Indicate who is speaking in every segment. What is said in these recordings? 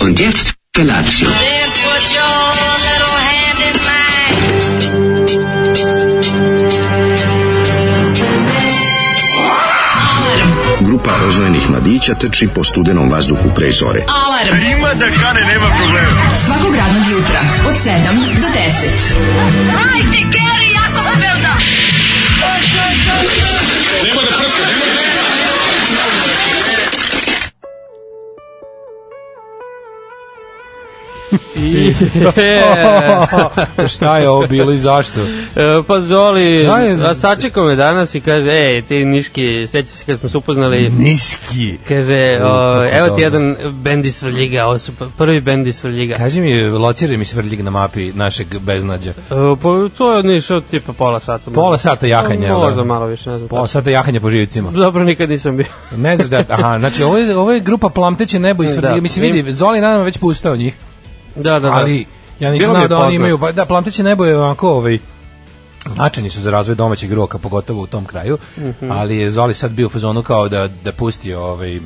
Speaker 1: Und jetzt Felatio.
Speaker 2: Then put your little hand in mine.
Speaker 3: Grupa rozvojenih mladića teči po studenom vazduhu pre zore.
Speaker 4: Alarm. Ima da kane, nema problema. Svakog radnog jutra, od 7 do 10.
Speaker 5: Šta je ovo bilo i zašto?
Speaker 6: E, Pa Zoli,
Speaker 5: Oh. Šta je za-
Speaker 6: a sačekao me danas i kaže, ej, ti Niški, seća se kad smo se upoznali,
Speaker 5: Niski.
Speaker 6: kaže, o,
Speaker 5: kako
Speaker 6: evo ti
Speaker 5: dobro.
Speaker 6: jedan bend iz Svrljiga, ovo su pr- prvi bend iz Svrljiga.
Speaker 5: Kaži mi, lociraj mi svrljig na mapi našeg beznadja.
Speaker 6: E, Pa to je od Niša od tipa pola sata.
Speaker 5: Pola sata jahanja, jel da?
Speaker 6: Možda malo više, ne znam.
Speaker 5: Pola sata jahanja po živcima.
Speaker 6: Dobro, nikad nisam bio.
Speaker 5: Ne znaš da, aha, znači ovo je, ovo je grupa Plamteće nebo i svrljiga.
Speaker 6: Da.
Speaker 5: Mislim, vidi, Zoli nadam već pustao njih,
Speaker 6: Da, da, da.
Speaker 5: ali ja nisam
Speaker 6: Bilo mi
Speaker 5: znao
Speaker 6: je
Speaker 5: da oni
Speaker 6: poznato.
Speaker 5: imaju, ba- da, Plamteće nebo je onako, ovaj, značajni su za razvoj domaćeg roka, pogotovo u tom kraju,
Speaker 6: Mhm.
Speaker 5: ali je Zoli sad bio u fazonu kao da, da pusti, ovaj,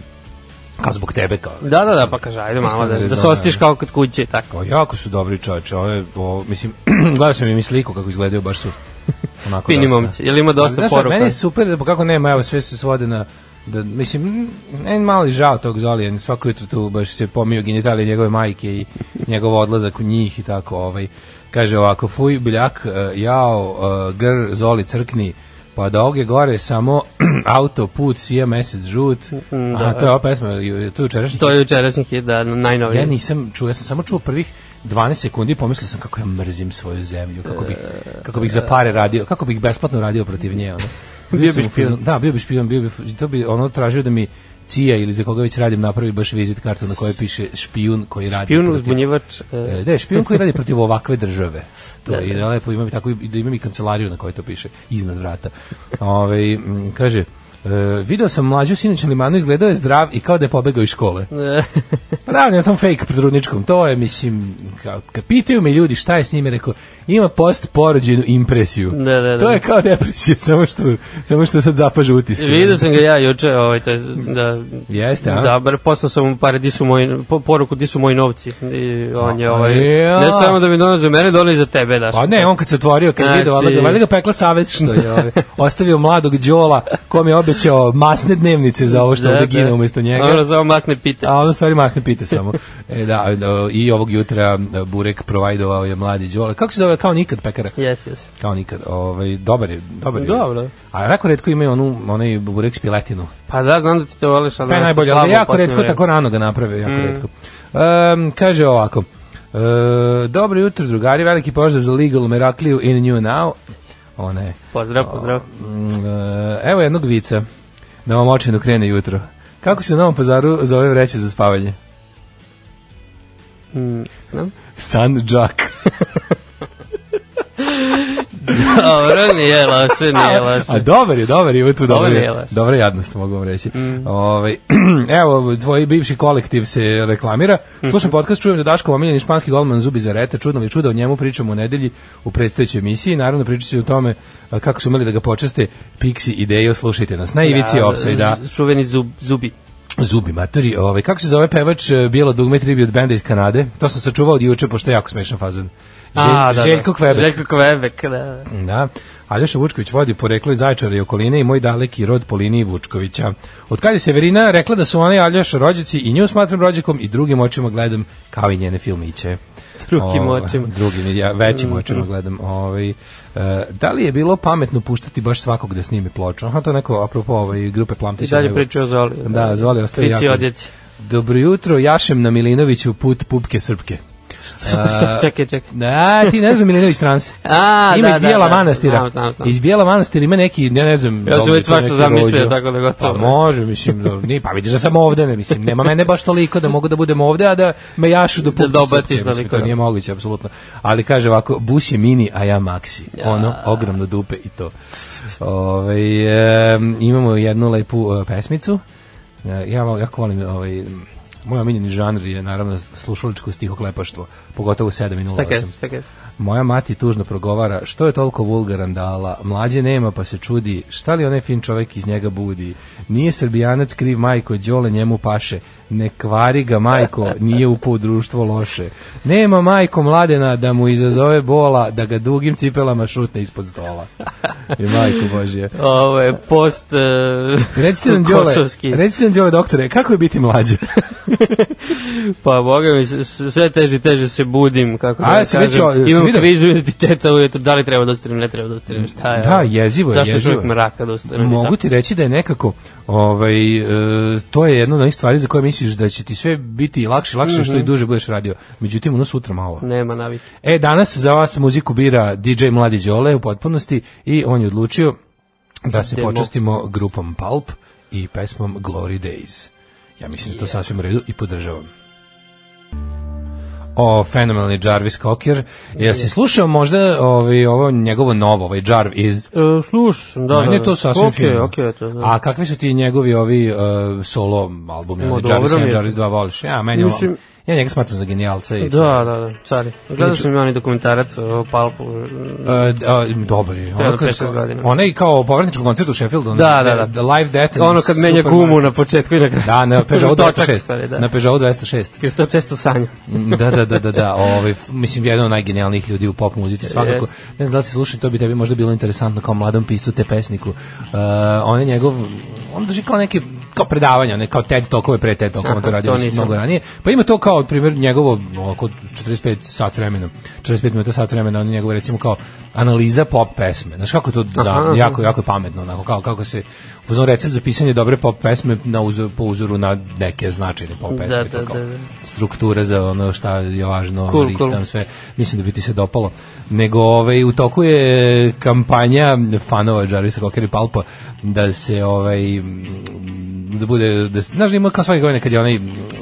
Speaker 5: kao zbog tebe, kao,
Speaker 6: Da, da, da, pa kaže, ajde
Speaker 5: Mislim
Speaker 6: malo, da,
Speaker 5: da je
Speaker 6: da se
Speaker 5: zona,
Speaker 6: ostiš
Speaker 5: da.
Speaker 6: kao kod kuće i tako.
Speaker 5: Pa jako su dobri čoveče, ovo, je- ovo mislim, gledao sam im i sliku kako izgledaju, baš su onako
Speaker 6: Fini
Speaker 5: dosta.
Speaker 6: momci, jel ima dosta
Speaker 5: Ali, znaš šta,
Speaker 6: poruka?
Speaker 5: Meni je super, da, kako nema, evo sve se svode na da, mislim, ne mali žao tog Zolija, on svako jutro tu baš se pomio genitalije njegove majke i njegov odlazak u njih i tako, ovaj, kaže ovako, fuj, biljak, eh, jao, eh, gr, Zoli, crkni, pa da oge gore samo autoput, sija mesec žut, a to je ova pesma, ju- tu jučerašnji
Speaker 6: Mm, da. To je jučerašnji hit, da, najnoviji.
Speaker 5: ja nisam čuo, ja sam samo čuo prvih 12 sekundi i pomislio sam kako ja mrzim svoju zemlju, kako bih, kako bih za pare radio, kako bih besplatno radio protiv nje. Ono.
Speaker 6: Bio
Speaker 5: sam
Speaker 6: bi
Speaker 5: u fazonu- Da, bio bi špion, bio bi, to bi ono tražio da mi Cija ili za koga već radim napravi baš vizit kartu na kojoj piše špijun koji radi
Speaker 6: Pijun
Speaker 5: protiv-
Speaker 6: uzbunjivač. e,
Speaker 5: E, Da, je špijun koji radi protiv ovakve države. To
Speaker 6: Da,
Speaker 5: je
Speaker 6: da.
Speaker 5: da, lepo, imam i tako i da imam i kancelariju na kojoj to piše iznad vrata. Ovaj m, kaže E, video sam mlađu sinoć na limanu, izgledao je zdrav i kao da je pobegao iz škole. Pa da, na tom fake trudničkom, to je, mislim, kao, kad pitaju me ljudi šta je s njime, rekao, ima post porođenu impresiju.
Speaker 6: Da, da, da.
Speaker 5: To je kao depresija, samo što, samo što sad zapaže utiske.
Speaker 6: Vidio sam ga ja juče, ovaj, to je, da,
Speaker 5: Jeste, a?
Speaker 6: da, bar poslao sam mu pare, di su moji, po, poruku, di su moji novci, i on je, ovaj,
Speaker 5: ja.
Speaker 6: ne samo da mi dono za mene, dono i za tebe, da. daš.
Speaker 5: Pa ne, on kad se otvorio, kad
Speaker 6: Znači-
Speaker 5: znači... vidio, valjda ga- valjda ga pekla savez što je ovaj, ostavio mladog Đola, kom je obećao masne dnevnice za ovo što da, gine umesto njega.
Speaker 6: Ono, za ovo masne pite.
Speaker 5: A ono stvari masne pite samo. E, da, da, i ovog jutra da, Burek provajdovao je mladi Đola. Kako se zove, kao nikad pekara?
Speaker 6: Jes, jes.
Speaker 5: kao nikad. Ovaj dobar je, dobar je.
Speaker 6: Dobro.
Speaker 5: A jako retko imaju onu onaj burek s piletinu.
Speaker 6: Pa da, znam da ti to voliš, ali...
Speaker 5: Pa je
Speaker 6: nešto
Speaker 5: najbolje,
Speaker 6: slabo da
Speaker 5: ali
Speaker 6: u
Speaker 5: jako
Speaker 6: posljednje
Speaker 5: retko
Speaker 6: vreme.
Speaker 5: tako rano ga naprave, jako retko. Um, kaže ovako. Uh, dobro jutro drugari, veliki pozdrav za Legal Merakliju in New Now. O ne.
Speaker 6: Pozdrav, pozdrav.
Speaker 5: Mm, e, evo jednog vica. Na ovom očinu krene jutro. Kako se u Novom pazaru zove vreće za spavanje?
Speaker 6: Mm, znam.
Speaker 5: San Jack.
Speaker 6: Dobro, nije loše, nije loše.
Speaker 5: A dobar je, dobar je, tu dobar
Speaker 6: Dobar je,
Speaker 5: je.
Speaker 6: baš.
Speaker 5: Dobra jadnost mogu vam reći. Ovaj, evo, tvoj bivši kolektiv se reklamira. Slušam podcast, čujem da Daško omiljeni španski golman Zubi Zareta, čudno li čuda, o njemu pričamo u nedelji u predstojećoj emisiji. Naravno, pričat će o tome a, kako su umeli da ga počeste Pixi i Dejo, slušajte nas. Na ivici ja, da.
Speaker 6: z- Čuveni zub, zubi.
Speaker 5: Zubi matori, ovaj, kako se zove pevač e, Bijelo dugme tribi od benda iz Kanade? To sam sačuvao od juče, pošto je jako smešan fazan.
Speaker 6: A, da,
Speaker 5: Želj- Željko Kvebek.
Speaker 6: Željko Kvebek, da.
Speaker 5: Da. Aljoša Vučković vodi poreklo iz Zaječara i okoline i moj daleki rod po liniji Vučkovića. Od kad je Severina rekla da su one Aljoša rođaci i nju smatram rođakom i drugim očima gledam kao i njene filmiće.
Speaker 6: Drugim
Speaker 5: O,
Speaker 6: očima.
Speaker 5: Drugim, ja većim očima gledam. Ovaj, e, da li je bilo pametno puštati baš svakog da snimi ploču? Aha, to je neko apropo ovaj, grupe
Speaker 6: I
Speaker 5: Plamtića.
Speaker 6: dalje
Speaker 5: nego-
Speaker 6: pričao Zoli.
Speaker 5: Da, Zoli ostaje
Speaker 6: Pici
Speaker 5: jako-
Speaker 6: odjeci.
Speaker 5: Dobro jutro, jašem na Milinoviću put pupke srpke.
Speaker 6: Šta, šta, čekaj, čekaj.
Speaker 5: Da, ti ne znam Milinović trans.
Speaker 6: A,
Speaker 5: ima
Speaker 6: da,
Speaker 5: iz Bijela
Speaker 6: da, da.
Speaker 5: manastira.
Speaker 6: Znam, znam, znam.
Speaker 5: Iz Bijela manastira ima neki, ja ne znam.
Speaker 6: Ja
Speaker 5: da li
Speaker 6: sam
Speaker 5: je
Speaker 6: već
Speaker 5: to
Speaker 6: svašta
Speaker 5: neki
Speaker 6: zamislio,
Speaker 5: rođo.
Speaker 6: tako da gotovo.
Speaker 5: Pa može, mislim, da, ni, pa vidiš da sam ovde, ne, mislim, nema mene baš toliko da mogu da budem ovde, a da me jašu do puta.
Speaker 6: dobaciš
Speaker 5: mislim,
Speaker 6: toliko,
Speaker 5: to
Speaker 6: da.
Speaker 5: nije moguće, apsolutno. Ali kaže ovako, bus je mini, a ja maxi. Ono, ogromno dupe i to. Ove, imamo jednu lepu e, pesmicu. E, ja vo- jako volim ovaj, moj omiljeni žanr je naravno slušaličko stihoklepaštvo, pogotovo 7 i
Speaker 6: Šta
Speaker 5: 08.
Speaker 6: kažeš, šta kažeš?
Speaker 5: Moja mati tužno progovara što je toliko vulgaran dala, mlađe nema pa se čudi, šta li onaj fin čovek iz njega budi. Nije srbijanac kriv majko, đole njemu paše, ne kvari ga majko, nije upao u društvo loše. Nema majko mladena da mu izazove bola, da ga dugim cipelama šutne ispod stola. I majko božje.
Speaker 6: Ovo je post e,
Speaker 5: Recite nam Đole,
Speaker 6: kosovski.
Speaker 5: recite nam Đole doktore, kako je biti mlađe?
Speaker 6: Pa, boga mi, s- s- sve teže i teže se budim, kako da
Speaker 5: A,
Speaker 6: vam
Speaker 5: jesi već o-
Speaker 6: kažem.
Speaker 5: jesi
Speaker 6: Imam
Speaker 5: vidio?
Speaker 6: krizu identiteta ujutro, da li treba da ostanem, ne treba da ostanem, šta je.
Speaker 5: Da,
Speaker 6: ovo?
Speaker 5: jezivo je,
Speaker 6: Zašto
Speaker 5: jezivo
Speaker 6: čovjek
Speaker 5: je.
Speaker 6: mraka da ostanem? i
Speaker 5: Mogu
Speaker 6: tako?
Speaker 5: ti reći da je nekako ovaj, e, to je jedna od onih stvari za koje misliš da će ti sve biti lakše, lakše što i duže budeš radio. Međutim, ono sutra malo.
Speaker 6: Nema navike.
Speaker 5: E, danas za vas muziku bira DJ Mladi Đole u potpunosti i on je odlučio da se
Speaker 6: Idemo.
Speaker 5: počestimo grupom Pulp i pesmom Glory Days. Ja mislim da je to sasvim u redu i podržavam. O, fenomenalni Jarvis Cocker. Jel si slušao možda ovaj, ovo njegovo novo, ovaj Jarv iz...
Speaker 6: E, slušao sam, da,
Speaker 5: Da, Meni
Speaker 6: da,
Speaker 5: je to sasvim
Speaker 6: okay,
Speaker 5: fino.
Speaker 6: Okay, to, da.
Speaker 5: A kakvi su ti njegovi ovi uh, solo albumi?
Speaker 6: Ma,
Speaker 5: Oni
Speaker 6: dobro
Speaker 5: Jarvis
Speaker 6: mi
Speaker 5: 1,
Speaker 6: je.
Speaker 5: Jarvis 2 voliš? Ja, meni Mislim...
Speaker 6: Mislim-
Speaker 5: ovo, ja njega smatram za genijalca. I
Speaker 6: Da, da, da, cari. Gledao sam i onaj dokumentarac o Palpu. mm,
Speaker 5: E, d- a, dobar je.
Speaker 6: Treba
Speaker 5: Ono kad,
Speaker 6: 15 godina.
Speaker 5: onaj kao povratnički koncert u Sheffieldu. ono,
Speaker 6: Da, da, da.
Speaker 5: The Live Death. and
Speaker 6: Ono kad menja
Speaker 5: Super
Speaker 6: gumu
Speaker 5: Mario.
Speaker 6: na početku i na kraju.
Speaker 5: Da, na Peugeot
Speaker 6: Točak,
Speaker 5: 206.
Speaker 6: stvari, da.
Speaker 5: Na Peugeot 206.
Speaker 6: Jer to često sanjam.
Speaker 5: da, da, da, da, da. Ovaj, f- mislim, jedan od najgenijalnijih ljudi u pop muzici, svakako. Ne znam da li si slušao, to bi tebi možda bilo interesantno kao mladom pisu, te pesniku. Uh, on je njegov, on drži kao neke kao predavanja, ne kao TED Talkove pre TED Talkova, on to
Speaker 6: Aha,
Speaker 5: radio
Speaker 6: to
Speaker 5: mislim,
Speaker 6: nisam.
Speaker 5: mnogo ranije. Pa ima to kao, primjer, njegovo oko 45 sat vremena, 45 minuta sat vremena, on je njegov, recimo, kao analiza pop pesme. Znaš kako je to za,
Speaker 6: Aha.
Speaker 5: jako, jako je pametno, onako, kao, kako se uzon recept za pisanje dobre pop pesme na uzo, po uzoru na neke značajne pop pesme.
Speaker 6: Da,
Speaker 5: to
Speaker 6: da,
Speaker 5: kao
Speaker 6: da, da.
Speaker 5: struktura za ono šta je važno,
Speaker 6: Cool,
Speaker 5: cool, ritam,
Speaker 6: cool.
Speaker 5: sve. Mislim da bi ti se dopalo. Nego ovaj, u toku je kampanja fanova Jarvisa Cocker i Palpa da se ovaj m, da bude, da, se- znaš da ima kao svake godine kad je onaj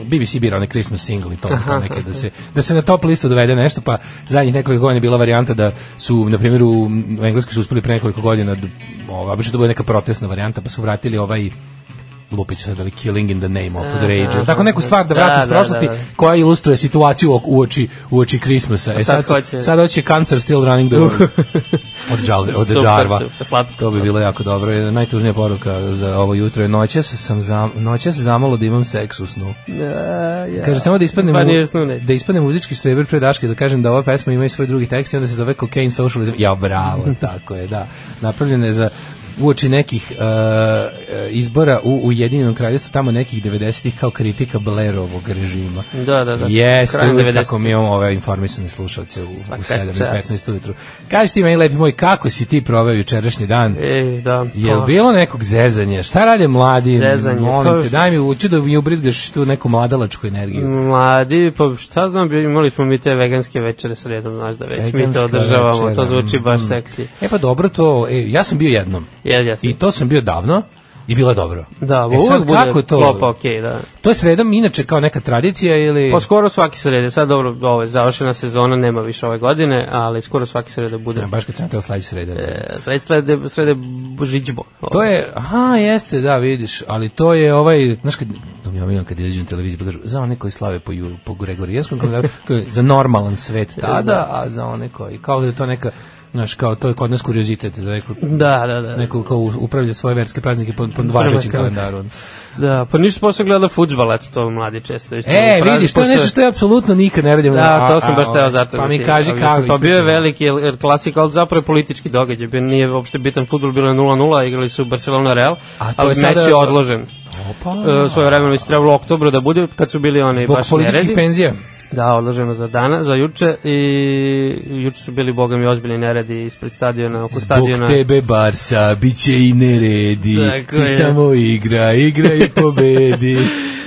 Speaker 5: BBC bira onaj Christmas single i to, to neke, da se, da se na top listu dovede nešto, pa zadnjih nekoliko godina je bila varijanta da su, na primjer, u u Engleskoj su uspeli pre nekoliko godina, da, ovaj, obično to bude neka protestna varijanta, pa su vratili ovaj lupit ću sad ali Killing in the Name of the Rage, ili tako neku stvar
Speaker 6: Da,
Speaker 5: da vrati iz
Speaker 6: da,
Speaker 5: prošlosti,
Speaker 6: da, da.
Speaker 5: koja ilustruje situaciju u oči, u oči Christmasa. E,
Speaker 6: Pa sad
Speaker 5: sad, su-
Speaker 6: hoće-
Speaker 5: sad hoće Cancer Still Running the World. Od, Džal, od
Speaker 6: Super,
Speaker 5: Džarva.
Speaker 6: super, slatko.
Speaker 5: To bi bilo jako dobro. Je Najtužnija poruka za ovo jutro je noćas sam za, noćas zamalo da imam seks u snu. Kaže samo da ispadnem
Speaker 6: Pa
Speaker 5: u-
Speaker 6: nije snu, ne.
Speaker 5: da ispadnem muzički sreber pre daške da kažem da ova pesma ima i svoj drugi tekst i onda se zove Cocaine Socialism. Ja bravo, tako je, da. Napravljena je za uoči nekih e, e, izbora u Ujedinjenom kraljevstvu tamo nekih 90-ih kao kritika Blairovog režima.
Speaker 6: Da, da, da.
Speaker 5: Jeste,
Speaker 6: Krajem
Speaker 5: uvijek
Speaker 6: 90-ih.
Speaker 5: kako mi imamo ove informisane slušalce u, u
Speaker 6: Svaka
Speaker 5: 7.15 ujutru. Kaži ti meni, lepi moj, kako si ti proveo jučerašnji dan?
Speaker 6: Ej, da.
Speaker 5: Jel
Speaker 6: pa.
Speaker 5: bilo nekog zezanja? Šta rade mladi?
Speaker 6: Zezanje,
Speaker 5: Molim
Speaker 6: pa-
Speaker 5: te, daj mi uću da mi ubrizgaš tu neku mladalačku energiju.
Speaker 6: Mladi, pa šta znam, bi- imali smo mi te veganske večere sredom, znaš da već mi
Speaker 5: Veganska
Speaker 6: to održavamo,
Speaker 5: večera,
Speaker 6: to zvuči baš
Speaker 5: mm.
Speaker 6: seksi.
Speaker 5: E pa dobro to, e, ja sam bio jednom.
Speaker 6: Jel, ja
Speaker 5: I to sam bio davno i bilo je dobro.
Speaker 6: Da,
Speaker 5: e,
Speaker 6: e,
Speaker 5: sad,
Speaker 6: uvek
Speaker 5: kako
Speaker 6: bude
Speaker 5: to?
Speaker 6: to? klopa, okej, da.
Speaker 5: To je sredom inače kao neka tradicija ili...
Speaker 6: Pa skoro svaki srede, sad dobro, ovo je završena sezona, nema više ove godine, ali skoro svaki srede bude.
Speaker 5: Ne, Baš kad sam teo slađi srede.
Speaker 6: E, sred srede, srede b- žiđbo.
Speaker 5: To je, aha, jeste, da, vidiš, ali to je ovaj, znaš kad, to mi je omiljeno kad izađem na televiziju, pa kažu, za one koji slave po, ju, po Gregorijanskom kalendaru, to je za normalan svet
Speaker 6: Da,
Speaker 5: tada, a za one koji, kao da je to neka, znaš, kao, to je kod nas kuriozitet, da neko,
Speaker 6: Da, da, da.
Speaker 5: neko kao upravlja svoje verske praznike po, po važećem
Speaker 6: kal-
Speaker 5: kalendaru.
Speaker 6: Da, pa ništa posao gleda futbal, eto to mladi često. Isto
Speaker 5: E,
Speaker 6: pravi,
Speaker 5: vidiš, to je
Speaker 6: pošto-
Speaker 5: nešto što ja apsolutno nikad ne radim.
Speaker 6: Da,
Speaker 5: A-
Speaker 6: to sam
Speaker 5: a,
Speaker 6: baš
Speaker 5: ovaj,
Speaker 6: teo zato.
Speaker 5: Pa
Speaker 6: da
Speaker 5: mi
Speaker 6: ti-
Speaker 5: kaži
Speaker 6: ali
Speaker 5: kako.
Speaker 6: sam- Pa bio je veliki jer- jer klasik, ali zapravo je politički događaj. Bio nije uopšte bitan futbol, bilo je 0-0, igrali su Barcelona Real,
Speaker 5: A to je
Speaker 6: ali meč
Speaker 5: sada-
Speaker 6: je odložen.
Speaker 5: Opa.
Speaker 6: E, svoje vremeno mislim trebalo u oktobru da bude, kad su bili oni
Speaker 5: Pa, Zbog
Speaker 6: baš
Speaker 5: političkih
Speaker 6: neredi.
Speaker 5: penzija.
Speaker 6: Da, odloženo za dana, za juče i juče su bili, boga mi, ozbiljni neredi ispred stadiona, oko stadiona.
Speaker 5: Zbog tebe Barsa, bit će i neredi,
Speaker 6: Tako
Speaker 5: ti
Speaker 6: je.
Speaker 5: samo igra, igra i pobedi.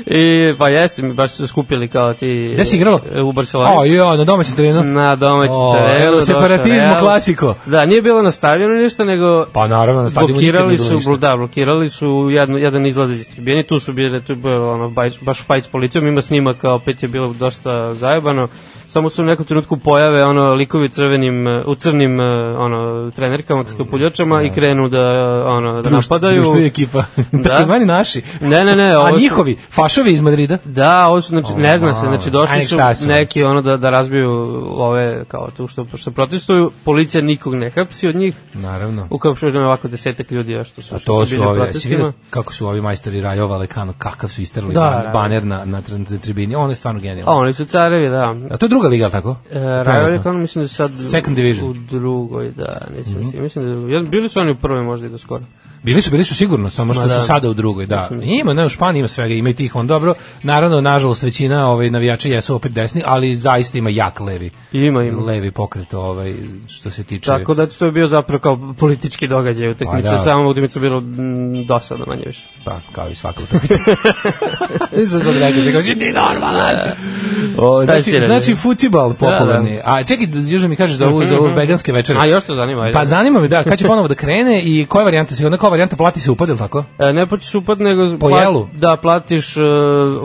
Speaker 6: I, pa jeste, mi baš su se skupili kao ti...
Speaker 5: Gde si igralo?
Speaker 6: E, U Barceloni.
Speaker 5: O, jo, na domaćem terenu.
Speaker 6: Na domaći
Speaker 5: O,
Speaker 6: terenu.
Speaker 5: el
Speaker 6: došao
Speaker 5: separatizmo
Speaker 6: Real.
Speaker 5: klasiko.
Speaker 6: Da, nije bilo na stadionu ništa, nego
Speaker 5: Pa naravno, na stadionu nikad
Speaker 6: blokirali
Speaker 5: nije bilo
Speaker 6: su,
Speaker 5: ništa.
Speaker 6: bl- da, blokirali su jedan, jedan izlaz iz tribine, tu su bile, tu je bilo ono, baj- baš fajt s policijom, ima snimak, kao opet je bilo dosta zajebano, samo su u nekom trenutku pojave ono, likovi u crvenim, e, u crnim e, ono, trenerkama, kapuljačama i krenu da, ono, da
Speaker 5: Društvo-
Speaker 6: napadaju.
Speaker 5: Društvo i ekipa.
Speaker 6: Da.
Speaker 5: Tako mani naši.
Speaker 6: Ne, ne, ne,
Speaker 5: A
Speaker 6: ovo su-
Speaker 5: njihovi, Flašovi iz Madrida?
Speaker 6: Da, ovo su, znači, ne zna se, znači došli
Speaker 5: Ovaj, Ajde,
Speaker 6: su
Speaker 5: šta su?
Speaker 6: neki ono da, da razbiju ove, kao tu što, što protestuju, policija nikog ne hapsi od njih,
Speaker 5: Naravno.
Speaker 6: ukapšeno je ovako desetak ljudi još što su,
Speaker 5: A
Speaker 6: što
Speaker 5: to
Speaker 6: su
Speaker 5: su
Speaker 6: bili na
Speaker 5: ovi, si vidio
Speaker 6: protestima.
Speaker 5: kako su ovi majstori Rajova Lekano, kakav su istrali
Speaker 6: Da,
Speaker 5: da,
Speaker 6: da.
Speaker 5: baner na, na, tri- na tribini, ono je stvarno
Speaker 6: A
Speaker 5: genijalno.
Speaker 6: oni su carevi, da.
Speaker 5: A to je druga liga, ali tako?
Speaker 6: E,
Speaker 5: Trenutno.
Speaker 6: Rajolje Kano mislim da je sad
Speaker 5: Second division. Mhm.
Speaker 6: u drugoj, da, nisam mm -hmm. mislim da je u drugoj. Jel, Bili su oni u prvoj možda i do skoro.
Speaker 5: Bili su, bili su sigurno, samo što
Speaker 6: Ma da.
Speaker 5: su sada u drugoj, da. Ima, ne, u Španiji ima svega, ima i tih on dobro. Naravno, nažalost, većina ovaj, navijača jesu opet desni, ali zaista ima jak levi,
Speaker 6: Ima, ima.
Speaker 5: levi pokret, ovaj, što se tiče...
Speaker 6: Tako da to je bio zapravo kao politički događaj utakmica,
Speaker 5: Pa da.
Speaker 6: samo utakmica je bilo mm, dosadno manje više.
Speaker 5: Pa, kao i svaka utakmica. Nisam E, sad rekao, rekao, si ti normalan.
Speaker 6: Šta
Speaker 5: O, znači,
Speaker 6: si ti Da,
Speaker 5: znači
Speaker 6: rekao?
Speaker 5: futibal popularni. A čekaj, još da mi kažeš za ovu, za ovu veganske večere.
Speaker 6: A još to zanima, ajde.
Speaker 5: Pa zanima me, da, kad će ponovo da krene i koja varijanta se, onda kao varijanta plati se upad, ili tako?
Speaker 6: E, ne plaćaš upad, nego
Speaker 5: Po jelu?
Speaker 6: da, platiš uh,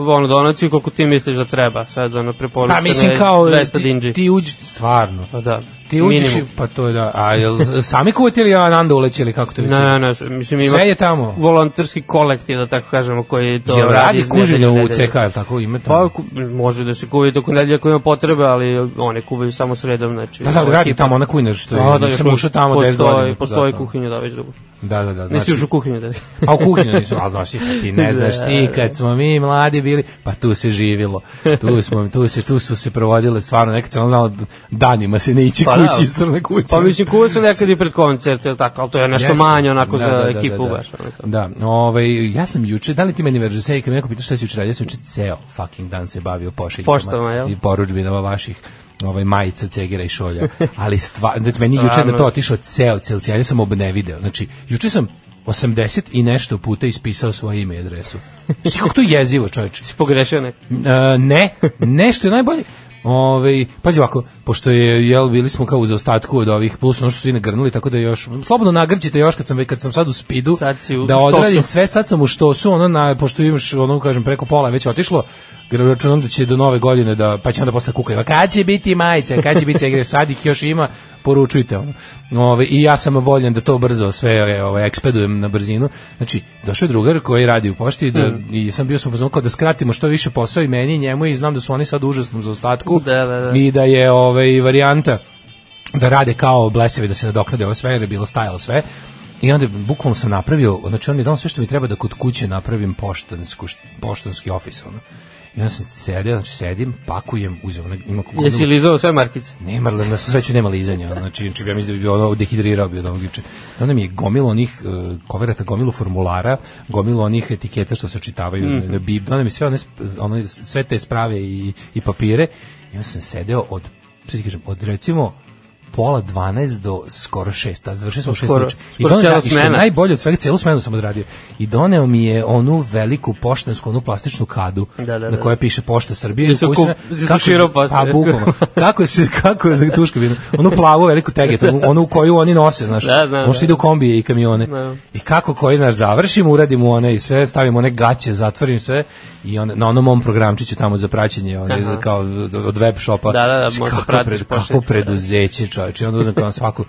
Speaker 6: ono, donaciju koliko ti misliš da treba. Sad, ono, preporučeno
Speaker 5: Pa mislim kao,
Speaker 6: je 200
Speaker 5: ti,
Speaker 6: dinđi.
Speaker 5: ti uđi, stvarno.
Speaker 6: Pa da,
Speaker 5: Ti uđeš, i-
Speaker 6: minimum.
Speaker 5: pa to je da, a jel sami kuvate ili Ananda uleće ili kako to već?
Speaker 6: Ne, ne, ne, mislim ima
Speaker 5: Sve je tamo.
Speaker 6: volonterski kolektiv, da tako kažemo, koji to
Speaker 5: Jel radi
Speaker 6: iz nedelje
Speaker 5: kužilja
Speaker 6: u
Speaker 5: u
Speaker 6: nedelju.
Speaker 5: CK, jel tako ime
Speaker 6: Pa,
Speaker 5: tamo?
Speaker 6: ku, može da se kuvi dok u nedelje ako ima potrebe, ali one kuvaju samo sredom, znači...
Speaker 5: Pa, da, ali
Speaker 6: ovo,
Speaker 5: radi
Speaker 6: ekipa.
Speaker 5: tamo ona kujna što
Speaker 6: Da,
Speaker 5: je,
Speaker 6: da,
Speaker 5: da,
Speaker 6: još
Speaker 5: sam
Speaker 6: uvijek
Speaker 5: ušao tamo 10
Speaker 6: postoji-
Speaker 5: godina.
Speaker 6: Postoji
Speaker 5: Da,
Speaker 6: kuhinja, da, već dugo.
Speaker 5: Da, da, da,
Speaker 6: Nisi
Speaker 5: znači,
Speaker 6: još u kuhinju, da.
Speaker 5: A u kuhinju nisam, ali znaš ti, ti ne znaš ti, kad smo mi mladi bili, pa tu se živilo, tu, smo, tu, se, tu su se provodile stvarno, nekad sam znao danima se ne ići
Speaker 6: Pa da.
Speaker 5: kući iz crne kuće.
Speaker 6: Pa mislim, kuva se nekad i pred koncert, ili tako, ali to je nešto
Speaker 5: Jeste.
Speaker 6: manje, onako,
Speaker 5: Da,
Speaker 6: za
Speaker 5: da, da,
Speaker 6: ekipu,
Speaker 5: da, da.
Speaker 6: baš, ono to.
Speaker 5: Da, ovaj, ja sam juče, da li ti meni verže, sve, kad me neko pitao šta si juče radio, ja sam juče ceo fucking dan se bavio pošiljkama
Speaker 6: Poštama, jel?
Speaker 5: i poručbinama vaših ovaj majica cegira i šolja. Ali stvarno, znači meni juče
Speaker 6: Stvarno.
Speaker 5: na to otišao ceo celci, ja sam obnevideo. Znači juče sam 80 i nešto puta ispisao svoje ime i adresu. Znači kako to jezivo, čoveče.
Speaker 6: Si pogrešio nek.
Speaker 5: E, ne, nešto je najbolje. Ove, pazi ovako, pošto je, jel, bili smo kao u zaostatku od ovih, plus ono što su i nagrnuli, tako da još, slobodno nagrđite još kad sam, ve- kad sam sad u spidu,
Speaker 6: Sad si u
Speaker 5: da
Speaker 6: štosu.
Speaker 5: odradim sve, sad sam u što su, ono, na, pošto imaš, ono, kažem, preko pola je već otišlo, gra- računam da će do nove godine, da, pa će onda posle kukaju, "A kad će biti majice, kad će biti igre, sad ih još ima, poručujte, ono. Ove, I ja sam voljen da to brzo sve e, ovaj, ekspedujem na brzinu. Znači, došao je drugar koji radi u pošti da,
Speaker 6: Mm.
Speaker 5: i sam bio sam u fazonu kao da skratimo što više posao i meni i njemu i znam da su oni sad u užasnom zaostatku
Speaker 6: Da, da, da.
Speaker 5: i da je ovaj, varijanta da rade kao blesevi da se nadoknade ovo sve jer je bilo stajalo sve i onda bukvalno sam napravio znači on mi je dao sve što mi treba da kod kuće napravim poštansku, poštanski ofis ono. i onda sam sedeo, znači sedim pakujem, uzem, ono- ima kukunovu
Speaker 6: Jesi lizao sve markice?
Speaker 5: nema, ali na svu sreću nema lizanja, ono, znači, znači ja mislim da bi ono dehidrirao bi od onog juče. Onda mi je gomilo onih uh, koverata, gomilo formulara, gomilo onih etiketa što se čitavaju
Speaker 6: Mhm.
Speaker 5: mm -hmm. na bib, onda mi sve, one, sp- one, sve te sprave i, i papire, i onda sam sedeo od, što ti kažem, od recimo pola 12 do skoro 6, a završili smo u 6
Speaker 6: Skoro-
Speaker 5: uveče. I
Speaker 6: skoro
Speaker 5: doneo-
Speaker 6: cela
Speaker 5: i što je
Speaker 6: smena.
Speaker 5: najbolje od svega, celu smenu sam odradio. I doneo mi je onu veliku poštansku, onu plastičnu kadu,
Speaker 6: Da, da,
Speaker 5: na
Speaker 6: da.
Speaker 5: kojoj piše Pošta Srbije.
Speaker 6: Jesi
Speaker 5: koju sam ja-
Speaker 6: kup- jesi
Speaker 5: kako-
Speaker 6: širao poštu?
Speaker 5: Pa, bukvalno kako se kako je za tuška vino. Onu plavu veliku teget, onu, onu koju oni nose, znaš.
Speaker 6: Da, znam,
Speaker 5: Možda
Speaker 6: da.
Speaker 5: ide u kombije i kamione.
Speaker 6: Da.
Speaker 5: I kako koji znaš završimo, uradimo one i sve, stavimo one gaće, zatvorim sve i on na onom mom programčiću tamo za praćenje, one
Speaker 6: Aha.
Speaker 5: za kao od- od web shopa.
Speaker 6: Da, da, da,
Speaker 5: Znaš,
Speaker 6: možda
Speaker 5: kako
Speaker 6: pratiš
Speaker 5: pred-
Speaker 6: pošiljke,
Speaker 5: Kako
Speaker 6: da.
Speaker 5: preduzeće, čoveče. I onda uzmem kao svaku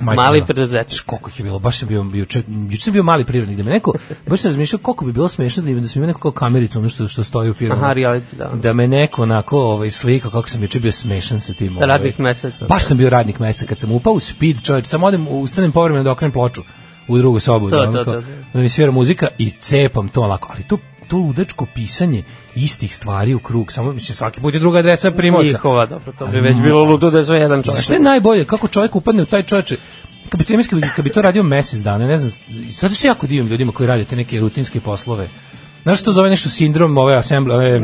Speaker 5: majku,
Speaker 6: Mali
Speaker 5: ono,
Speaker 6: preduzetnik.
Speaker 5: znaš, koliko ih je bilo, baš sam bio, juče, juče sam bio mali privrednik, da me neko, baš sam razmišljao koliko bi bilo smešno da, im, da sam imao neko kao kamericu, ono što, što stoji u firmama
Speaker 6: Aha, reality, da.
Speaker 5: da me neko onako ovaj slika kako sam juče bio smešan sa tim. Ovaj.
Speaker 6: Da Radnih meseca.
Speaker 5: Baš sam bio radnik meseca kad sam upao u speed, čoveče, samo odem ustanem povremeno da okrenem ploču u drugu sobu,
Speaker 6: To,
Speaker 5: da,
Speaker 6: to,
Speaker 5: ono
Speaker 6: to,
Speaker 5: kao,
Speaker 6: to.
Speaker 5: da mi svira muzika i cepam to onako, ali to to ludačko pisanje istih stvari u krug, samo mislim svaki put je druga adresa primoca.
Speaker 6: Njihova, dobro, to bi već bilo ludo da je sve jedan čovjek.
Speaker 5: Znaš šta je najbolje, kako čovjek upadne u taj čoveče, kad bi, to, ja mislim, kad bi, kad bi to radio mesec dana, ne znam, i zato se jako divim ljudima koji rade te neke rutinske poslove. Znaš što zove nešto sindrom ove asemble, ove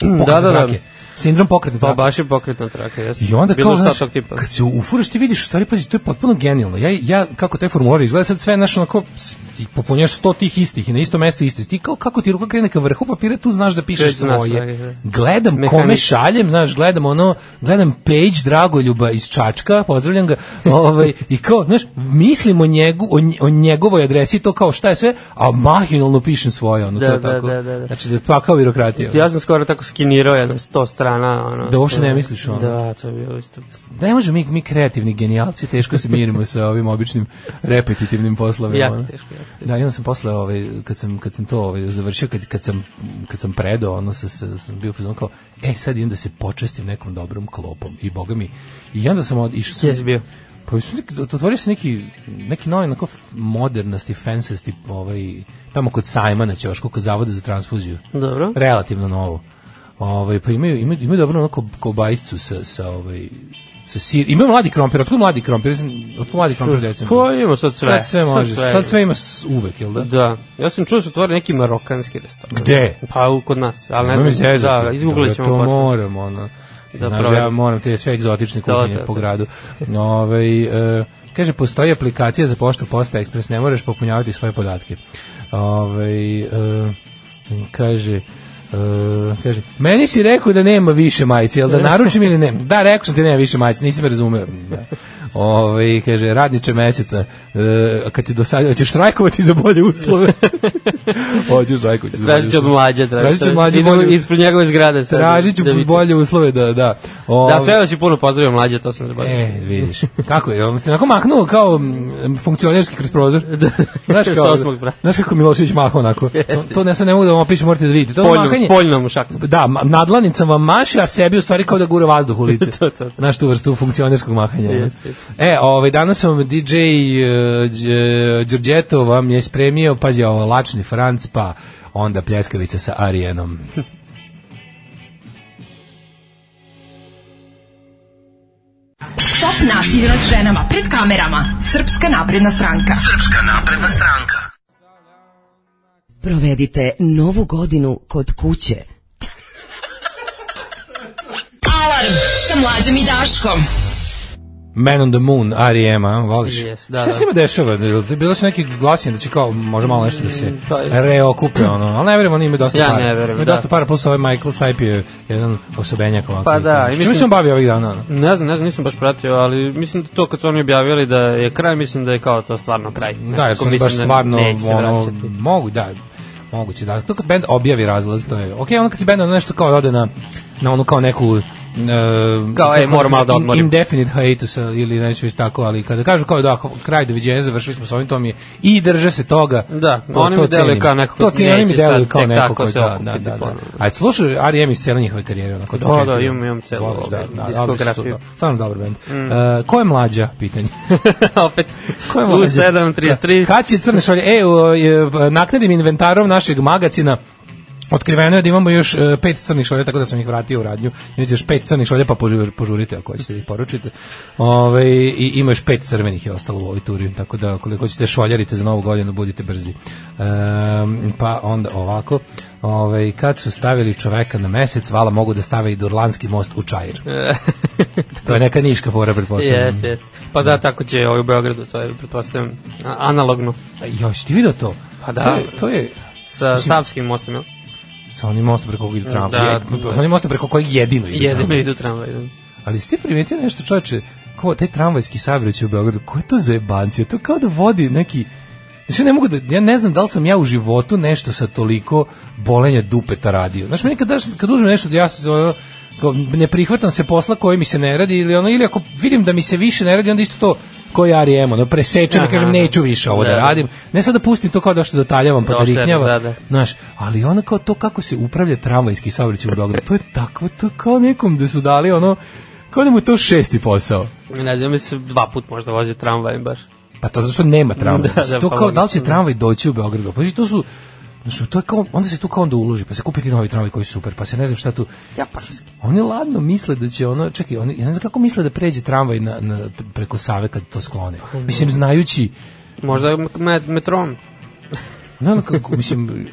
Speaker 5: pokretne
Speaker 6: da, da.
Speaker 5: trake? Sindrom pokretne
Speaker 6: Pa
Speaker 5: trake.
Speaker 6: baš je pokretna traka, jeste.
Speaker 5: I onda
Speaker 6: bilo
Speaker 5: kao,
Speaker 6: šta
Speaker 5: znaš,
Speaker 6: tog tipa.
Speaker 5: kad se ufuraš ti vidiš, u stvari, pazi, to je potpuno genijalno. Ja, ja kako te formulari izgleda, sad sve, znaš, onako, s- ti popunjaš sto tih istih i na isto mesto istih. Ti kao, kako ti ruka krene ka vrhu papira, tu znaš da
Speaker 6: Već
Speaker 5: pišeš
Speaker 6: znaš,
Speaker 5: svoje.
Speaker 6: da, da.
Speaker 5: Gledam kome
Speaker 6: Mehanički.
Speaker 5: šaljem, znaš, gledam ono, gledam Page Dragoljuba iz Čačka, pozdravljam ga, ovaj, i kao, znaš, mislim o, njegu, o, nj- o njegovoj adresi, to kao šta je sve, a mahinalno pišem svoje, ono,
Speaker 6: Da,
Speaker 5: to je
Speaker 6: da,
Speaker 5: tako.
Speaker 6: da, da, da.
Speaker 5: Znači, da je pakao birokratija.
Speaker 6: Ja sam skoro tako skinirao jedno 100 strana. Ono,
Speaker 5: Da uopšte
Speaker 6: to-
Speaker 5: ne misliš, ono.
Speaker 6: Da, to je bilo isto.
Speaker 5: Da ne možemo mi, mi kreativni genijalci, teško se mirimo sa ovim običnim repetitivnim poslovima.
Speaker 6: Jako
Speaker 5: ono.
Speaker 6: teško, jako teško.
Speaker 5: Da, i onda sam posle, ovaj, kad, sam, kad sam to ovaj, završio, kad, kad, sam, kad sam predao, ono, sa, sa, sam bio fazon kao, e, sad idem da se počestim nekom dobrom klopom. I boga mi. I onda sam od, išao sam...
Speaker 6: Gdje si bio?
Speaker 5: Pa mislim, nek- otvorio se neki, neki novi onako f- modernasti, fancesti, ovaj, tamo kod sajma na Ćošku, kod Zavoda za transfuziju.
Speaker 6: Dobro.
Speaker 5: Relativno novo. Ovaj, pa imaju, imaju, imaju dobro onako kobajscu sa, sa, ovaj, sa sir. Imaju mladi krompir, otkud mladi krompir? Ja sam- Otkud mladi krompir decim?
Speaker 6: Pa ima sad sve.
Speaker 5: Sad sve može,
Speaker 6: sve.
Speaker 5: sad sve ima s- uvek, jel da?
Speaker 6: Da, ja sam čuo da su otvorili neki marokanski restoran.
Speaker 5: Gde?
Speaker 6: Pa u, kod nas, ali ne
Speaker 5: Nemoj mi
Speaker 6: znam.
Speaker 5: zezati.
Speaker 6: Da, izgooglit ćemo
Speaker 5: Dobro, To
Speaker 6: posle.
Speaker 5: moram, ono.
Speaker 6: Da,
Speaker 5: Znaš, ja
Speaker 6: provjerim.
Speaker 5: moram te sve egzotične
Speaker 6: To,
Speaker 5: kuhinje
Speaker 6: to, to.
Speaker 5: po gradu. Ove, e, kaže, postoji aplikacija za poštu Posta Express, ne moraš popunjavati svoje podatke. Ove, e, kaže, Uh, kaže, meni si rekao da nema više majice, jel da naručim ili ne? Da, rekao sam ti da nema više majice, nisi me razumeo. Da. Ove, kaže, radniče meseca, e, kad ti dosadio, hoćeš štrajkovati za bolje uslove. hoćeš štrajkovati za bolje
Speaker 6: Tražit ću od
Speaker 5: uslove.
Speaker 6: mlađe. Tražit,
Speaker 5: da Tražit ću od mlađe
Speaker 6: Idemo
Speaker 5: bolje-
Speaker 6: ispred njegove zgrade. Sad,
Speaker 5: Tražit ću
Speaker 6: da vičem.
Speaker 5: bolje uslove, da, da. O,
Speaker 6: Da, sve da si puno pozdravio mlađe, to sam zaboravio.
Speaker 5: E, vidiš. Kako je, on se onako mahnuo kao mm, funkcionerski kroz prozor. Da. Znaš,
Speaker 6: Sa
Speaker 5: kao,
Speaker 6: osmog sprata.
Speaker 5: znaš kako Milošević mahao onako. To, to ne, sad ne mogu da vam opišem, morate da vidite. To
Speaker 6: Poljnom,
Speaker 5: mahanje,
Speaker 6: poljnom šakom.
Speaker 5: da, ma- nadlanicom vam maše, a sebi u stvari kao da gura vazduh u lice.
Speaker 6: To, to, to.
Speaker 5: Znaš tu vrstu funkcionerskog mahanja. ono.
Speaker 6: Jeste, jeste.
Speaker 5: E, ovaj, danas vam DJ eh, Đ- Đorđeto vam je spremio, pazi, ovo, lačni Franc, pa onda pljeskavica sa Arijenom.
Speaker 4: Stop nasilju nad ženama pred kamerama. Srpska napredna stranka.
Speaker 1: Provedite novu godinu kod kuće.
Speaker 4: Alarm sa mlađom i Daškom.
Speaker 5: Man on the Moon, R.E.M. a, voliš?
Speaker 6: Yes, da,
Speaker 5: Šta
Speaker 6: da.
Speaker 5: se njima dešava? Jel ti- Bilo su neki glasine da će kao, može malo nešto da se
Speaker 6: pa-
Speaker 5: reokupe, ono, ali ne verujem, oni imaju dosta
Speaker 6: Ja
Speaker 5: para.
Speaker 6: ne verujem,
Speaker 5: Imaju
Speaker 6: da.
Speaker 5: dosta para, plus ovaj Michael Stipe je jedan osobenjak ovako.
Speaker 6: Pa da, i
Speaker 5: i mislim...
Speaker 6: mislim-
Speaker 5: Čim se on bavi ovih dana? ono?
Speaker 6: Ne znam, ne znam, nisam baš pratio, ali mislim da to kad su oni objavili da je kraj, mislim da je kao to stvarno kraj.
Speaker 5: Da, jer su oni
Speaker 6: Mislim
Speaker 5: baš stvarno,
Speaker 6: neće se
Speaker 5: ono,
Speaker 6: vraćati.
Speaker 5: mogu, da, moguće, da. To kad band objavi razlaz, to je, okej, ono kad si band ono nešto kao ode na, na onu kao neku... e,
Speaker 6: Kao, ej,
Speaker 5: kako-
Speaker 6: moram malo da odmorim.
Speaker 5: Indefinite hiatus ili neću već tako, ali kada kažu kao da, kraj doviđenja, završili smo s ovim, to mi je, i drže se toga.
Speaker 6: Da,
Speaker 5: to,
Speaker 6: oni mi deluju
Speaker 5: cenim.
Speaker 6: kao neko ko
Speaker 5: To cijenim, oni mi
Speaker 6: neće sad
Speaker 5: deluju kao
Speaker 6: tek
Speaker 5: neko
Speaker 6: tako
Speaker 5: koji,
Speaker 6: se
Speaker 5: da, da,
Speaker 6: okupiti
Speaker 5: da, da.
Speaker 6: ponovo.
Speaker 5: Ajde, slušaj, R.E.M. iz cijele njihove karijere. Onako,
Speaker 6: Da,
Speaker 5: čekam.
Speaker 6: da, imam- imam celu,
Speaker 5: Voliš, da,
Speaker 6: ovaj,
Speaker 5: da, odlični
Speaker 6: diskografiju. Mm.
Speaker 5: su to. Stvarno dobar band. E, ko je mlađa, pitanje?
Speaker 6: Opet,
Speaker 5: Ko je
Speaker 6: u
Speaker 5: mlađi? Da.
Speaker 6: 7.33.
Speaker 5: Kad će crne šolje? E, o, e, naknadnim inventarom našeg magacina Otkriveno je da imamo još e, pet crnih šolja, tako da sam ih vratio u radnju. Imate još pet crnih šolja, pa požu- požurite ako hoćete da ih poručite. Ove, I ima još pet crvenih je ostalo u ovoj turi, tako da koliko ćete šoljarite za novu godinu, budite brzi. Ehm, pa onda ovako, ove, kad su stavili čoveka na mesec, vala mogu da stave i Durlanski most u Čair. To je neka niška fora, pretpostavljam.
Speaker 6: Jeste, jeste. Pa da, tako će ovaj u Beogradu, to je, pretpostavljam, a- analogno.
Speaker 5: Jo, si ti vidio to?
Speaker 6: Pa da.
Speaker 5: To je, to je
Speaker 6: Sa Savskim mostom, jel?
Speaker 5: Sa onim mostom preko kojeg ide tramvaj.
Speaker 6: Da,
Speaker 5: Da, sa onim mostom preko kojeg jedino ide
Speaker 6: Jedino
Speaker 5: tramvaj.
Speaker 6: idu tramvaj. da.
Speaker 5: Ali si ti primetio nešto čoveče, ko taj tramvajski saobraćaj u Beogradu, ko je to za jebancija? To kao da vodi neki Znači, ja ne mogu da, ja ne znam da li sam ja u životu nešto sa toliko bolenja dupeta radio. Znači, meni kad, daš, kad uzmem nešto, da ja se ono, kao, ne prihvatam se posla koji mi se ne radi, ili ono, ili ako vidim da mi se više ne radi, onda isto to koji ja rijem, ono, presečem i
Speaker 6: Aha,
Speaker 5: kažem,
Speaker 6: da.
Speaker 5: neću više ovo da,
Speaker 6: Da, da.
Speaker 5: radim. Ne sad da pustim to kao da što dotaljavam, pa da
Speaker 6: Došli,
Speaker 5: riknjava.
Speaker 6: da, da.
Speaker 5: Znaš, ali ono kao to kako se upravlja tramvajski saobraćaj u Beogradu, to je tako, to je kao nekom da su dali ono, kao da mu je to šesti posao.
Speaker 6: Ne znam, mislim, dva put možda vozi tramvaj baš.
Speaker 5: Pa to zato što nema tramvaja.
Speaker 6: Da,
Speaker 5: Da,
Speaker 6: da,
Speaker 5: to
Speaker 6: pa
Speaker 5: kao, da li će
Speaker 6: logično.
Speaker 5: tramvaj doći u Beogradu? Pa znači, to su, znači, to je kao, onda se tu kao onda uloži, pa se kupiti novi tramvaj koji je super, pa se ne znam šta tu.
Speaker 6: Japanski.
Speaker 5: Oni ladno misle da će ono, čekaj, oni, ja ne znam kako misle da pređe tramvaj na, na, preko Save kad to sklone.
Speaker 6: Pa
Speaker 5: Mislim, znajući,
Speaker 6: Možda met, metrom.
Speaker 5: No, no, kako, mislim,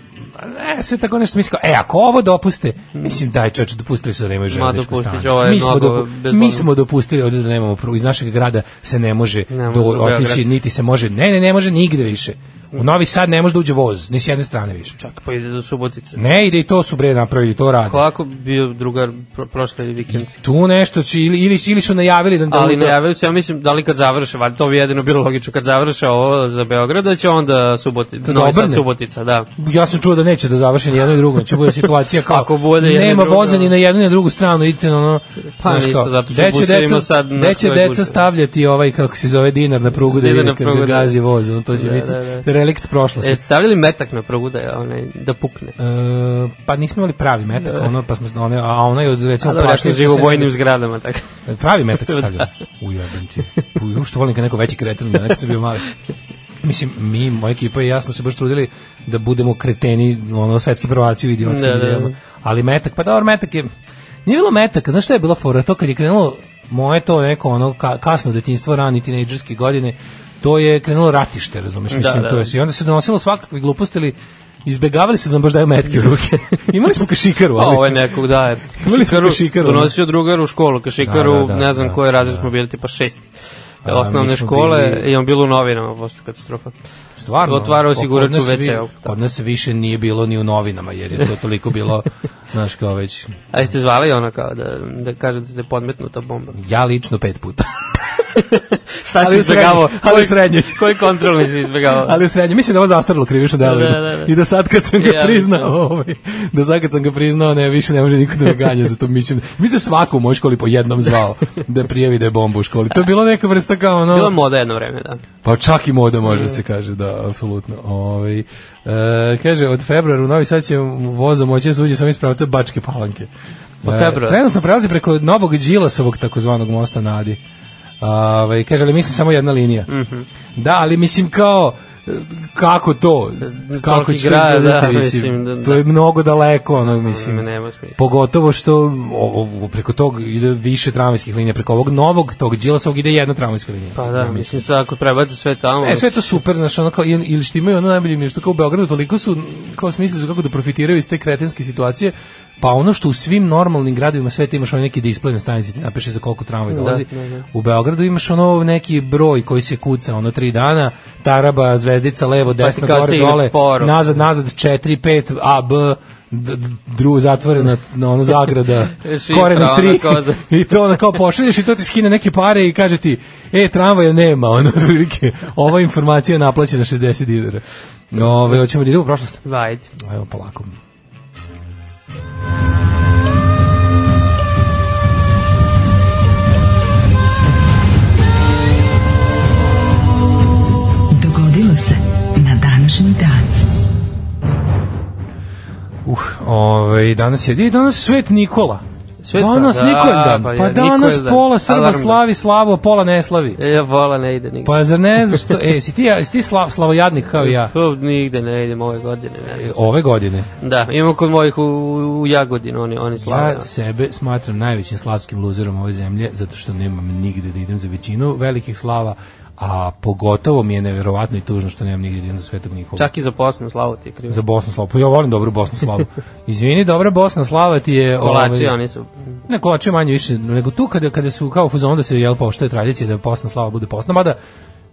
Speaker 5: ne, sve tako nešto mislim, kao, e, ako ovo dopuste, mislim, daj čoveče, dopustili su da nemaju železničku
Speaker 6: dopustit će,
Speaker 5: stanicu.
Speaker 6: ovo je
Speaker 5: mi, smo
Speaker 6: mnogo
Speaker 5: dopu,
Speaker 6: bezbolno.
Speaker 5: mi smo dopustili ovde da nemamo prugu, iz našeg grada se ne može
Speaker 6: Ne može
Speaker 5: do,
Speaker 6: u Beograd.
Speaker 5: otići, niti se može, ne, ne, ne može nigde više. U Novi Sad ne može da uđe voz, ni s jedne strane više.
Speaker 6: Čak pa ide do Subotice.
Speaker 5: Ne, ide i to su bre napravili, to rade.
Speaker 6: Kako bio drugar pro, prošli vikend?
Speaker 5: Tu nešto će, ili, ili, ili su najavili da... da
Speaker 6: Ali
Speaker 5: da-
Speaker 6: najavili su, ja mislim, da li kad završe, valjda to bi jedino bilo logično, kad završe ovo za Beograd, da će onda Suboti, Novi Sad
Speaker 5: obrne.
Speaker 6: Subotica, da.
Speaker 5: ja sam čuo da neće da završi ni jedno i drugo, znači bude situacija kao
Speaker 6: Ako bude jedno i
Speaker 5: nema
Speaker 6: drugo.
Speaker 5: voza ni na jednu ni na drugu stranu, idite na ono
Speaker 6: Pa
Speaker 5: znaš
Speaker 6: ništa,
Speaker 5: kao,
Speaker 6: zato su
Speaker 5: gde će
Speaker 6: busevima
Speaker 5: deca,
Speaker 6: sad na
Speaker 5: gde će
Speaker 6: svoje
Speaker 5: deca
Speaker 6: gužve.
Speaker 5: stavljati ovaj kako se zove dinar na prugu da
Speaker 6: Dinar
Speaker 5: vidi
Speaker 6: na
Speaker 5: kad
Speaker 6: prugu,
Speaker 5: ga
Speaker 6: da.
Speaker 5: gazi voz, ono to će
Speaker 6: Da,
Speaker 5: biti
Speaker 6: da, da.
Speaker 5: relikt prošlosti.
Speaker 6: E, stavljali metak na prugu da, je onaj, da pukne.
Speaker 5: E, pa nismo imali pravi metak, ono pa smo one, a ona je od recimo
Speaker 6: Da. A da vratim
Speaker 5: plašila
Speaker 6: živo u
Speaker 5: se-
Speaker 6: vojnim zgradama, tako.
Speaker 5: Pravi
Speaker 6: Da.
Speaker 5: metak stavljam. Ujebem ti. Uj, što volim kad neko veći kreten, da nekad sam bio mali. Mislim, mi, moja ekipa i ja smo se baš trudili da budemo kreteni, ono, svetski prvaci u idiotskim
Speaker 6: Da, da, da.
Speaker 5: idejama. Ali metak, pa dobro, metak je... Nije bilo metak, znaš šta je bila fora? To kad je krenulo moje to neko ono ka, kasno detinjstvo, rani tinejdžerske godine, to je krenulo ratište, razumeš? Mislim,
Speaker 6: da.
Speaker 5: to je sve. I onda se donosilo svakakve gluposti, ali izbegavali su da nam baš daju metke u ruke. Imali smo kašikaru,
Speaker 6: Pa
Speaker 5: ali...
Speaker 6: ovo je nekog daje.
Speaker 5: Imali smo kašikaru, ono.
Speaker 6: Donosio drugar u školu, kašikaru,
Speaker 5: Da, da, da,
Speaker 6: ne znam
Speaker 5: da,
Speaker 6: koje razred
Speaker 5: da.
Speaker 6: smo bili, tipa šesti.
Speaker 5: A, mi
Speaker 6: osnovne
Speaker 5: smo
Speaker 6: škole
Speaker 5: bili-
Speaker 6: i on bilo u novinama, pošto katastrofa.
Speaker 5: Stvarno.
Speaker 6: Otvarao sigurač u WC-u.
Speaker 5: Kod nas više nije bilo ni u novinama, jer je to toliko bilo, znaš kao već,
Speaker 6: A jeste zvali ono kao da, da kaže da ste podmetnuta bomba?
Speaker 5: ja lično pet puta.
Speaker 6: Šta
Speaker 5: Ali
Speaker 6: si
Speaker 5: u srednjoj,
Speaker 6: izbjegavao?
Speaker 5: ali u
Speaker 6: Koji-
Speaker 5: srednjoj.
Speaker 6: Koji kontrolni si izbjegavao?
Speaker 5: Ali u srednje, mislim da je ovo zastarilo krivično delo.
Speaker 6: Da, da, da.
Speaker 5: I da sad kad sam ga
Speaker 6: Ja
Speaker 5: priznao,
Speaker 6: mislim.
Speaker 5: ovaj, da sad kad sam ga priznao, ne, više ne može niko da me ganja za to. Mislim, mislim da je svako u mojoj školi po jednom zvao da prijavi da je bomba u školi. To je bilo neka vrsta kao ono...
Speaker 6: Bilo je moda jedno vreme, da.
Speaker 5: Pa čak i moda može se kaže, da, apsolutno. Ovaj e, kaže, od februara u Novi Sad će voza moći da se uđe samo iz pravca Bačke palanke.
Speaker 6: Od
Speaker 5: E,
Speaker 6: februara?
Speaker 5: trenutno prelazi preko Novog Đilasovog takozvanog mosta Nadi. Ovaj kaže, ali mislim samo jedna linija.
Speaker 6: Mhm.
Speaker 5: Da, ali mislim kao, e, kako to? Kako
Speaker 6: Toliki
Speaker 5: će to
Speaker 6: grad,
Speaker 5: izgledati,
Speaker 6: da,
Speaker 5: mislim,
Speaker 6: mislim, da-
Speaker 5: to je mnogo daleko, ono, mislim.
Speaker 6: Mislim, nema smisla.
Speaker 5: Pogotovo što o, o, preko tog ide više tramvajskih linija, preko ovog novog, tog Đilasovog ide jedna tramvajska linija.
Speaker 6: Pa da, mislim, sad ako prebaci sve tamo...
Speaker 5: E, sve je to super, znaš, ono kao, ili ili što imaju ono najbolje mi je što kao u Beogradu toliko su, kao smisli su kako da profitiraju iz te kretenske situacije, pa ono što u svim normalnim gradovima sveta imaš onaj neki display na stanici, ti napiše za koliko tramvaj dolazi,
Speaker 6: da, da.
Speaker 5: u Beogradu imaš ono neki broj koji se kuca, ono tri dana, taraba, zvezdica, levo, desno,
Speaker 6: Pa kao
Speaker 5: gore,
Speaker 6: stigne
Speaker 5: dole,
Speaker 6: poruka.
Speaker 5: nazad, nazad, četiri, pet, A, B, d- d- dru zatvorena na ono zagrada
Speaker 6: Šifra,
Speaker 5: koren iz
Speaker 6: ono,
Speaker 5: tri
Speaker 6: kao za-
Speaker 5: i to onda kao pošalješ i to ti skine neke pare i kaže ti, e, tramvaja nema, ono, otprilike, ova informacija je naplaćena 60 dinara. Ove, hoćemo da idemo u prošlost?
Speaker 6: Vajde.
Speaker 5: Evo, polako.
Speaker 4: Dogodilo se na današnji dan.
Speaker 5: Uh, ove, danas je, i danas svet Nikola.
Speaker 6: Svet-
Speaker 5: danas
Speaker 6: da,
Speaker 5: Nikoldan,
Speaker 6: pa
Speaker 5: pa,
Speaker 6: je,
Speaker 5: danas
Speaker 6: Nikoldan.
Speaker 5: pola Srba
Speaker 6: Alarm.
Speaker 5: slavi slavu, a pola ne slavi.
Speaker 6: E, ja vola ne ide nigde.
Speaker 5: Pa zar ne znaš što, e, si ti, ja- si ti slav, slavojadnik kao i ja? E,
Speaker 6: Pa, nigde ne idem ove godine, ne znam.
Speaker 5: Ove godine.
Speaker 6: Da, imamo kod mojih u, u Jagodinu, oni, oni slave. da.
Speaker 5: Ja sebe smatram najvećim slavskim luzerom ove zemlje, zato što nemam nigde da idem za većinu velikih slava, a pogotovo mi je neverovatno i tužno što nemam nigde da idem za Svetog Nikola.
Speaker 6: Čak i za posnu slavu ti je krivo.
Speaker 5: za Bosnu slavu. Pa ja volim dobru Bosnu slavu. Izvini, dobra Bosna slava ti je...
Speaker 6: Kolači,
Speaker 5: ovaj,
Speaker 6: oni su...
Speaker 5: Ne, kolače manje više, nego tu kada, kada su kao u fazonu da se jel poštoje tradicije da posna slava bude posna, mada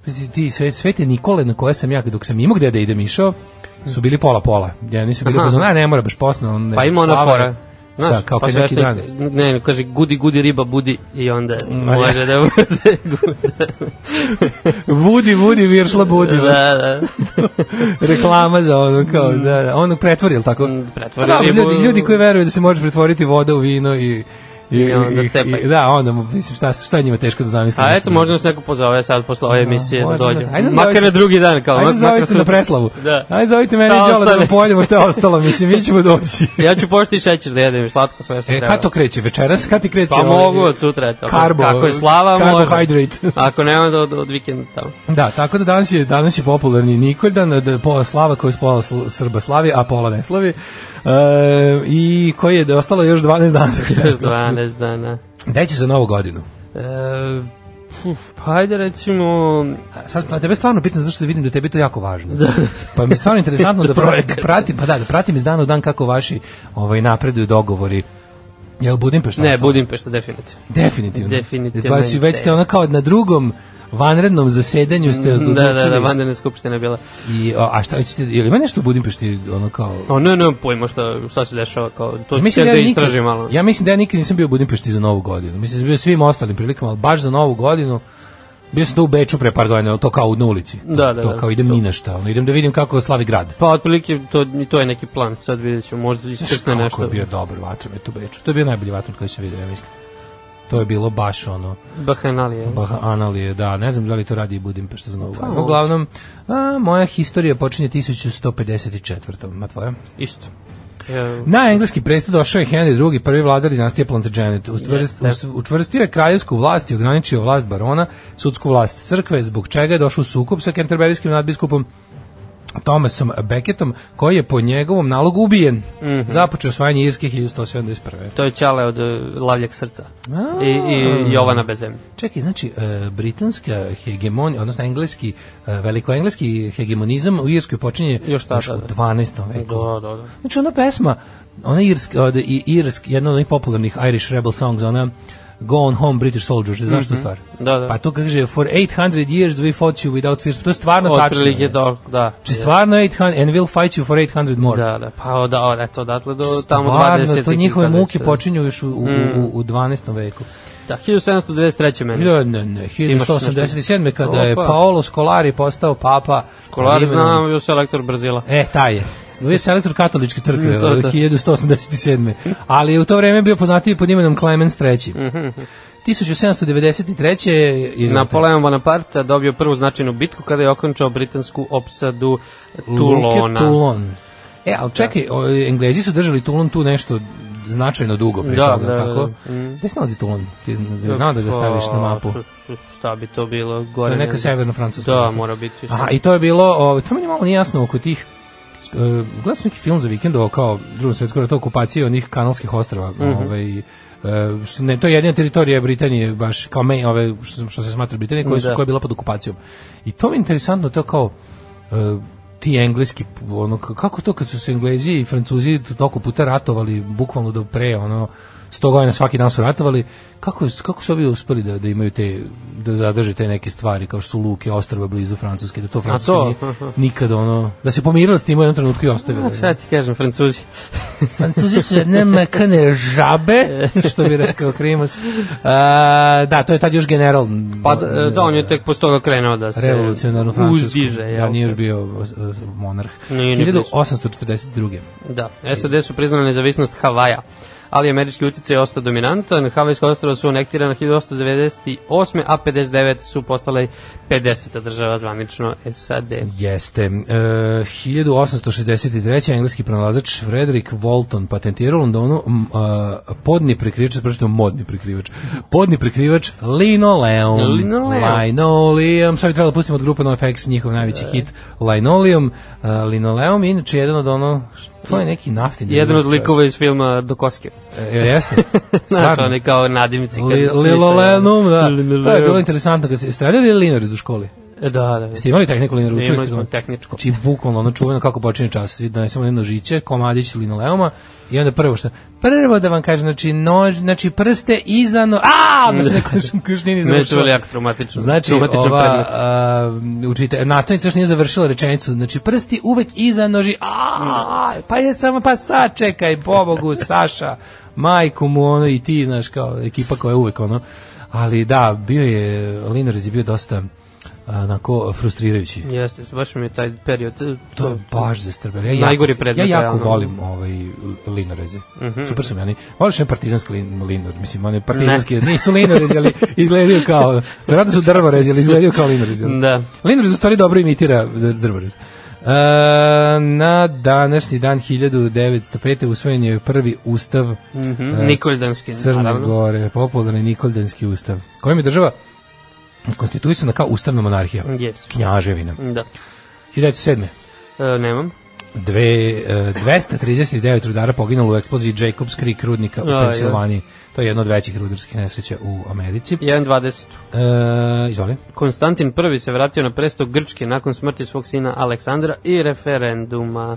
Speaker 5: pazi, ti sve, svete Nikole na koje sam ja dok sam imao gde da idem išao, su bili pola pola. Ja nisu bili u
Speaker 6: Aha.
Speaker 5: fazonu, a ne mora baš posna. On,
Speaker 6: Pa ima ona
Speaker 5: slava je-
Speaker 6: fora. Znaš,
Speaker 5: Šta, kao
Speaker 6: pa
Speaker 5: pa neki
Speaker 6: sveštenik-
Speaker 5: dan.
Speaker 6: Ne, ne, kaže gudi, gudi, riba, budi i onda
Speaker 5: ja.
Speaker 6: može da bude guda.
Speaker 5: Vudi, vudi, viršla budi. da.
Speaker 6: da, da.
Speaker 5: Reklama za ono kao, da, da. Ono pretvori, jel tako?
Speaker 6: Mm, pretvori
Speaker 5: Pa da,
Speaker 6: ribu.
Speaker 5: ljudi, ljudi koji veruju da se može pretvoriti voda u vino i... I,
Speaker 6: I onda
Speaker 5: i-
Speaker 6: cepaj.
Speaker 5: i- da, onda, mislim, šta, šta je njima teško da zamislim.
Speaker 6: A eto, možda nas neko pozove sad posle ove emisije da
Speaker 5: Može,
Speaker 6: dođe.
Speaker 5: može. Ajde,
Speaker 6: Makar
Speaker 5: zovite-
Speaker 6: na drugi dan, kao
Speaker 5: Ajde
Speaker 6: mak- makar
Speaker 5: zovite na
Speaker 6: sutra.
Speaker 5: preslavu.
Speaker 6: Da.
Speaker 5: Ajde zovite mene
Speaker 6: Šta
Speaker 5: i Đole da
Speaker 6: ostane?
Speaker 5: me pojedemo što je ostalo, mislim, mi ćemo doći.
Speaker 6: Ja ću pošti šećer da jedem i slatko sve što
Speaker 5: E,
Speaker 6: treba.
Speaker 5: kad to kreće? Večeras? Kad ti kreće?
Speaker 6: Pa
Speaker 5: ovaj-
Speaker 6: mogu od sutra, eto.
Speaker 5: Karbo-
Speaker 6: Kako je slava,
Speaker 5: carbohydrate.
Speaker 6: može. Ako ne, onda od, od vikenda tamo.
Speaker 5: Da, tako da danas je, danas je popularni Nikoldan, da pola slava koji je pola sl- Srba slavi, a pola ne slavi. E, I koji je da je ostalo još 12 dana.
Speaker 6: 12 dana.
Speaker 5: Gde će za novu godinu?
Speaker 6: E, puf, pa ajde recimo...
Speaker 5: A Da, Sad stvarno, tebe stvarno pitam zašto vidim da je tebi to jako važno. Da. Pa mi je stvarno interesantno da, pra, da pratim, pa da, da pratim iz dana u dan kako vaši ovaj napreduju dogovori. Jel Budimpešta?
Speaker 6: Ne,
Speaker 5: ostala?
Speaker 6: Budimpešta, definitivno.
Speaker 5: Definitivno.
Speaker 6: Definitivno.
Speaker 5: Znači, već ste ono kao na drugom vanrednom zasedanju ste
Speaker 6: Da,
Speaker 5: odlučili.
Speaker 6: da, da, vanredna skupština je bila.
Speaker 5: I, a, a šta hoćete, ili ima nešto u Budimpešti, ono kao...
Speaker 6: O, Pa ne, nemam pojma šta, šta se dešava, kao, to
Speaker 5: Ja
Speaker 6: ću ja da
Speaker 5: nikad-
Speaker 6: istražim malo.
Speaker 5: Ja mislim da ja nikad nisam bio u Budimpešti za Novu godinu. Mislim da sam bio svim ostalim prilikama, ali baš za Novu godinu bio sam tu u Beču pre par godina, to kao na ulici. To,
Speaker 6: Da, da,
Speaker 5: to
Speaker 6: da.
Speaker 5: kao idem ni na šta, ono, idem da vidim kako slavi grad.
Speaker 6: Pa, otprilike, to, i to je neki plan, sad vidjet ću, možda iskrsne
Speaker 5: Kako
Speaker 6: nešto.
Speaker 5: je bio dobar vatromet u Beču. To je bio najbolji vatromet koji sam vidio, ja mislim. To je bilo baš ono,
Speaker 6: Bahanalije.
Speaker 5: bah, analije, da, ne znam da li to radi i Budimpešta za Novu
Speaker 6: Pa,
Speaker 5: godinu. Uglavnom, a, moja historija počinje 1154. Ma tvoja?
Speaker 6: Isto. Ja,
Speaker 5: Na engleski presto došao je Henry II, prvi vladar dinastije Plantagenet. Ustvrs-
Speaker 6: Jeste.
Speaker 5: us- Učvrstio je kraljevsku vlast i ograničio vlast barona, sudsku vlast crkve, zbog čega je došao u sukob sa kenterberijskim nadbiskupom Thomasom Beckettom, koji je po njegovom nalogu ubijen.
Speaker 6: Mhm.
Speaker 5: Započeo osvajanje Irske 1171.
Speaker 6: to je Ćale od e, Lavljeg srca. I, I Jovana bez zemlje.
Speaker 5: Čekaj, znači, e, britanska hegemonija, odnosno engleski, e, velikoengleski hegemonizam u Irskoj počinje
Speaker 6: Još tada,
Speaker 5: u
Speaker 6: da.
Speaker 5: 12. veku.
Speaker 6: Da, da, da.
Speaker 5: Znači ona pesma, ona irska, od, i, irsk, jedna od onih popularnih Irish Rebel songs, ona Go on home British soldiers, znaš mm -hmm. tu stvar?
Speaker 6: Da, da.
Speaker 5: Pa to kaže, for 800 years we fought you without fear. To je stvarno tačno.
Speaker 6: Otprilike, da, da.
Speaker 5: Či stvarno 800, and we'll fight you for 800 more.
Speaker 6: Da, da, pa da, o, eto, odatle do tamo 20.
Speaker 5: Stvarno, to njihove muke
Speaker 6: počinju.
Speaker 5: počinju još u, u,
Speaker 6: Mhm.
Speaker 5: u, u 12. veku. Da,
Speaker 6: Da, 1793. meni.
Speaker 5: Ne, ne, ne, 1187. kada je
Speaker 6: Opa.
Speaker 5: Paolo Scolari postao papa.
Speaker 6: Kolar
Speaker 5: imenom-
Speaker 6: znam, još je lektor Brazila.
Speaker 5: da, E, taj je. Bio je selektor katoličke crkve
Speaker 6: Mm, to,
Speaker 5: od
Speaker 6: to.
Speaker 5: 1187. Ali je u to vreme bio poznatiji pod imenom Clemens III.
Speaker 6: Mhm.
Speaker 5: 1793. je-
Speaker 6: Napoleon Bonaparte dobio prvu značajnu bitku kada je okončao britansku opsadu Tulona. Da.
Speaker 5: Luke Toulon. E, ali čekaj, o, Englezi su držali Toulon tu nešto značajno dugo pre
Speaker 6: Da,
Speaker 5: toga,
Speaker 6: da,
Speaker 5: tako?
Speaker 6: da. Mm.
Speaker 5: Gde se nalazi Toulon? Ti zna- znao da ga staviš na mapu.
Speaker 6: Pa, Šta bi to bilo? Gore
Speaker 5: To je neka
Speaker 6: negde.
Speaker 5: severno-francuska.
Speaker 6: Da,
Speaker 5: mapa.
Speaker 6: mora biti.
Speaker 5: Aha, i to je bilo, o, to meni malo nije jasno oko tih e, gledao sam neki film za vikend ovo kao drugom svetskom ratu okupacije onih kanalskih ostrava ovaj, e, što ne, to je jedina teritorija Britanije baš kao me, ove, što, što se smatra Britanije koja, su,
Speaker 6: Da.
Speaker 5: koja je bila pod okupacijom i to mi je interesantno to kao e, ti engleski ono, k- kako to kad su se Englezi i Francuzi toliko puta ratovali bukvalno do pre ono 100 godina svaki dan su ratovali kako, kako su ovi uspeli da, da imaju te da zadrže te neke stvari kao što su luke, ostrava blizu Francuske da to Francuska
Speaker 6: to?
Speaker 5: nije nikad ono da se pomirila s tim u jednom trenutku i ostavila
Speaker 6: Šta ti kažem, Francuzi?
Speaker 5: Francuzi su jedne mekane žabe, što bi rekao Krimos. A, da, to je tad još general.
Speaker 6: Pa da, da, on je tek posle toga krenuo da se
Speaker 5: revolucionarno francusko.
Speaker 6: uzdiže. Jel?
Speaker 5: Ja, nije još bio uh, uh, monarh.
Speaker 6: Nije ni blizu.
Speaker 5: 1842.
Speaker 6: Da, SAD su priznali nezavisnost Havaja, ali američki utjecaj je ostao dominantan. Havajska ostrava su anektirana 1898. a 59 su postale 50. država zvanično SAD.
Speaker 5: Jeste. E, 1863. engleski pronalazač Frederick Walton patentirao u Londonu m, a, podni prikrivač, pročito modni prikrivač, podni prikrivač Linoleum.
Speaker 6: Linoleum.
Speaker 5: Linoleum. Sad bi trebalo da pustimo od grupe NoFX njihov najveći
Speaker 6: E.
Speaker 5: hit Linoleum. A, Linoleum je inače jedan od ono, to je neki naftni.
Speaker 6: Hm. Jedan od
Speaker 5: čovjek.
Speaker 6: likova iz filma Dokoske.
Speaker 5: E, jeste.
Speaker 6: Znaš,
Speaker 5: Stvarno.
Speaker 6: oni kao nadimci. kad
Speaker 5: Li-
Speaker 6: sliše-
Speaker 5: Linoleum, da. To je bilo
Speaker 6: Linoleum.
Speaker 5: interesantno. Kad ste streljali linar iz u školi?
Speaker 6: E, Da, da.
Speaker 5: Ste imali tehniku linaru? Učili
Speaker 6: Imali
Speaker 5: ste
Speaker 6: smo
Speaker 5: to?
Speaker 6: tehničko.
Speaker 5: Znači, bukvalno ono čuveno kako počinje čas. Svi donesemo jedno žiće, komadić linoleuma i onda prvo što... Prvo da vam kažem, znači, nož, znači prste iza no... A, znači, neko kušnini
Speaker 6: Ne
Speaker 5: završava.
Speaker 6: čuli jako traumatično.
Speaker 5: Znači,
Speaker 6: traumatičan
Speaker 5: ova,
Speaker 6: predmet.
Speaker 5: a, učite, nastavnica još nije završila rečenicu, znači prsti uvek iza noži, a, pa je samo, pa sad čekaj, pobogu, Saša, majku mu, ono, i ti, znaš, kao ekipa koja je uvek, ono, ali da, bio je, Linarez je bio dosta, a, onako, frustrirajući.
Speaker 6: Jeste, baš mi je taj period.
Speaker 5: To je pa- baš zastrbelo. Ja
Speaker 6: Najgori
Speaker 5: jako,
Speaker 6: predmet,
Speaker 5: Ja
Speaker 6: realno.
Speaker 5: jako
Speaker 6: Mhm.
Speaker 5: volim ovaj linoreze. Super su mi oni. Voliš ne partizanski lin, linor, mislim, one partizanski, nisu linorezi, ali izgledaju kao, verovatno su drvorezi, ali izgledaju kao linorezi.
Speaker 6: Da.
Speaker 5: Linorez u stvari dobro imitira dr- drvorez. E, na današnji dan 1905. usvojen je prvi ustav E,
Speaker 6: Mhm, Nikoljdanski,
Speaker 5: Crne
Speaker 6: naravno.
Speaker 5: Gore, popularni Nikoldenski ustav, kojim je država konstituisana kao ustavna monarhija,
Speaker 6: Yes.
Speaker 5: knjaževina.
Speaker 6: Da.
Speaker 5: 1907.
Speaker 6: E, nemam.
Speaker 5: Dve, e, 239 rudara poginulo u eksploziji Jacobs Creek rudnika u
Speaker 6: A,
Speaker 5: Pensilvaniji. To je jedna od većih rudarskih nesreća u Americi.
Speaker 6: 1.20.
Speaker 5: E, izvoli.
Speaker 6: Konstantin I se vratio na presto Grčke nakon smrti svog sina Aleksandra i referenduma.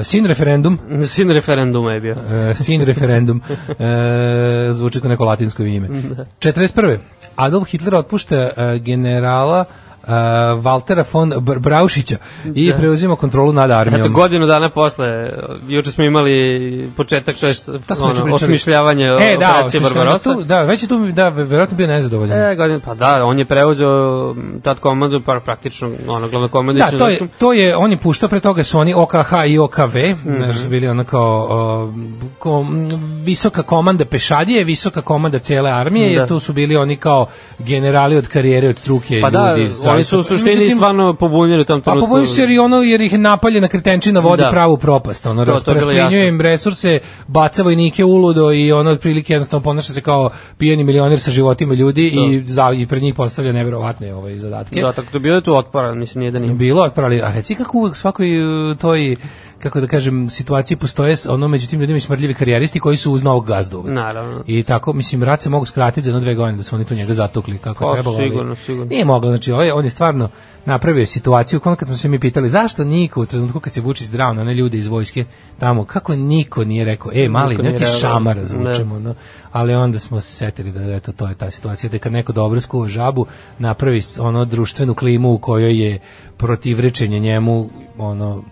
Speaker 5: E, sin referendum,
Speaker 6: Sin referenduma je bio.
Speaker 5: e, sin referendum, e, zvuči kao neko latinsko ime.
Speaker 6: Da.
Speaker 5: 41. Adolf Hitler otpušta e, generala e, Valtera von Br Braušića i preuzima kontrolu nad armijom.
Speaker 6: Da. Eto, godinu dana posle, juče smo imali početak, to je
Speaker 5: Šta smo juče
Speaker 6: ono,
Speaker 5: pričali?
Speaker 6: osmišljavanje
Speaker 5: e, da,
Speaker 6: operacije Barbarossa.
Speaker 5: Tu, da, već je tu, da, verovatno bio nezadovoljan.
Speaker 6: E, godin, pa da, on je preuzeo m, tad komandu, pa praktično, ono, glavno komandu.
Speaker 5: Da, to je, to je, on je puštao, pre toga su oni OKH i OKV, mm
Speaker 6: Mhm.
Speaker 5: -hmm. su bili ono kao o, kom, visoka komanda pešadije, visoka komanda cele armije,
Speaker 6: Da.
Speaker 5: da. tu su bili oni kao generali od karijere, od struke
Speaker 6: Pa da,
Speaker 5: ljudi.
Speaker 6: oni su u suštini stvarno pobunjeni u tom
Speaker 5: Pa
Speaker 6: trenutku.
Speaker 5: pobojili su jer, i ono, jer ih napaljena kretenčina vodi
Speaker 6: Da.
Speaker 5: da. pravu propast, ono,
Speaker 6: To-
Speaker 5: ras-
Speaker 6: to je bilo
Speaker 5: rasplinjuje
Speaker 6: jasno.
Speaker 5: im resurse, baca vojnike uludo i ono, otprilike jednostavno ponaša se kao pijeni milioner sa životima ljudi
Speaker 6: Da.
Speaker 5: i, za, i pred njih postavlja neverovatne ovaj, zadatke.
Speaker 6: Da, tako da bilo je tu otpora, mislim, nije da nije.
Speaker 5: Bilo otprali, a reci kako uvek svakoj e, toj kako da kažem, situaciji postoje s- ono među tim ljudima i smrdljivi karijeristi koji su uz novog gazdu uvek.
Speaker 6: Naravno.
Speaker 5: I tako, mislim, rad se mogu skratiti za jedno dve godine da su oni tu njega zatukli kako
Speaker 6: Pa,
Speaker 5: je trebalo.
Speaker 6: sigurno,
Speaker 5: ali,
Speaker 6: sigurno.
Speaker 5: Nije moglo, znači, ovaj, on je stvarno napravio situaciju, ono kad smo se mi pitali zašto niko u trenutku kad se Vučić drao na one ljude iz vojske tamo, kako niko nije rekao, e, mali,
Speaker 6: Niko nije
Speaker 5: neki
Speaker 6: reagovao.
Speaker 5: šamar zvučemo, no, ali onda smo se setili da eto, to je ta situacija, da kad neko dobro skuva žabu, napravi s- ono društvenu klimu u kojoj je protivrečenje njemu, ono,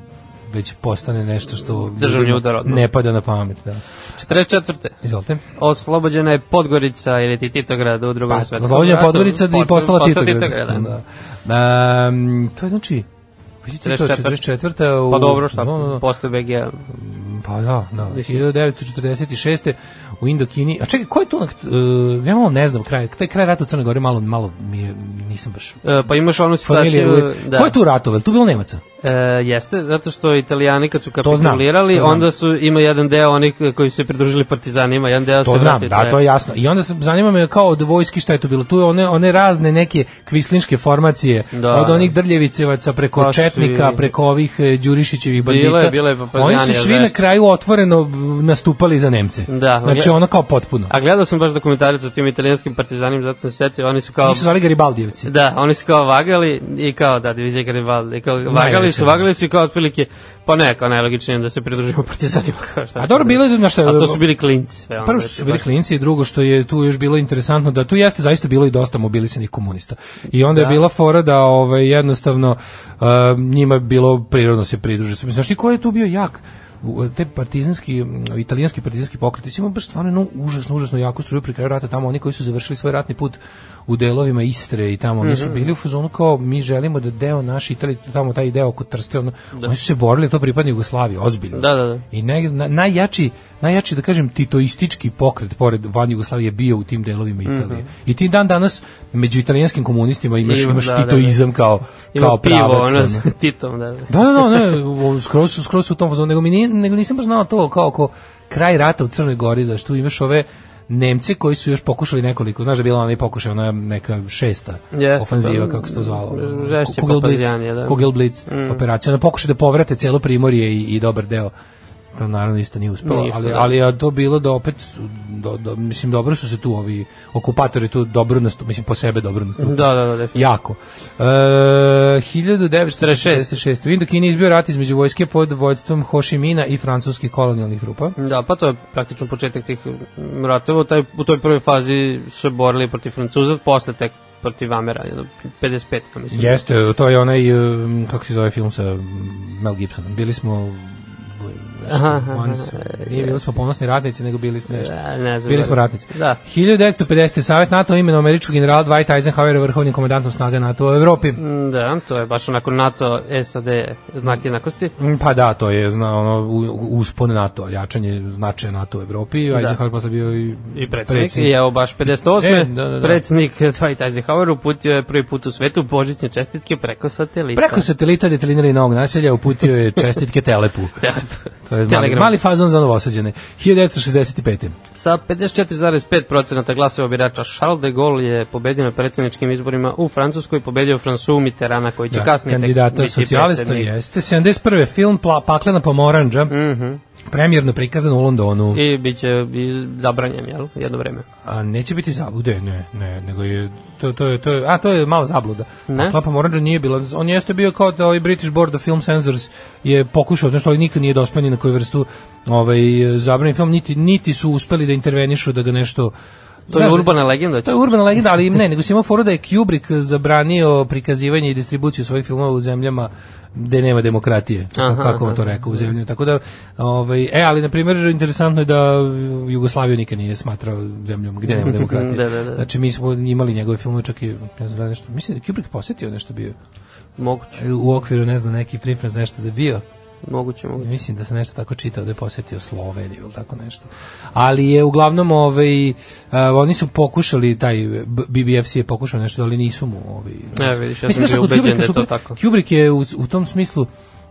Speaker 5: već postane nešto što
Speaker 6: Državni
Speaker 5: ljudima
Speaker 6: udar odmah. Pa,
Speaker 5: ne pada na pamet. Da.
Speaker 6: 44.
Speaker 5: Izvolite.
Speaker 6: Oslobođena je Podgorica ili ti Titograd u drugom
Speaker 5: Pa,
Speaker 6: svetskom
Speaker 5: Slobođana
Speaker 6: ratu.
Speaker 5: Podgorica da i
Speaker 6: Pod-
Speaker 5: postala
Speaker 6: postao
Speaker 5: Titograd.
Speaker 6: Titograd, da.
Speaker 5: da. Um, to je znači... Vidite, to je
Speaker 6: 44..
Speaker 5: 44. u- da,
Speaker 6: Pa dobro, šta,
Speaker 5: No, no, no.
Speaker 6: posle BG-a.
Speaker 5: Pa da, da.
Speaker 6: Mislim.
Speaker 5: 1946. u Indokini. A čekaj, ko je tu? na- Uh, ja malo ne znam, kraj, taj kraj rata u Crnoj Gori malo, malo mi je, nisam baš
Speaker 6: E, pa imaš onu
Speaker 5: familija.
Speaker 6: situaciju...
Speaker 5: Da. Ko je tu ratoval? Tu je bilo Nemaca?
Speaker 6: E, jeste, zato što italijani kad su
Speaker 5: znam,
Speaker 6: kapitulirali,
Speaker 5: to znam.
Speaker 6: onda su, ima jedan deo onih koji su se pridružili partizanima, jedan deo
Speaker 5: To
Speaker 6: Pa se
Speaker 5: znam,
Speaker 6: vrati,
Speaker 5: da, to je jasno. I onda se zanima me kao od vojski šta je tu bilo. Tu je one, one razne neke kvislinške formacije,
Speaker 6: Da.
Speaker 5: da. od onih drljevicevaca preko
Speaker 6: Pa,
Speaker 5: pa, Četnika,
Speaker 6: svi.
Speaker 5: preko ovih e, Đurišićevih
Speaker 6: Bilo je,
Speaker 5: bandita.
Speaker 6: bilo je, pa, pa,
Speaker 5: Oni su
Speaker 6: znam ja,
Speaker 5: svi na
Speaker 6: zaista.
Speaker 5: kraju otvoreno m, nastupali za Nemce.
Speaker 6: Da,
Speaker 5: Znači
Speaker 6: ja-
Speaker 5: ono kao potpuno.
Speaker 6: A gledao sam baš dokumentarac o tim italijanskim partizanima, zato sam se setio, oni su kao...
Speaker 5: Njih su zvali Garibaldijevci.
Speaker 6: Da, oni su kao vagali i kao, da, divizija Garibaldi, i kao vagali su,
Speaker 5: Najveće.
Speaker 6: vagali su i kao otprilike, pa ne, kao najlogičnije da se pridružimo partizanima, kao šta.
Speaker 5: A dobro, bilo je, znaš šta,
Speaker 6: A to su bili klinci sve. ono,
Speaker 5: Prvo što
Speaker 6: znači,
Speaker 5: su bili
Speaker 6: baš-
Speaker 5: klinci i drugo što je tu još bilo interesantno da tu jeste zaista bilo i dosta mobilisanih komunista. I onda da. je bila fora da ovaj jednostavno uh, njima je bilo prirodno da se pridruže. Mislim znaš ti ko je tu bio jak? U- te partizanski, m, italijanski partizanski pokreti su imali baš stvarno jednu užasno, užasno jako struju pri kraju rata tamo, oni koji su završili svoj ratni put u delovima Istre i tamo, oni
Speaker 6: Mhm.
Speaker 5: su bili u fazonu kao mi želimo da deo naš Italije, tamo taj deo oko Trste, ono, da. oni su se borili, to pripadne Jugoslaviji, ozbiljno.
Speaker 6: Da, da, da.
Speaker 5: I naj, na, najjači, najjači da kažem titoistički pokret pored van Jugoslavije bio u tim delovima
Speaker 6: Mhm.
Speaker 5: Italije. Mm -hmm. I ti dan danas među italijanskim komunistima imaš,
Speaker 6: Ima,
Speaker 5: imaš
Speaker 6: da,
Speaker 5: da,
Speaker 6: da, da.
Speaker 5: titoizam da, da. kao,
Speaker 6: Ima
Speaker 5: kao
Speaker 6: pivo,
Speaker 5: pravac.
Speaker 6: ono,
Speaker 5: ono.
Speaker 6: s Titom, da. da.
Speaker 5: Da, da, da, ne, o, skroz, su- skroz su u tom fazonu, nego, mi nije, nego nisam baš znao to kao oko kraj rata u Crnoj Gori, znaš, tu imaš ove Nemci koji su još pokušali nekoliko, znaš da je bila onaj pokušaj, ona neka šesta
Speaker 6: Jeste,
Speaker 5: ofanziva,
Speaker 6: da.
Speaker 5: kako se to zvalo.
Speaker 6: Žešće
Speaker 5: Kugel Blitz,
Speaker 6: papazjanije, da.
Speaker 5: Kugel Blitz mm. operacija, ona pokušaj da povrate celo primorje i, i dobar deo to naravno isto nije uspelo,
Speaker 6: Ništa,
Speaker 5: ali,
Speaker 6: da.
Speaker 5: ali je to bilo da opet, su, do, do, mislim, dobro su se tu ovi okupatori tu dobro nastup, mislim, po sebe dobro nastupili.
Speaker 6: Da, da, da, definitivno.
Speaker 5: Jako. E, 1946. U Indokini izbio rat između vojske pod vođstvom Ho Chi Mina i francuskih kolonijalnih trupa.
Speaker 6: Da, pa to je praktično početak tih mm, ratova. U, taj, u toj prvoj fazi su se borili protiv Francuza, posle tek protiv Amera, jedno, 55, ja mislim.
Speaker 5: Jeste, to je onaj, um, kako se zove film sa um, Mel Gibsonom. Bili smo v- nešto,
Speaker 6: Aha, aha,
Speaker 5: once,
Speaker 6: aha.
Speaker 5: nije bili smo ponosni ratnici, nego bili smo nešto.
Speaker 6: Da, ne znam.
Speaker 5: Bili smo ratnici.
Speaker 6: Da.
Speaker 5: 1950. Savet NATO imenovao američkog generala Dwight Eisenhowera vrhovnim komandantom snaga NATO u Evropi.
Speaker 6: Mm, Da, to je baš onako NATO, SAD, znak jednakosti.
Speaker 5: Mm, Pa da, to je zna, ono, u- u- uspon NATO, jačanje značaja NATO u Evropi. Da. Eisenhower posle bio i,
Speaker 6: I predsednik, i evo baš 58.
Speaker 5: E, da, da, da.
Speaker 6: Predsednik Dwight Eisenhower uputio je prvi put u svetu božićne čestitke preko satelita.
Speaker 5: Preko satelita detelinari novog naselja uputio je čestitke Telepu. To je mali,
Speaker 6: Telegram. Znači,
Speaker 5: mali fazon za novosađene. 1965.
Speaker 6: Sa 54,5% glasova birača Charles de Gaulle je pobedio na predsjedničkim izborima u Francuskoj i pobedio François Mitterranda koji će
Speaker 5: Da,
Speaker 6: kasnije tek
Speaker 5: kandidata
Speaker 6: biti
Speaker 5: socijalista
Speaker 6: predsjednik.
Speaker 5: jeste. 71. film Pla, Paklena pomoranđa. Mm -hmm. Premijerno prikazan u Londonu.
Speaker 6: Mhm. I bit će i zabranjen, jel? Jedno vreme.
Speaker 5: A neće biti zablude, ne, ne, nego je to to je to je, a to je mala zabluda.
Speaker 6: Ne.
Speaker 5: Ne? Klapa Moranđa nije bila, on jeste bio kao da ovaj British Board of Film Censors je pokušao, znači ali nikad nije dospeo ni na koju vrstu ovaj zabranjen film niti niti su uspeli da intervenišu da ga nešto
Speaker 6: To je
Speaker 5: Znaš,
Speaker 6: urbana legenda.
Speaker 5: To je urbana legenda, ali ne, nego si imao foru da je Kubrick zabranio prikazivanje i distribuciju svojih filmova u zemljama gde nema demokratije,
Speaker 6: Aha,
Speaker 5: aha, kako vam to
Speaker 6: aha.
Speaker 5: rekao u zemlji. Tako da, ovaj, e, ali na primjer, interesantno je da Jugoslaviju nikad nije smatrao zemljom gde nema demokratije.
Speaker 6: Da, da, da.
Speaker 5: Znači, mi smo imali njegove filmove, čak i, ne znam da li nešto, mislim da je Kubrick posjetio nešto bio,
Speaker 6: Moguće,
Speaker 5: u okviru, ne znam, neki priprez nešto da je bio.
Speaker 6: moguće, moguće.
Speaker 5: Mislim da se nešto tako čitao da je posetio Sloveniju ili tako nešto. Ali je uglavnom ovaj uh, oni su pokušali taj B- BBFC je pokušao nešto, ali nisu mu ovaj.
Speaker 6: Ne, E, vidiš, ja
Speaker 5: Mislim,
Speaker 6: sam bio
Speaker 5: kod
Speaker 6: ubeđen
Speaker 5: Kubricka
Speaker 6: da je
Speaker 5: su
Speaker 6: to
Speaker 5: bili-
Speaker 6: tako.
Speaker 5: Kubrick je u, u tom smislu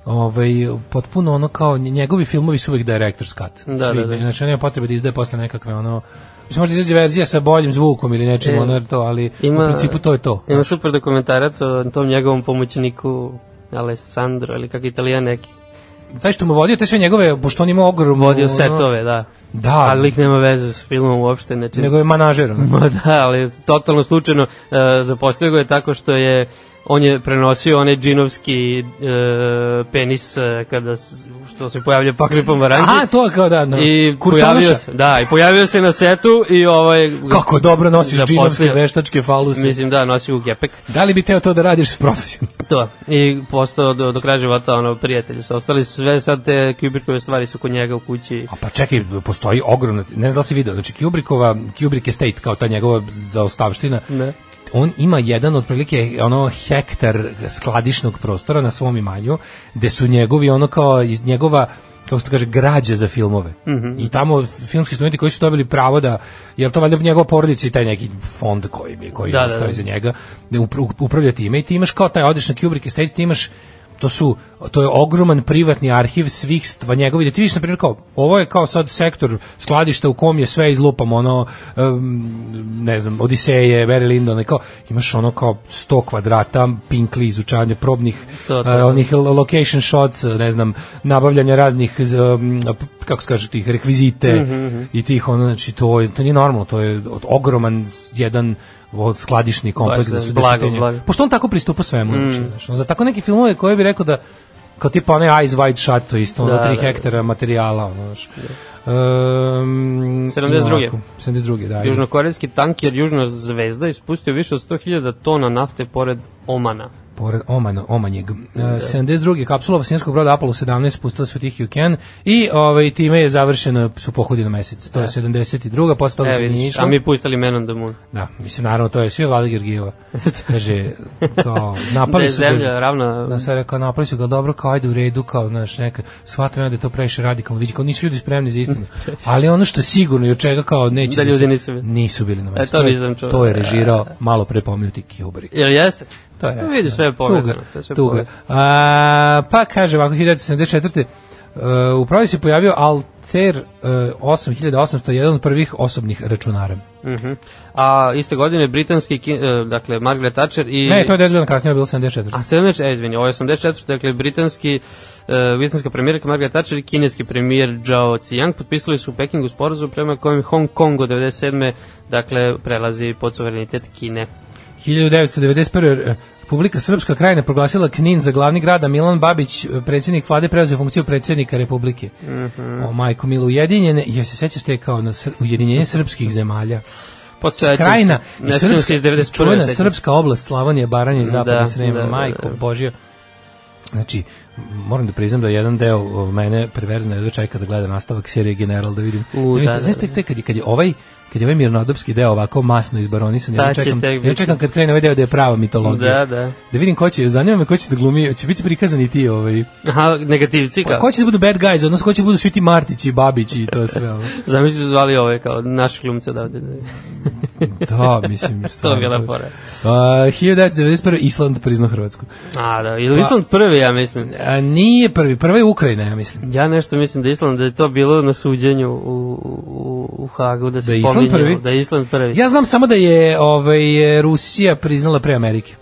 Speaker 5: ovaj potpuno ono kao nje- njegovi filmovi su uvek director's cut.
Speaker 6: Da,
Speaker 5: Svi,
Speaker 6: da, da.
Speaker 5: Znači on nema potrebe da izdaje posle nekakve ono Mislim, možda izađe verzija sa boljim zvukom ili nečim,
Speaker 6: E,
Speaker 5: ono, jer to, ali
Speaker 6: ima-
Speaker 5: u principu to je to.
Speaker 6: Ima super dokumentarac o tom njegovom pomoćniku Alessandro ili kak italijan neki.
Speaker 5: Taj što mu vodio, te sve njegove, pošto on ima ogromno...
Speaker 6: Vodio
Speaker 5: ono-
Speaker 6: setove, da.
Speaker 5: Da,
Speaker 6: Ali lik nema veze s filmom uopšte. Znači,
Speaker 5: nego je manažer. ono.
Speaker 6: Ma da, ali totalno slučajno e, zaposlio ga je tako što je on je prenosio onaj džinovski e, penis e, kada s- što se pojavlja pakli pomaranđi.
Speaker 5: Aha, to je kao da, da.
Speaker 6: I
Speaker 5: Kurcanuša.
Speaker 6: pojavio se, da, i pojavio se na setu i ovaj
Speaker 5: Kako dobro nosiš
Speaker 6: zaposlio.
Speaker 5: džinovske veštačke faluse.
Speaker 6: Mislim da, nosi u gepek.
Speaker 5: Da li bi teo to da radiš profesionalno?
Speaker 6: To. I postao do, do kraja života ono, prijatelji su ostali. Sve sad te Kubrickove stvari su kod njega u kući.
Speaker 5: A pa čekaj, postoji ogromna, ne znam da li si video, znači Kubrickova, Kubrick Estate, kao ta njegova zaostavština,
Speaker 6: Ne.
Speaker 5: on ima jedan otprilike ono hektar skladišnog prostora na svom imanju, gde su njegovi ono kao iz njegova kako se to kaže, građe za filmove. Mm -hmm. I tamo filmski studenti koji su dobili pravo da, jel to valjda njegova porodica i taj neki fond koji, bi- koji
Speaker 6: Da, da,
Speaker 5: da, stoji
Speaker 6: da.
Speaker 5: da, za njega, da upra- upravlja time i ti imaš kao taj odeš na Kubrick Estate, ti imaš to su to je ogroman privatni arhiv svih stva njegovi da ti vidiš na primjer kao ovo je kao sad sektor skladišta u kom je sve izlupam ono um, ne znam Odiseje, Barry Lyndon i kao imaš ono kao 100 kvadrata pinkli izučavanje probnih eh,
Speaker 6: To, to,
Speaker 5: to,
Speaker 6: to.
Speaker 5: onih lo- location shots ne znam nabavljanja raznih z- um, p- kako se kaže tih rekvizite mm
Speaker 6: Mhm,
Speaker 5: -hmm. i tih ono znači to je to nije normalno to je od- ogroman s- jedan od skladišni kompleks
Speaker 6: Baš,
Speaker 5: da su
Speaker 6: blago,
Speaker 5: desetinje.
Speaker 6: blago. Mhm.
Speaker 5: Pošto on tako pristupa svemu, mm. znači, on za tako neke filmove koje bi rekao da kao tipa onaj Eyes Wide Shut, to je isto, ono
Speaker 6: Da,
Speaker 5: 3
Speaker 6: da, da.
Speaker 5: da, hektara da. materijala, ono, znaš. Um,
Speaker 6: 72..
Speaker 5: ovako, 72. da. Južno...
Speaker 6: Južnokorejski tanker Južna zvezda ispustio više od 100.000 tona nafte pored Omana.
Speaker 5: Pored Omana, Omanjeg. Uh, 72. kapsula vasinskog broda Apollo 17 pustila se u Tihiju Ken i ovaj, time je završeno su pohodi na mesec. To je 72. Posle toga
Speaker 6: E,
Speaker 5: se nije
Speaker 6: vidiš,
Speaker 5: išlo.
Speaker 6: a mi pustili Man on the Moon.
Speaker 5: Da, mislim, naravno, to je sve Vlada Gergijeva. Kaže, kao,
Speaker 6: da
Speaker 5: napali
Speaker 6: je
Speaker 5: su ga
Speaker 6: zemlja ravna...
Speaker 5: Pa Da se rekao, napravi su ga dobro, kao ajde u redu, kao, znaš, neka, shvatam ja da je to previše radikalno, vidi, kao nisu ljudi spremni za istinu. Ali ono što je sigurno i od čega kao neće...
Speaker 6: Da ljudi
Speaker 5: se-
Speaker 6: nisu bili. E,
Speaker 5: Nisu bili na mestu.
Speaker 6: to
Speaker 5: je-
Speaker 6: nisam čuo.
Speaker 5: To je režirao malo pre pomenuti Kubrick.
Speaker 6: Jel jeste?
Speaker 5: To je, da.
Speaker 6: vidiš, Pa sve je povezano. sve- sve je
Speaker 5: Tuga.
Speaker 6: povezano.
Speaker 5: A, pa kaže ovako, 1974. Uh, u pravi se pojavio Alter uh, 8801, jedan od prvih osobnih računara.
Speaker 6: Mhm. A iste godine britanski, kin- e, dakle, Margaret Thatcher i...
Speaker 5: Ne, to je 10 godina kasnije, bilo 74.
Speaker 6: A 74, e, izvini, ovo je 84, dakle, britanski, e, britanska premijerka Margaret Thatcher i kineski premijer Zhao Ziyang potpisali su u Pekingu sporazum prema kojem Hong Kong od 97. dakle, prelazi pod suverenitet Kine.
Speaker 5: 1991. e, Republika Srpska krajina proglasila Knin za glavni grad, a Milan Babić, e, predsjednik vlade, preuzeo funkciju predsjednika Republike. Mm
Speaker 6: Mhm.
Speaker 5: -hmm. O, majko Milo, ujedinjene, joj se sećaš te kao na sr ujedinjenje srpskih zemalja.
Speaker 6: Podsećam se,
Speaker 5: Krajina,
Speaker 6: ne sjećam se
Speaker 5: srpska,
Speaker 6: iz 91.
Speaker 5: čuvena
Speaker 6: sećam se.
Speaker 5: srpska oblast, Slavonija, Baranja i Zapadna
Speaker 6: Da,
Speaker 5: da, Srema,
Speaker 6: da, da,
Speaker 5: majko,
Speaker 6: da.
Speaker 5: Božja. Znači, moram da priznam da jedan deo o, mene perverzno jedva čeka da gleda nastavak serije General da vidim.
Speaker 6: U,
Speaker 5: Ja
Speaker 6: da,
Speaker 5: vidim,
Speaker 6: da,
Speaker 5: znaš tek te kad je, kad je ovaj kad je ovaj mirnodopski deo ovako masno izbaronisan, ja
Speaker 6: Ta će
Speaker 5: čekam,
Speaker 6: tek
Speaker 5: ja
Speaker 6: biti.
Speaker 5: čekam kad krene ovaj deo da je prava mitologija.
Speaker 6: Da, da.
Speaker 5: Da vidim ko će, zanima me ko će da glumi, će biti prikazani ti ovaj,
Speaker 6: Aha, negativci kao.
Speaker 5: ko će da budu bad guys, odnosno ko će da budu svi ti Martići i Babići i to sve. Ovo.
Speaker 6: Zamisli su zvali ove kao naši glumce odavde.
Speaker 5: Da, mislim.
Speaker 6: to je
Speaker 5: stvarno.
Speaker 6: bila fora.
Speaker 5: Uh, 1991. Island priznao Hrvatsku.
Speaker 6: A, da,
Speaker 5: Pa-
Speaker 6: ili Island prvi, ja mislim.
Speaker 5: A, nije prvi, prva je Ukrajina, ja mislim.
Speaker 6: Ja nešto mislim da Island, da je to bilo na suđenju u, u, u Hagu, da se
Speaker 5: Da je Island
Speaker 6: pominjao.
Speaker 5: prvi?
Speaker 6: Da je Island prvi.
Speaker 5: Ja znam samo da je ovaj, Rusija priznala pre Amerike.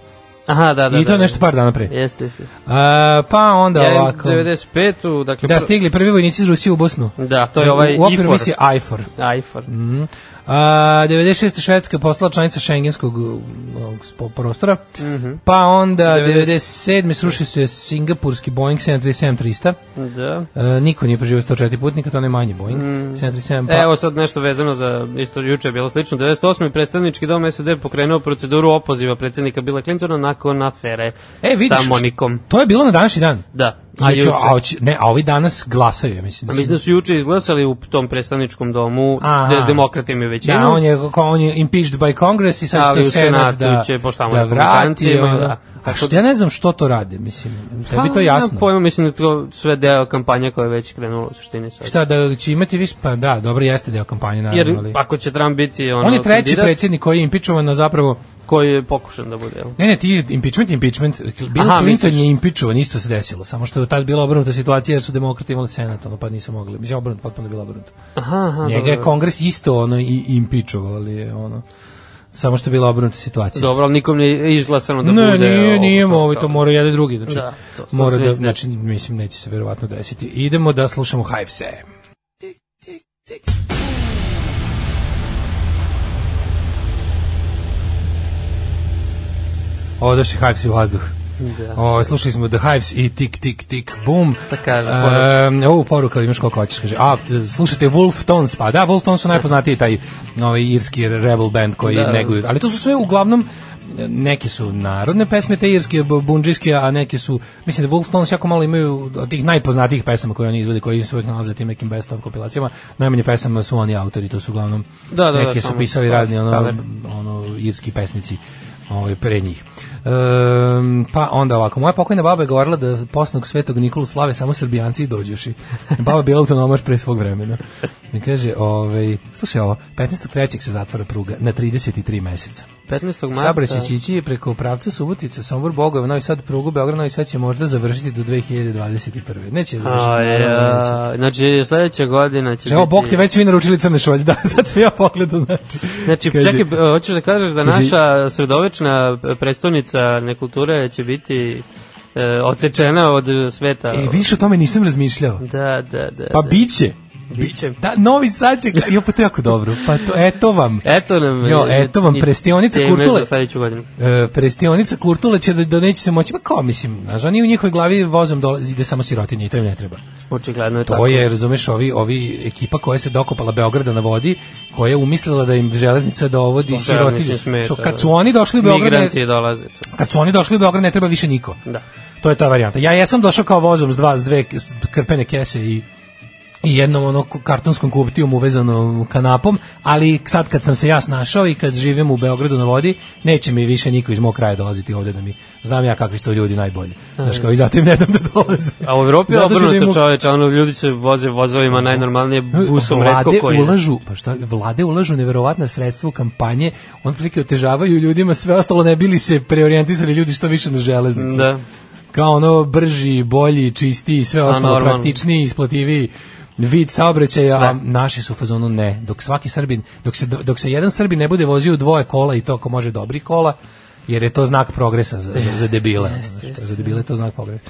Speaker 6: Aha, da, da.
Speaker 5: I to
Speaker 6: da, da.
Speaker 5: nešto par dana pre.
Speaker 6: Jeste, jeste. jeste.
Speaker 5: A, pa onda
Speaker 6: Ja imam
Speaker 5: ovako.
Speaker 6: 95. Dakle,
Speaker 5: Da,
Speaker 6: pr-
Speaker 5: stigli prvi vojnici iz Rusije u Bosnu.
Speaker 6: Da, to je ovaj
Speaker 5: u okviru
Speaker 6: IFOR.
Speaker 5: misije IFOR.
Speaker 6: IFOR.
Speaker 5: Mhm. A, 96. Švedska je postala članica šengenskog um, ovog spo- prostora,
Speaker 6: Mhm.
Speaker 5: pa onda
Speaker 6: 90.
Speaker 5: 97. sruši se singapurski Boeing 737-300,
Speaker 6: Da.
Speaker 5: E, niko nije preživio 104 putnika, to ne manje Boeing,
Speaker 6: Mm.
Speaker 5: 737, pa,
Speaker 6: Evo sad nešto vezano za isto juče je bilo slično. 98. predstavnički dom SED pokrenuo proceduru opoziva predsjednika Bila Clintona nakon afere
Speaker 5: E, vidiš,
Speaker 6: sa Monikom.
Speaker 5: to je bilo na današnji dan.
Speaker 6: Da.
Speaker 5: A,
Speaker 6: juče.
Speaker 5: juče. a, oči- ne, a ovi danas glasaju, ja mislim.
Speaker 6: A
Speaker 5: Da
Speaker 6: mislim da su juče izglasali u tom predstavničkom domu
Speaker 5: Aha.
Speaker 6: de, demokrati imaju većinu.
Speaker 5: Da, on je, ko- on je impeached by Congress i sad
Speaker 6: Ali
Speaker 5: što
Speaker 6: u
Speaker 5: Senat
Speaker 6: Senatu
Speaker 5: da,
Speaker 6: će, pošto tamo
Speaker 5: da
Speaker 6: je
Speaker 5: vrati.
Speaker 6: komunikacijama,
Speaker 5: ono.
Speaker 6: da.
Speaker 5: A
Speaker 6: Tako
Speaker 5: što
Speaker 6: da-
Speaker 5: ja ne znam što to rade, mislim. Tebi to
Speaker 6: Pa,
Speaker 5: jasno.
Speaker 6: nemam Pojma, mislim da je to sve deo kampanja koja je već krenula u suštini sad.
Speaker 5: Šta da će imati više, pa da, dobro jeste deo kampanje naravno,
Speaker 6: Jer
Speaker 5: ali
Speaker 6: ako će Trump biti ono,
Speaker 5: on je treći
Speaker 6: kandidat
Speaker 5: predsjednik koji je impičovan, a zapravo
Speaker 6: koji je pokušan da bude. jel?
Speaker 5: Ne, ne, ti impeachment, impeachment. Bill
Speaker 6: Aha,
Speaker 5: Clinton
Speaker 6: misliš.
Speaker 5: je impeachovan, isto se desilo, samo što je tad bila obrnuta situacija jer su demokrati imali senat, ono, pa nisu mogli. Mislim, obrnuto, potpuno je bila obrnuta.
Speaker 6: Aha, aha,
Speaker 5: Njega
Speaker 6: dobro.
Speaker 5: je kongres isto ono, i impeachovao, ali je ono, samo što je bila obrnuta situacija.
Speaker 6: Dobro, ali nikom nije izglasano da
Speaker 5: ne,
Speaker 6: bude...
Speaker 5: nije,
Speaker 6: ovo,
Speaker 5: nije,
Speaker 6: to,
Speaker 5: ovaj,
Speaker 6: to.
Speaker 5: to mora jedan i drugi, znači,
Speaker 6: Da, to- to
Speaker 5: mora
Speaker 6: se
Speaker 5: da,
Speaker 6: već
Speaker 5: znači, mislim, neće se verovatno desiti. Idemo da slušamo Hive se. Ovo došli Hives u vazduh.
Speaker 6: Da.
Speaker 5: O, slušali smo The Hives i tik, tik, tik, bum.
Speaker 6: Šta kaže poruka?
Speaker 5: Ehm, ovu poruka imaš koliko hoćeš, kaže. A, t- slušate Wolf Tones, pa da, Wolf Tones su najpoznatiji taj ovaj, irski rebel band koji
Speaker 6: Da.
Speaker 5: neguju. Ali to su sve uglavnom neke su narodne pesme, te irske, bu- bundžijske, a neke su, mislim da Wolf Tones jako malo imaju od tih najpoznatijih pesama koje oni izvode, koji se uvek nalaze u tim nekim best of kompilacijama, najmanje pesama su oni autori, to su uglavnom
Speaker 6: Da, da, da,
Speaker 5: neke su
Speaker 6: samo
Speaker 5: pisali
Speaker 6: su
Speaker 5: razni ono,
Speaker 6: cover.
Speaker 5: ono irski pesnici ovaj pre njih. Ehm, pa onda ovako, moja pokojna baba je govorila da posnog svetog Nikolu slave samo srbijanci i dođuši. Baba je bila autonomaš pre svog vremena. I kaže, ovaj, slušaj ovo, 15.3. se zatvara pruga na 33 meseca.
Speaker 6: 15. marta...
Speaker 5: Sabra će ići preko pravca Subotica, Sombor, Bogojeva, Novi Sad, prugu, Beograd, Novi Sad će možda završiti do 2021. Neće završiti,
Speaker 6: A,
Speaker 5: naravno, neće.
Speaker 6: ja, znači, sledeća godina će
Speaker 5: Znači, Evo,
Speaker 6: biti...
Speaker 5: Bog ti već svi naručili crne šolje, da, sad sam ja pogledao, znači.
Speaker 6: Znači,
Speaker 5: Kaže-
Speaker 6: čekaj, e, hoćeš da kažeš da
Speaker 5: Kaži-
Speaker 6: naša sredovečna predstavnica nekulture će biti e, odsečena od e, sveta.
Speaker 5: E, vidiš, o tome nisam razmišljao.
Speaker 6: Da, da, da.
Speaker 5: Pa
Speaker 6: da.
Speaker 5: biće.
Speaker 6: Biće.
Speaker 5: Da, novi sad će... Jo, pa to je jako dobro. Pa to, eto vam.
Speaker 6: Eto nam... e,
Speaker 5: Jo, eto vam,
Speaker 6: i-
Speaker 5: prestionica
Speaker 6: teme
Speaker 5: Kurtule.
Speaker 6: Za sledeću godinu.
Speaker 5: E, prestionica Kurtule će da, da neće se moći, ma kao, mislim, znaš, oni u njihovoj glavi vozom dolazi, ide samo sirotinje i to im ne treba.
Speaker 6: Očigledno je
Speaker 5: To
Speaker 6: tako.
Speaker 5: je, razumeš, ovi, ovi ekipa koja se dokopala Beograda na vodi, koja je umislila da im železnica dovodi
Speaker 6: Da,
Speaker 5: sirotinje.
Speaker 6: mislim, smeta,
Speaker 5: Što,
Speaker 6: da.
Speaker 5: kad su oni došli u Beograd, ne-
Speaker 6: Migranti dolaze. to.
Speaker 5: kad su oni došli u Beograd ne treba više niko.
Speaker 6: Da.
Speaker 5: To je ta varijanta. Ja jesam došao kao vozom s dva, s dve s krpene kese i i jednom ono ku- kartonskom kuptijom uvezanom kanapom, ali sad kad sam se ja snašao i kad živim u Beogradu na vodi, neće mi više niko iz mog kraja dolaziti ovde da mi, znam ja kakvi su to ljudi najbolje. Znaš kao, i zato im ne dam da dolaze.
Speaker 6: A u Evropi je
Speaker 5: Zato što da im
Speaker 6: obrnuto
Speaker 5: u-
Speaker 6: čoveč, ono ljudi se voze vozovima najnormalnije busom, redko
Speaker 5: vlade
Speaker 6: koji. ide.
Speaker 5: ulažu, pa šta, vlade ulažu neverovatna sredstva u kampanje, on prilike otežavaju ljudima sve ostalo ne bili se preorijentisali ljudi što više na železnicu.
Speaker 6: Da.
Speaker 5: Kao ono brži, bolji, čistiji, sve ostalo
Speaker 6: normalno.
Speaker 5: praktičniji, isplativiji vid saobraćaja, a
Speaker 6: Sve.
Speaker 5: naši su u fazonu ne. Dok svaki Srbin, dok se, dok se jedan Srbin ne bude vozio u dvoje kola i to ako može dobrih kola, jer je to znak progresa za, za, za debile. Znaš, Za debile je to znak progresa.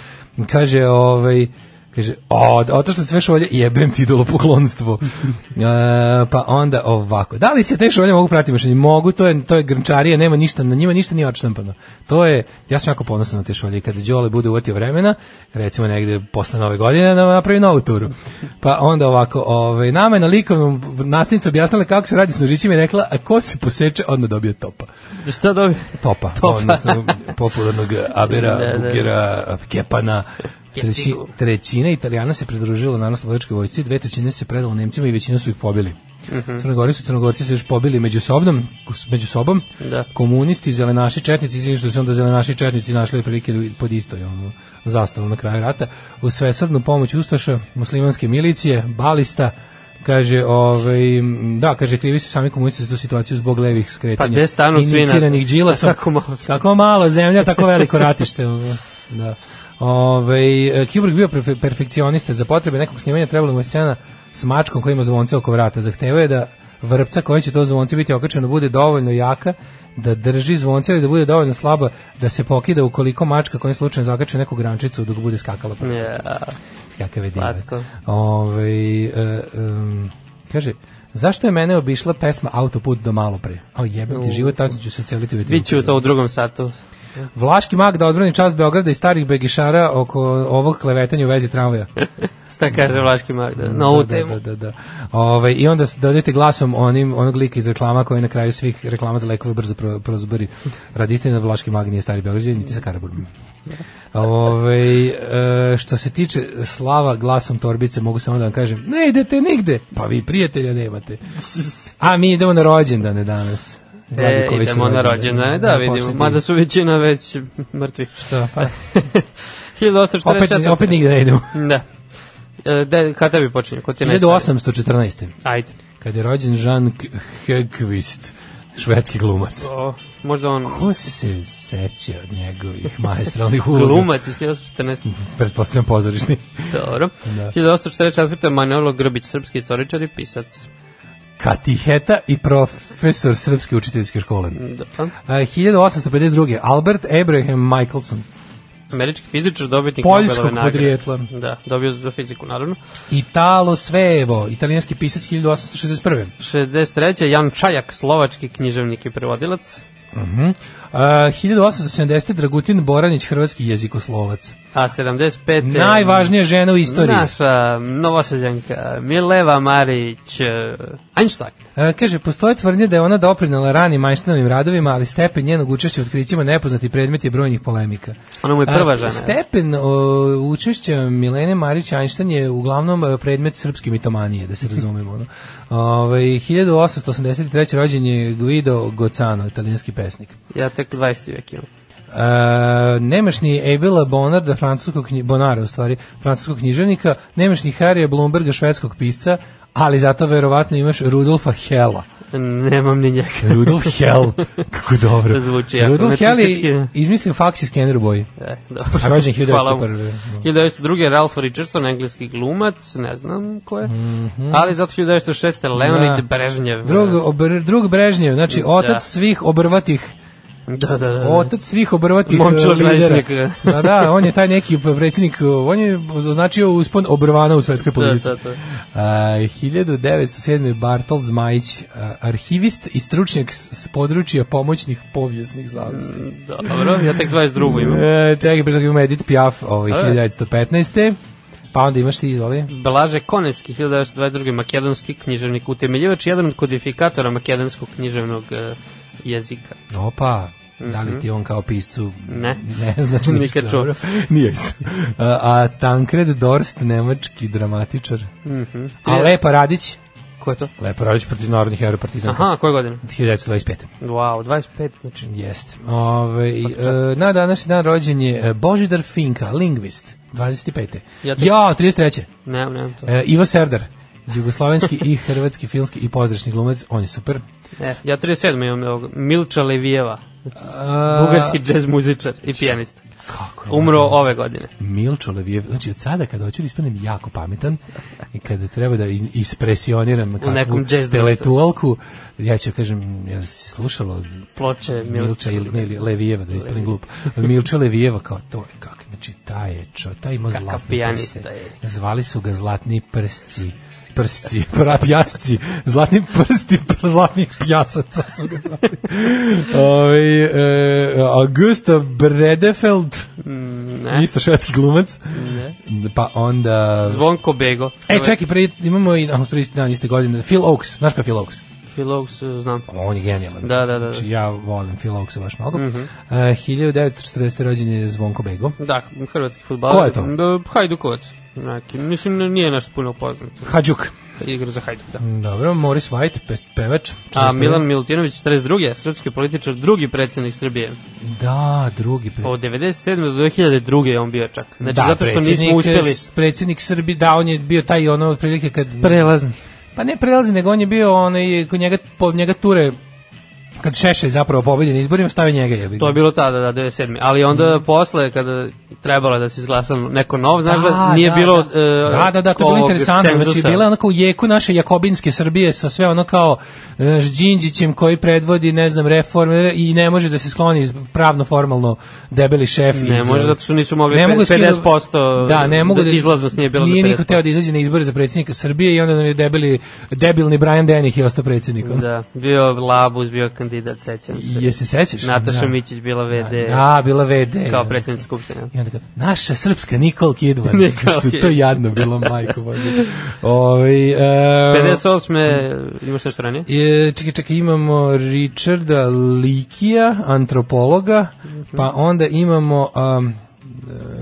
Speaker 5: Kaže, ovaj, kaže, o, otošle sve šolje, jebem ti idolo poklonstvo. e, pa onda ovako. Da li se te šolje mogu pratiti mašini? Mogu, to je, to je grnčarija, nema ništa, na njima ništa nije odštampano. To je, ja sam jako ponosan na te šolje. i Kad Đole bude uvrtio vremena, recimo negde posle nove godine, da napravi novu turu. Pa onda ovako, ovaj, nama je na likovnom nastavnicu objasnila kako se radi s nožićima i rekla, a ko se poseče, odmah dobije topa
Speaker 6: Šta dobije?
Speaker 5: topa, odnosno popularnog Abera,
Speaker 6: Da, da.
Speaker 5: Bukera, Kepana. Treći,
Speaker 6: Kepigu.
Speaker 5: trećina Italijana se pridružila na naslovačkoj vojsci, dve trećine se predalo Nemcima i većina su ih pobili.
Speaker 6: Mhm.
Speaker 5: Crnogori su Crnogorci se još pobili među sobom, među sobom.
Speaker 6: Da.
Speaker 5: Komunisti, zelenaši, četnici, izvinite što su se onda zelenaši i četnici našli prilike pod istoj ono, zastavom na kraju rata. U svesrdnu pomoć Ustaša, muslimanske milicije, balista, kaže, ovaj, m, da, kaže, krivi su sami komunisti za tu situaciju zbog levih
Speaker 6: Pa
Speaker 5: skretanja.
Speaker 6: gde stanu svi na-
Speaker 5: Iniciranih Đilasa.
Speaker 6: Tako malo.
Speaker 5: Kako malo zemlja, tako veliko ratište. ono. da. Ove, Kubrick bio perfe- perfekcionista. Za potrebe nekog snimanja trebalo mu je scena s mačkom koja ima zvonce oko vrata. Zahtevao je da vrpca koja će to zvonce biti okačeno bude dovoljno jaka da drži zvonce ili da bude dovoljno slaba da se pokida ukoliko mačka kojim slučajem zakače neku grančicu dok bude skakala po
Speaker 6: Ja.
Speaker 5: kakave dive.
Speaker 6: Slatko.
Speaker 5: Ove, e, um, kaže, zašto je mene obišla pesma Autoput do malo pre? A jebem ti život, tako ću se celiti u
Speaker 6: Biću to u drugom satu.
Speaker 5: Vlaški mag da odbrani čast Beograda i starih begišara oko ovog klevetanja u vezi tramvaja.
Speaker 6: Šta kaže Vlaški Magda? Na ovu
Speaker 5: da,
Speaker 6: temu.
Speaker 5: Da, da, da. Ove, I onda s- dodajte glasom onim, onog lika iz reklama koji na kraju svih reklama za lekove brzo pro, prozbori. Radi istina, Vlaški mag nije stari Beograđan, niti sa Karaburom. Ove, e, što se tiče slava glasom torbice, mogu samo da vam kažem, ne idete nigde, pa vi prijatelja nemate. A mi idemo na rođendane danas. Dragi
Speaker 6: E,
Speaker 5: koji su
Speaker 6: idemo na rođendane, da, vidimo.
Speaker 5: poslednji.
Speaker 6: Mada su većina već mrtvi.
Speaker 5: Da, pa,
Speaker 6: 1844.
Speaker 5: opet, opet nigde ne idemo.
Speaker 6: Da. E, De, kada tebi počinje? Ko ti je najstariji?
Speaker 5: 1814.
Speaker 6: Ajde.
Speaker 5: Kad je rođen Jean K- Hegvist, švedski glumac.
Speaker 6: O, možda on
Speaker 5: Ko se seća od njegovih majestralnih uloga?
Speaker 6: glumac iz 1914.
Speaker 5: Pretpostavljam pozorišni.
Speaker 6: Dobro.
Speaker 5: Da.
Speaker 6: 1844. Manolo Grbić, srpski istoričar i pisac.
Speaker 5: Katiheta i profesor srpske učiteljske škole. E,
Speaker 6: Da.
Speaker 5: A, 1852. Albert Abraham Michelson,
Speaker 6: Američki fizičar, dobitnik
Speaker 5: Poljskog
Speaker 6: Nobelove nagrade.
Speaker 5: podrijetla.
Speaker 6: Da, dobio za fiziku, naravno.
Speaker 5: Italo Svevo, italijanski pisac 1861.
Speaker 6: 63. Jan Čajak, slovački književnik i prevodilac.
Speaker 5: A, 1870. Dragutin Boranić, hrvatski jezikoslovac.
Speaker 6: A 75.
Speaker 5: Najvažnija žena u istoriji.
Speaker 6: Naša novosađanka Mileva Marić e, Einstein.
Speaker 5: E, kaže, postoje tvrdnje da je ona doprinala ranim Einsteinovim radovima, ali stepen njenog učešća u otkrićima nepoznati predmet je brojnih polemika.
Speaker 6: Ona mu je prva
Speaker 5: E,
Speaker 6: žena.
Speaker 5: Stepen o, učešća Milene Marić Einstein je uglavnom e, predmet srpske mitomanije, da se razumemo. ono. Ove, 1883. rođen je Guido Gocano, italijanski pesnik.
Speaker 6: Ja tek 20. vek imam.
Speaker 5: E, nemašni Abela Bonarda, francuskog knji, Bonara u stvari, francuskog književnika, nemašni Harija Blumberga, švedskog pisca, ali zato verovatno imaš Rudolfa Hela.
Speaker 6: Nemam ni njega.
Speaker 5: Rudolf Hell. Kako dobro.
Speaker 6: Zvuči jako
Speaker 5: Rudolf Hell je
Speaker 6: nacistički.
Speaker 5: izmislio faks i skener u boji.
Speaker 6: E, dobro.
Speaker 5: A rođen 1901.
Speaker 6: Hvala mu.
Speaker 5: da.
Speaker 6: 1902. Ralph Richardson, engleski glumac, ne znam ko je, ali zato 1906. Leonid
Speaker 5: Mhm. Da.
Speaker 6: Brežnjev.
Speaker 5: Drug, obr, drug Brežnjev, znači otac
Speaker 6: Da.
Speaker 5: svih obrvatih
Speaker 6: Da, da, da. da.
Speaker 5: otac svih obrvatih
Speaker 6: Momčilo
Speaker 5: eh, lidera.
Speaker 6: Krajišnik.
Speaker 5: da, da, on je taj neki predsjednik, eh, on je označio uspon obrvana u svetskoj politici. Eh,
Speaker 6: Da, da, da.
Speaker 5: A, 1907. Bartol Zmajić, eh, arhivist i stručnjak s, s područja pomoćnih povijesnih zavesti.
Speaker 6: Mm. da. Dobro, ja tek 22. imam.
Speaker 5: E, čekaj, pre toga imamo Edith Piaf, ovaj,
Speaker 6: da.
Speaker 5: 1915. Pa onda imaš ti, izvoli.
Speaker 6: Blaže Koneski, 1922. makedonski književnik, utemeljivač, jedan od kodifikatora makedonskog književnog e, jezika.
Speaker 5: Opa, da li ti on kao piscu
Speaker 6: Mhm. Ne.
Speaker 5: ne znači
Speaker 6: Nikad
Speaker 5: ništa
Speaker 6: čuo.
Speaker 5: dobro. Nije isto. A, a Tankred Dorst, nemački dramatičar.
Speaker 6: Mhm.
Speaker 5: A Lepa Radić,
Speaker 6: Ko je to?
Speaker 5: Lepa Radić protiv narodnih heroja partizana.
Speaker 6: Aha, koje godine?
Speaker 5: 1925.
Speaker 6: Wow, 25, znači.
Speaker 5: Jeste. Ove,
Speaker 6: Pa
Speaker 5: i, e, na današnji dan rođen je e, Božidar Finka, lingvist, 25. Ja,
Speaker 6: Ja te-
Speaker 5: 33.
Speaker 6: Nemam, nemam to.
Speaker 5: E, Ivo Serdar, jugoslovenski i hrvatski filmski i pozdrašni glumac, on je super.
Speaker 6: E, ja 37. imam ovog Milča Levijeva,
Speaker 5: A,
Speaker 6: bugarski džez muzičar i pijanista.
Speaker 5: Kako je
Speaker 6: Umro ove godine.
Speaker 5: Milčo Levijev, znači od sada kada hoću da ispanem jako pametan i kada treba da is- ispresioniram kakvu
Speaker 6: nekom jazz
Speaker 5: teletualku, ja ću kažem, jer si slušalo
Speaker 6: Ploče
Speaker 5: Milča
Speaker 6: Milča
Speaker 5: ili, ili Levijeva, da ispanem glup. Milča Levijeva kao to je kak, znači taj je čo, taj ima
Speaker 6: Kakav
Speaker 5: zlatni
Speaker 6: pijanista
Speaker 5: prste.
Speaker 6: je.
Speaker 5: Zvali su ga zlatni prsci prsci, prapjasci, zlatni prsti zlatnih pjasaca su ga zvali. Ovaj, e, Augusta Bredefeld,
Speaker 6: Ne.
Speaker 5: Isto švedski glumac.
Speaker 6: Ne.
Speaker 5: Pa onda...
Speaker 6: Zvonko Bego.
Speaker 5: E, čekaj, pre, imamo i na isti dan, iste godine. Phil Oaks, znaš ko je Phil Oaks?
Speaker 6: Filogs, Ovaj, znam.
Speaker 5: On je genijalan.
Speaker 6: Da, da, da, da.
Speaker 5: Znači, ja volim Phil Oaksa baš mnogo. Mm 1940. rođen je Zvonko Bego.
Speaker 6: Da, hrvatski futbal.
Speaker 5: Ko je to?
Speaker 6: Da, Hajdukovac. Neki, mislim, ne- nije naš puno poznat.
Speaker 5: Hadžuk.
Speaker 6: Igra za Hajduk, da.
Speaker 5: Dobro, Morris White, pes, pevač.
Speaker 6: A
Speaker 5: 41..
Speaker 6: Milan Milutinović, 42. Srpski političar, drugi predsjednik Srbije.
Speaker 5: Da, drugi pre...
Speaker 6: Od 97. do 2002. je on bio čak. Znači,
Speaker 5: da,
Speaker 6: zato što
Speaker 5: predsjednik,
Speaker 6: nismo uspjeli...
Speaker 5: s- Predsjednik Srbi, da, on je bio taj ono otprilike kad...
Speaker 6: Prelazni.
Speaker 5: Pa ne prelazi, nego on je bio onaj, kod njega, po njega ture kad Šešelj zapravo pobedi na izborima, stave njega jebi. ga.
Speaker 6: To je bilo tada, da, 97. Ali
Speaker 5: Mhm.
Speaker 6: onda mm. posle, kada trebalo je da se izglasa neko nov, znaš da, da nije
Speaker 5: da,
Speaker 6: bilo...
Speaker 5: da. da, da, da, to je bilo interesantno. Znači, bila je onako u jeku naše jakobinske Srbije sa sve ono kao e, Žđinđićem koji predvodi, ne znam, reforme i ne može da se skloni pravno formalno debeli šef.
Speaker 6: Ne
Speaker 5: iz,
Speaker 6: može,
Speaker 5: e,
Speaker 6: zato što nisu mogli
Speaker 5: mogu
Speaker 6: 50%
Speaker 5: da, ne mogu da,
Speaker 6: izlaznost nije bila do
Speaker 5: Nije niko
Speaker 6: 50%.
Speaker 5: teo da izađe na izbore za predsjednika Srbije i onda nam je debeli, debilni Brian Denih je ostao predsjednikom.
Speaker 6: Da, bio Labus, bio kandidat, sećam se.
Speaker 5: Je se sećaš?
Speaker 6: Nataša
Speaker 5: Da.
Speaker 6: Mićić bila VD.
Speaker 5: Da, E, bila VD.
Speaker 6: Kao predsjednica Skupštine.
Speaker 5: I onda kao, naša srpska Nikol Kidman.
Speaker 6: Nicole
Speaker 5: što je to
Speaker 6: Kidman.
Speaker 5: jadno bilo, majko. Bože. Ovaj, e, mm.
Speaker 6: 58. imaš nešto ranije?
Speaker 5: E, čekaj, čekaj, imamo Richarda Likija, antropologa, pa onda imamo um,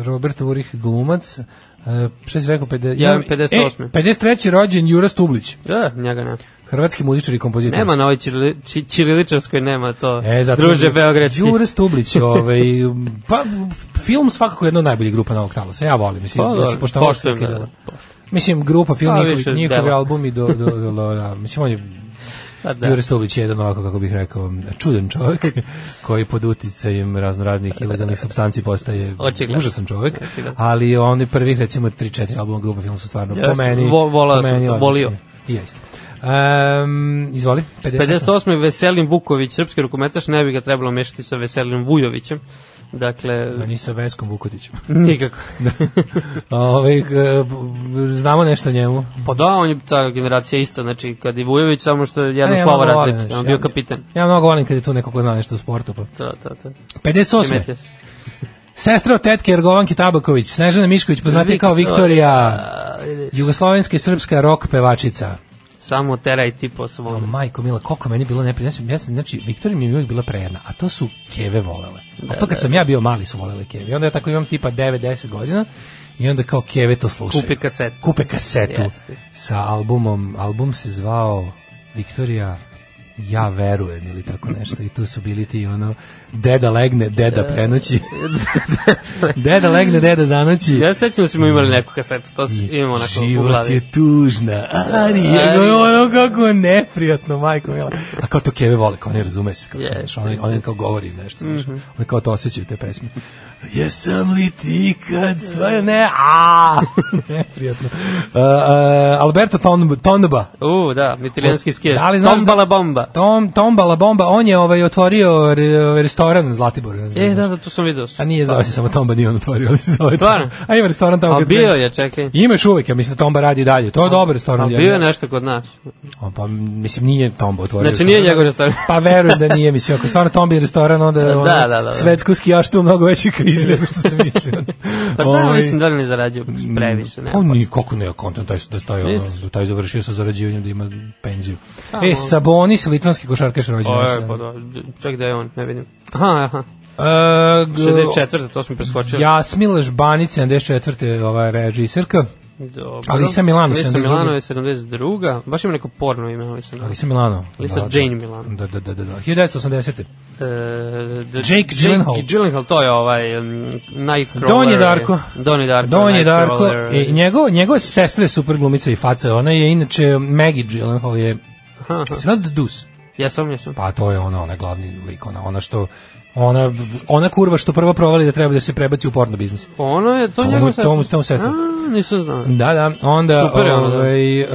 Speaker 5: Robert Urih glumac, e, šta si rekao? Pede,
Speaker 6: Ja,
Speaker 5: imam-
Speaker 6: 58..
Speaker 5: E, 53. rođen Jura Stublić,
Speaker 6: Da, njega ne.
Speaker 5: hrvatski muzičar i kompozitor.
Speaker 6: Nema na ovoj čirili, či, čiriličarskoj, nema to.
Speaker 5: E, zato
Speaker 6: Druže Beogradski.
Speaker 5: Đure Stublić, ovaj, pa film svakako je jedna od najboljih grupa Novog Talosa. Ja volim, mislim,
Speaker 6: Pa,
Speaker 5: ja
Speaker 6: dobro,
Speaker 5: se poštovao
Speaker 6: poštujem,
Speaker 5: svaki
Speaker 6: da,
Speaker 5: dan.
Speaker 6: da,
Speaker 5: Mislim, grupa, film,
Speaker 6: Pa,
Speaker 5: njihovi,
Speaker 6: više
Speaker 5: njihovi
Speaker 6: dela.
Speaker 5: albumi do, do, do, do, da, mislim, on je
Speaker 6: Pa
Speaker 5: Da.
Speaker 6: da.
Speaker 5: Jure Stublić je jedan ovako, kako bih rekao, čudan čovjek koji pod uticajem raznoraznih ilegalnih substanci postaje
Speaker 6: Očigledno.
Speaker 5: užasan čovjek,
Speaker 6: Očigledno.
Speaker 5: ali oni prvih recimo 3-4 albuma grupa film su stvarno po
Speaker 6: Jeste,
Speaker 5: meni,
Speaker 6: vo- volao
Speaker 5: po
Speaker 6: sam
Speaker 5: meni
Speaker 6: to,
Speaker 5: odlični.
Speaker 6: volio.
Speaker 5: I ja isto. Um, izvoli, 58.
Speaker 6: 58. Veselin Vuković, srpski rukometaš, ne bi ga trebalo mešati sa Veselinom Vujovićem. Dakle,
Speaker 5: Da, ni sa Veskom Vukotićem.
Speaker 6: nikako.
Speaker 5: Ove, znamo nešto o njemu.
Speaker 6: Pa da, on je ta generacija ista, znači kad i Vujović, samo što je jedno
Speaker 5: E, ja
Speaker 6: slovo
Speaker 5: malo volim,
Speaker 6: razlike.
Speaker 5: znaš,
Speaker 6: On
Speaker 5: ja-
Speaker 6: bio kapitan.
Speaker 5: Ja mnogo volim kad je tu neko ko zna nešto o sportu. Pa.
Speaker 6: To, to, to.
Speaker 5: 58.
Speaker 6: Primetio si.
Speaker 5: Sestra od tetke Ergovanke Tabaković, Snežana Mišković, poznati kao Viktorija.
Speaker 6: A, da, vidiš,
Speaker 5: Jugoslovenska i srpska rok pevačica.
Speaker 6: Samo teraj ti po svom.
Speaker 5: O, majko mila, koliko meni bilo neprijatno. Ja sam, ja sam, znači, Viktorija mi je uvijek bila prejedna, a to su keve volele.
Speaker 6: Da,
Speaker 5: A to kad sam ja bio mali su volele keve. I onda ja tako imam tipa 9-10 godina i onda kao keve to slušaju.
Speaker 6: Kupi kasetu.
Speaker 5: Kupe kasetu
Speaker 6: Jeste.
Speaker 5: sa albumom. Album se zvao Viktorija ja verujem ili tako nešto i tu su bili ti ono deda legne, deda prenoći deda legne, deda zanoći
Speaker 6: Ja se sećam da smo imali neku kasetu, to s- imamo onako u
Speaker 5: Život
Speaker 6: glavi. E,
Speaker 5: je tužna, Arija,
Speaker 6: Arija.
Speaker 5: ono kako neprijatno, majko mila. A kao to Keve vole, kao ne razume se, kao
Speaker 6: Jeste. Mhm.
Speaker 5: yes, on, on kao govori im nešto, mm -hmm. on kao to osjećaju te pesme. Jesam li ti kad stvarno, ne, a neprijatno. Uh, uh, Alberto Ton, Tonba,
Speaker 6: U, da, italijanski skijaš.
Speaker 5: Da li znaš da-
Speaker 6: Tombala bomba.
Speaker 5: Tom, Tombala Bomba, on je ovaj, otvorio re, ovaj, restoran u Zlatiboru. ne znam,
Speaker 6: E,
Speaker 5: znaš.
Speaker 6: da, da, to sam vidio.
Speaker 5: A nije zove se samo Tomba, nije on otvorio. ali se Zove
Speaker 6: Stvarno?
Speaker 5: A ima restoran tamo.
Speaker 6: A
Speaker 5: kad
Speaker 6: bio
Speaker 5: kreneš.
Speaker 6: je, čekaj.
Speaker 5: Imaš uvek, ja mislim da Tomba radi dalje. To je dobar restoran.
Speaker 6: A
Speaker 5: ljudi.
Speaker 6: bio je nešto kod nas.
Speaker 5: O, pa mislim nije Tombo otvorio.
Speaker 6: Znači nije
Speaker 5: restoran.
Speaker 6: njegov restoran.
Speaker 5: Pa verujem da nije, mislim, ako stvarno Tombi restoran, onda je
Speaker 6: Da,
Speaker 5: ono,
Speaker 6: da, da, da.
Speaker 5: svetsku skijaštu u mnogo većoj krizi nego što se mislio. Ovaj,
Speaker 6: Pa da, mislim da li ne zarađuje previše, ne.
Speaker 5: Pa nikako ne, kontent taj, da taj, ono,
Speaker 6: Misliš?
Speaker 5: da taj završio sa zarađivanjem da ima penziju. e, Sabonis, litvanski košarkaš rođen.
Speaker 6: O,
Speaker 5: naš
Speaker 6: je,
Speaker 5: dan.
Speaker 6: pa da, čak da je on, ne vidim. Aha, aha.
Speaker 5: E, g-
Speaker 6: 64. to smo preskočili.
Speaker 5: Jasmila Žbanić, 74. ova režiserka.
Speaker 6: Dobro.
Speaker 5: Alisa Milano,
Speaker 6: Alisa
Speaker 5: 72..
Speaker 6: Milano je 72. Baš ima neko porno ime Alisa Milano.
Speaker 5: Alisa Milano.
Speaker 6: Alisa
Speaker 5: Da, da.
Speaker 6: Jane Milano.
Speaker 5: Da, da, da, da. da. 1980.
Speaker 6: E, the-
Speaker 5: Jake Gyllenhaal.
Speaker 6: Jake Gyllenhaal, to je ovaj um, Nightcrawler.
Speaker 5: Donji Darko.
Speaker 6: Donji Darko.
Speaker 5: Donji Darko
Speaker 6: Nightcrawler.
Speaker 5: i njegov, njegove sestre je super glumica i faca. Ona je inače Maggie Gyllenhaal je
Speaker 6: Aha, aha.
Speaker 5: Sad Dus.
Speaker 6: Jesam, jesam.
Speaker 5: Pa to je ona, ona glavni lik, ona, ona što ona, ona kurva što prvo provali da treba da se prebaci u porno biznis.
Speaker 6: Pa Ono je, to je
Speaker 5: Tomu-
Speaker 6: njegov sestra.
Speaker 5: tomu- tomu sestra.
Speaker 6: A, nisam znao.
Speaker 5: Da, da, onda
Speaker 6: Super je ona, da.
Speaker 5: ovaj, e,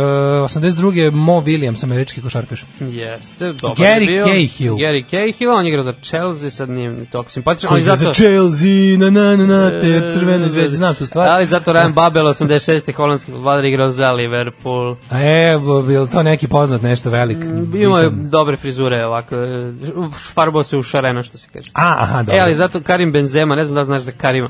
Speaker 5: 82. Mo Williams, američki košarkaš.
Speaker 6: Jeste, dobar
Speaker 5: Gary
Speaker 6: je bio.
Speaker 5: Cahill.
Speaker 6: Gary Cahill, on je igrao za Chelsea, sad nije mi toliko simpatičan, ali
Speaker 5: Koji za
Speaker 6: zato...
Speaker 5: Chelsea, na na na na, te crvene
Speaker 6: E,
Speaker 5: zvezde, znam tu stvar. Da.
Speaker 6: Ali zato Ryan Babel, 86. holandski futbaler, igrao za Liverpool.
Speaker 5: A E, bo- bil to neki poznat nešto velik.
Speaker 6: Imao je
Speaker 5: bitan?
Speaker 6: dobre frizure, ovako, e, farbao se u šareno, što se kaže.
Speaker 5: A, aha, dobro.
Speaker 6: E, ali zato Karim Benzema, ne znam da li znaš za Karima.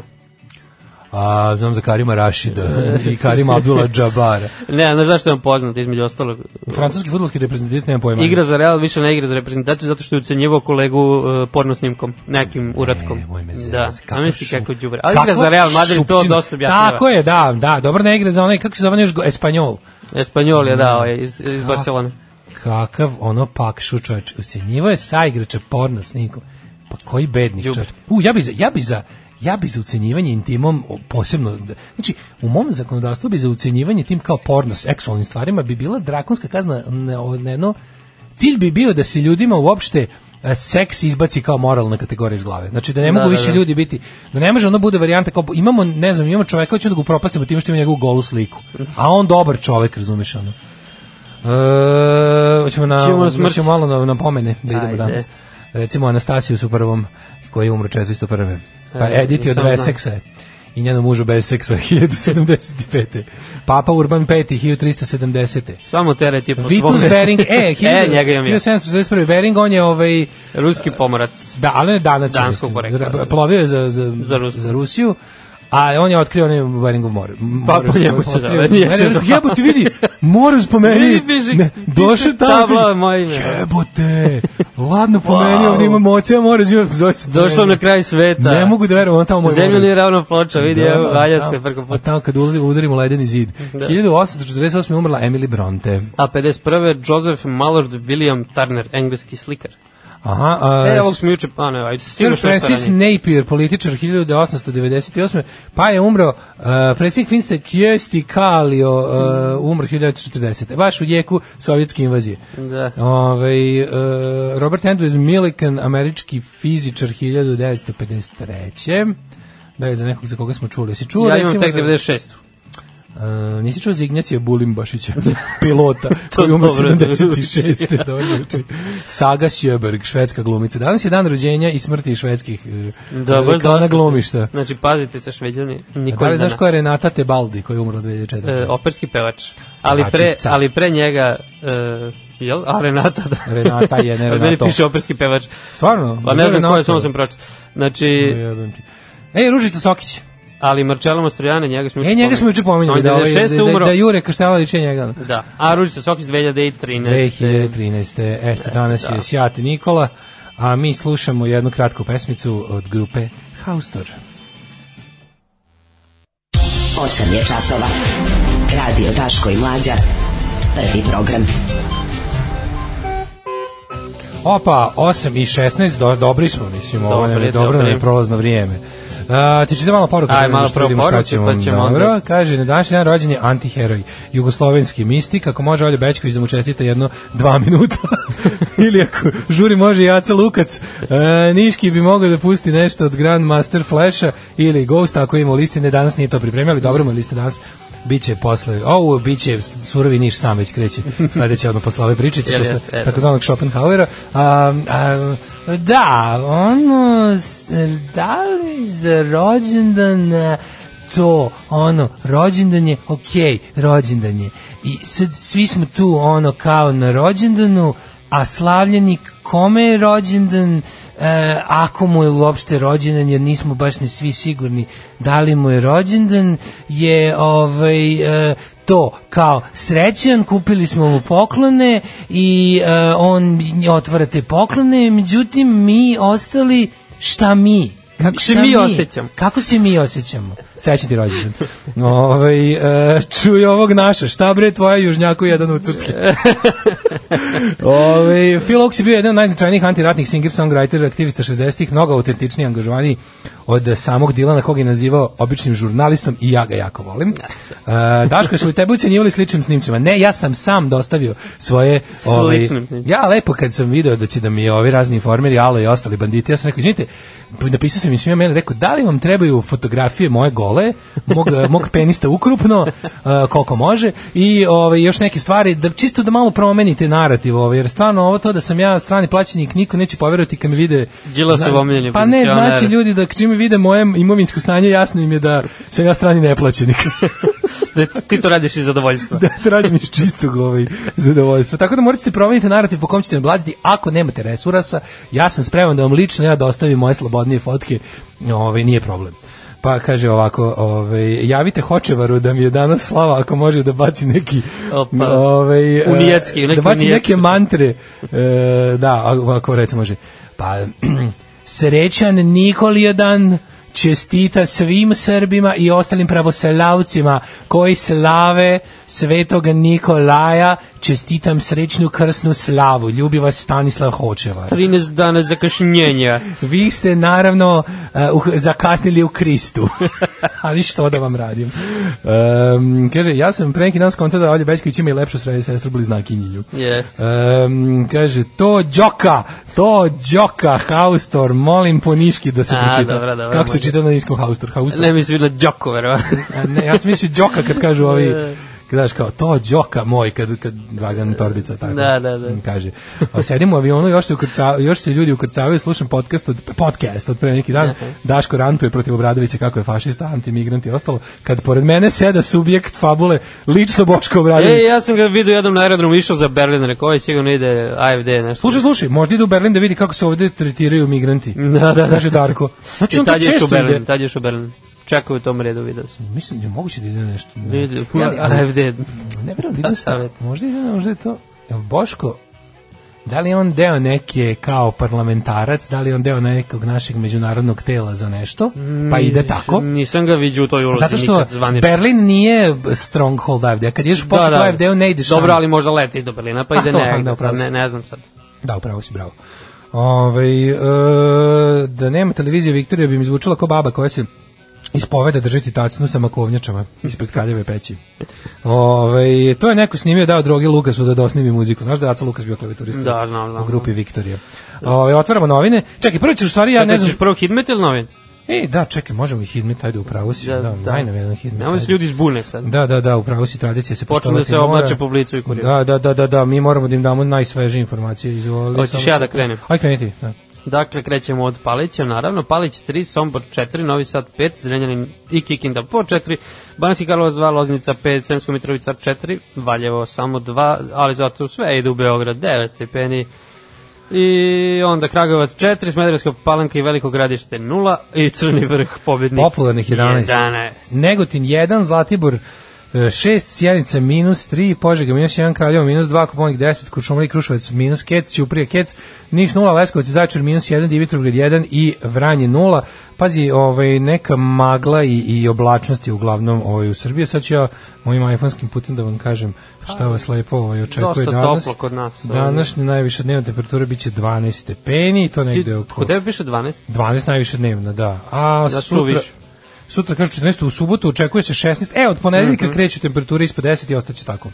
Speaker 5: A, Pa, znam za Karima Rašida i Karima Abdullah Džabara.
Speaker 6: Ne, znaš zašto je on poznat, između ostalog.
Speaker 5: Francuski futbolski reprezentativist, nema pojma.
Speaker 6: Igra za Real, više ne igra za reprezentaciju, zato što je ucenjivo kolegu e, porno snimkom, nekim uratkom.
Speaker 5: Nemoj E, me
Speaker 6: da,
Speaker 5: zezati,
Speaker 6: a misli
Speaker 5: šup-
Speaker 6: kako đubre. Ali
Speaker 5: kakva
Speaker 6: igra za Real Madrid, to
Speaker 5: šupčina.
Speaker 6: dosta objašnjava.
Speaker 5: Tako je, da, da, dobro ne igra za onaj, kako se zove još, go- Espanjol.
Speaker 6: Espanjol je dao je iz, iz Barcelone.
Speaker 5: Kakav ono pak čovječ, ucijenjivo je sa igrače porno snikom. Pa koji bednik
Speaker 6: Đubre.
Speaker 5: čovječ. U, ja bi za, ja bi za, ja bi za ucenjivanje intimom o, posebno, da- znači u mom zakonodavstvu bi za ucenjivanje tim kao porno seksualnim stvarima bi bila drakonska kazna na, na jedno, cilj bi bio da se ljudima uopšte e, seks izbaci kao moralna kategorija iz glave. Znači da ne
Speaker 6: Da,
Speaker 5: mogu
Speaker 6: da,
Speaker 5: više
Speaker 6: da.
Speaker 5: ljudi biti, da ne može ono bude varijanta kao imamo, ne znam, imamo čoveka koji će da ga upropastimo tim što ima njegovu golu sliku. A on dobar čovek, razumeš ono. E, hoćemo na,
Speaker 6: Ćemo na smrt.
Speaker 5: hoćemo malo na, na pomene da idemo
Speaker 6: Ajde.
Speaker 5: danas. Recimo Anastasiju su prvom koji je umro 401. Pa
Speaker 6: E,
Speaker 5: Edith je od
Speaker 6: nisam znao.
Speaker 5: Veseksa je i njenom mužu bez seksa 1075. Papa Urban V 1370.
Speaker 6: Samo teret je po
Speaker 5: Vitus
Speaker 6: svome.
Speaker 5: Bering, e,
Speaker 6: e, njega imam ja.
Speaker 5: 1741. Bering, on je ovaj,
Speaker 6: Ruski pomorac.
Speaker 5: da, ali on je danac.
Speaker 6: Danskog
Speaker 5: mislim.
Speaker 6: porekla.
Speaker 5: Ra- Plovio je za, za,
Speaker 6: Za
Speaker 5: za, Rusiju.
Speaker 6: Rusiju.
Speaker 5: za Rusiju. A on je otkrio onaj Beringov more. M-
Speaker 6: Pa,
Speaker 5: more-
Speaker 6: po njemu se
Speaker 5: otkrio-
Speaker 6: zove, nije se
Speaker 5: More-
Speaker 6: zvao.
Speaker 5: Jebote, vidi, more spomeni.
Speaker 6: Vidi, piše-
Speaker 5: Ne,
Speaker 6: piše
Speaker 5: Došao tamo,
Speaker 6: tabla
Speaker 5: kaže,
Speaker 6: moje ime.
Speaker 5: jebote, ladno pomeni,
Speaker 6: Wow.
Speaker 5: on ima mocija, more živa, zove se
Speaker 6: Došao sam
Speaker 5: pomeni.
Speaker 6: na kraj sveta.
Speaker 5: Ne mogu da verujem, on tamo moj
Speaker 6: Zemlju
Speaker 5: more-
Speaker 6: nije ravna ploča, vidi,
Speaker 5: Da,
Speaker 6: evo,
Speaker 5: da,
Speaker 6: Valjanska
Speaker 5: da.
Speaker 6: je preko
Speaker 5: A
Speaker 6: puta.
Speaker 5: tamo kad ulazi- udarimo ledeni zid.
Speaker 6: Da.
Speaker 5: 1848. umrla Emily Bronte.
Speaker 6: A 51. Joseph Mallard William Turner, engleski slikar.
Speaker 5: Aha, a,
Speaker 6: E, ovog smo juče, a ne, ajde,
Speaker 5: Sir
Speaker 6: stigu što
Speaker 5: Francis
Speaker 6: ranije.
Speaker 5: Napier, političar 1898. Pa je umro uh, predsjednik Finste Kjesti Kalio, uh, umro 1940. Baš u jeku sovjetske invazije.
Speaker 6: Da.
Speaker 5: Ove, uh, Robert Andrews Millikan, američki fizičar 1953. Da je za nekog za koga smo čuli. Si čuo,
Speaker 6: Ja imam
Speaker 5: recimo,
Speaker 6: tek
Speaker 5: za-
Speaker 6: 96.
Speaker 5: Uh, nisi čuo za Ignacija Bulimbašića, pilota, koji je umro
Speaker 6: dobro,
Speaker 5: 76.
Speaker 6: da
Speaker 5: dobro zvuči. Saga Sjöberg, švedska glumica. Danas je dan rođenja i smrti švedskih uh,
Speaker 6: Da, baš
Speaker 5: kao na
Speaker 6: dosta.
Speaker 5: glumišta.
Speaker 6: Znači, pazite se šveđani,
Speaker 5: Da
Speaker 6: Nikolaj
Speaker 5: li znaš
Speaker 6: Dana.
Speaker 5: ko je Renata Tebaldi, koja je umrla 2004.
Speaker 6: E, operski pevač. Ali pre,
Speaker 5: Pevačica.
Speaker 6: ali pre njega, e, jel? A Renata, da.
Speaker 5: Renata je, ne
Speaker 6: Meni
Speaker 5: Renato.
Speaker 6: piše operski pevač.
Speaker 5: Stvarno?
Speaker 6: Pa ne znam ko
Speaker 5: Renato.
Speaker 6: je, samo sam pročito. Znači,
Speaker 5: Jebem ti. Ej, Ružica Sokić.
Speaker 6: ali Marcello Mastrojane, njega smo
Speaker 5: E, njega smo juče pominjali. Da,
Speaker 6: Da,
Speaker 5: ovaj, da,
Speaker 6: 96.
Speaker 5: da,
Speaker 6: umro.
Speaker 5: da Jure Kaštela liče njega.
Speaker 6: Da, a Ružica Sokić 2013.
Speaker 5: 2013. Eto, danas
Speaker 6: da.
Speaker 5: je Sjati Nikola, a mi slušamo jednu kratku pesmicu od grupe Haustor.
Speaker 1: 8 je časova. Radio Daško i Mlađa. Prvi program.
Speaker 5: Opa, 8 i 16, do, dobri smo, mislim, ovo nam je
Speaker 6: Dobri,
Speaker 5: dobro,
Speaker 6: dobri.
Speaker 5: nam je prolazno vrijeme. Uh, ti čite malo poruka.
Speaker 6: Aj,
Speaker 5: da vidimo
Speaker 6: malo
Speaker 5: što vidimo šta
Speaker 6: poruke,
Speaker 5: ćemo.
Speaker 6: pa ćemo
Speaker 5: Dobro,
Speaker 6: onda.
Speaker 5: kaže, na današnji dan rođen je antiheroj, jugoslovenski mistik, ako može Olja Bečković da mu čestite jedno dva minuta, ili ako žuri može Jaca Lukac, uh, Niški bi mogao da pusti nešto od Grand Master Flasha ili Ghost, ako ima u listi, ne danas nije to pripremio, ali dobro mu je liste danas Biće posle, ovo biće surovi niš sam već kreće, sledeće odmah posle ove pričice,
Speaker 6: Jel
Speaker 5: posle
Speaker 6: jeste, jel.
Speaker 5: tako takozvanog Schopenhauera. A, a, da, ono, s- da li za rođendan e, to, ono, rođendan je, okej, rođendan je. I sad svi smo tu, ono, kao na rođendanu, a slavljenik kome je rođendan, e, ako mu je uopšte rođendan, jer nismo baš ni svi sigurni da li mu je rođendan, je ovaj, e, to kao srećan, kupili smo mu poklone i e, on otvara te poklone, međutim mi ostali, šta mi?
Speaker 6: Kako se
Speaker 5: Šta
Speaker 6: mi osjećamo?
Speaker 5: Kako se mi osjećamo? Srećan ti rođendan. Ovaj e, čuj ovog naša, šta bre tvoja južnjaku jedan u Curske. Ove, Phil Oaks je bio jedan od najznačajnijih antiratnih singer-songwriter aktivista 60-ih, mnogo autentičniji, angažovaniji od samog Dilana, kog je nazivao običnim žurnalistom i ja ga jako volim. E, Daško, su li tebe ucenjivali sličnim snimcima? Ne, ja sam sam dostavio svoje... ovaj,
Speaker 6: Sličnim snimcima.
Speaker 5: ja lepo kad sam video da će da mi ovi razni informeri, alo i ostali banditi, ja sam rekao, izvinite, napisao sam im svima mene, rekao, da li vam trebaju fotografije moje gole, mog, mog penista ukrupno, uh, koliko može, i ovaj, još neke stvari, da čisto da malo promenite narativ, ovaj, jer stvarno ovo to da sam ja strani plaćenik, niko neće poverovati kad mi vide...
Speaker 6: Đilasov
Speaker 5: Zna-
Speaker 6: omiljeni
Speaker 5: Pa ne,
Speaker 6: pozicionar.
Speaker 5: znači ljudi da čim mi vide moje imovinsko stanje, jasno im je da sam ja strani neplaćenik.
Speaker 6: Da ti to radiš iz zadovoljstva.
Speaker 5: da to radim iz čistog ovaj, zadovoljstva. Tako da morate promeniti narativ po kom ćete me blatiti. Ako nemate resurasa, ja sam spreman da vam lično ja dostavim moje slobodnije fotke. Ovaj, nije problem. Pa kaže ovako, ovaj, javite Hočevaru da mi je danas slava ako može da baci neki
Speaker 6: Opa.
Speaker 5: ovaj, e,
Speaker 6: Unijetski, neki
Speaker 5: da baci
Speaker 6: unijetski.
Speaker 5: neke mantre. E, da, ako- ako recimo može. Pa, srećan Nikolijedan čestita svim Srbima i ostalim pravoslavcima koji slave svetog Nikolaja čestitam srećnu krsnu slavu, ljubi vas Stanislav Hočevar.
Speaker 6: 13 dana zakašnjenja.
Speaker 5: Vi ste naravno uh, uh, zakasnili u Kristu. Ali što da vam radim? Um, kaže, ja sam pre neki dan skontao da Olja Bećković ima i lepšu srednju sestru bliznakinjenju.
Speaker 6: Yes.
Speaker 5: Um, kaže, to Đoka, to Đoka, Haustor, molim po niški da se
Speaker 6: A,
Speaker 5: pročita.
Speaker 6: dobro, dobro,
Speaker 5: Kako se
Speaker 6: može.
Speaker 5: čita na niskom Haustor? Haustor?
Speaker 6: Ne mislim na Đoko, verovatno.
Speaker 5: A ne, ja sam mislio Đoka kad kažu ovi
Speaker 6: Da.
Speaker 5: kad daš kao, to Đoka moj, kad, kad Dragan Torbica tako
Speaker 6: Da, da, da.
Speaker 5: kaže. A sedim u avionu, još se, ukrca, još se ljudi ukrcavaju, slušam podcast od, podcast od pre neki dan, Daško rantuje protiv Obradovića kako je fašista, antimigrant i ostalo, kad pored mene seda subjekt fabule, lično Boško Obradović.
Speaker 6: E, ja sam ga vidio jednom na aerodromu, išao za Berlin, rekao, ovaj sigurno ide AFD, nešto.
Speaker 5: Slušaj, slušaj, možda ide u Berlin da vidi kako se ovde tretiraju migranti.
Speaker 6: Da, da, da.
Speaker 5: Kaže Darko. Znači,
Speaker 6: I
Speaker 5: on to
Speaker 6: tad je
Speaker 5: često
Speaker 6: išao u Berlin,
Speaker 5: ide.
Speaker 6: tad je išao u Berlin. Čekao je u tom redu, vidio sam.
Speaker 5: Mislim, je moguće da ide na nešto.
Speaker 6: Vidio,
Speaker 5: Ali- ali-
Speaker 6: AFD.
Speaker 5: Ne verujem da ide sa,
Speaker 6: savjet.
Speaker 5: možda ide, možda je to, Jel Boško, da li je on deo neke kao parlamentarac, da li je on deo nekog našeg međunarodnog tela za nešto, pa ide tako?
Speaker 6: Nisam ga vidio u toj ulozi
Speaker 5: Zato što
Speaker 6: Mm, nikad zvanično.
Speaker 5: Berlin nije stronghold AFD, kad ješ posle da, da. AFD-u ne ideš
Speaker 6: Dobro,
Speaker 5: tamo.
Speaker 6: ali možda leti do Berlina, pa
Speaker 5: Pa
Speaker 6: ide
Speaker 5: to,
Speaker 6: negde,
Speaker 5: da, upravo
Speaker 6: sad ne,
Speaker 5: si.
Speaker 6: ne znam sad.
Speaker 5: Da, upravo si, bravo. Ove, e, da nema televizije Viktorija bi mi zvučala kao baba koja se ispoveda držati tacnu sa makovnjačama ispred kaljeve peći. Ove, to je neko snimio dao drogi Lukasu da dosnimi muziku. Znaš da je Aca Lukas bio klavijaturista?
Speaker 6: Da, znam, znam.
Speaker 5: U grupi Viktorija. Ove, otvaramo novine. Čekaj, prvo ćeš u stvari, ja
Speaker 6: Ja
Speaker 5: ne znam...
Speaker 6: prvo Hidmet ili novin?
Speaker 5: E, da, čekaj, možemo i hidmet, ajde, upravo si. Da, da, da. najnov jedan hidmet.
Speaker 6: Nemoj se
Speaker 5: ajde.
Speaker 6: ljudi zbune sad.
Speaker 5: Da, da, da, upravo si, tradicija se
Speaker 6: Počnu da se
Speaker 5: poštovati mora.
Speaker 6: oblače po blicu i kuriru.
Speaker 5: Da, da, da, da, da, mi moramo da im damo najsvežije informacije. Izvoli,
Speaker 6: Hoćeš
Speaker 5: samo-
Speaker 6: ja da krenem?
Speaker 5: Ajde, kreni ti, da.
Speaker 6: Dakle, krećemo od Palića, naravno. Palić 3, Sombor 4, Novi Sad 5, Zrenjanin i Kikinda po 4, Banatski Karlovac 2, Loznica 5, Sremska Mitrovica 4, Valjevo samo 2, ali zato sve ide u Beograd 9 stepeni. I onda Kragovac 4, Smederevska Palanka i Veliko Gradište 0 i Crni vrh pobednik.
Speaker 5: Popularnih 11.
Speaker 6: 11.
Speaker 5: Negotin 1, Zlatibor 6, Sjenica minus 3, Požega minus 1, Kraljevo minus 2, Kuponik 10, Kuršumlija i Kruševac minus Kec, Ćuprija Kec, Niš 0, Leskovac i Zaječar minus 1, Divitrograd 1 i Vranje 0. Pazi, ovaj, neka magla i, i oblačnost je uglavnom ovaj, u Srbiji. Sad ću ja mojim ajfonskim putem da vam kažem šta vas lepo ovaj, očekuje
Speaker 6: dosta
Speaker 5: danas.
Speaker 6: toplo kod nas. ovaj.
Speaker 5: Današnje najviše dnevna temperatura biće 12 stepeni i to
Speaker 6: Ti,
Speaker 5: negde oko...
Speaker 6: kod tebe piše 12?
Speaker 5: 12 najviše dnevno, da. A
Speaker 6: Ja čuo
Speaker 5: sutra,
Speaker 6: više.
Speaker 5: sutra kažu 14, u subotu očekuje se 16. E, od ponedeljka kreću temperature ispod 10 i ostaće tako.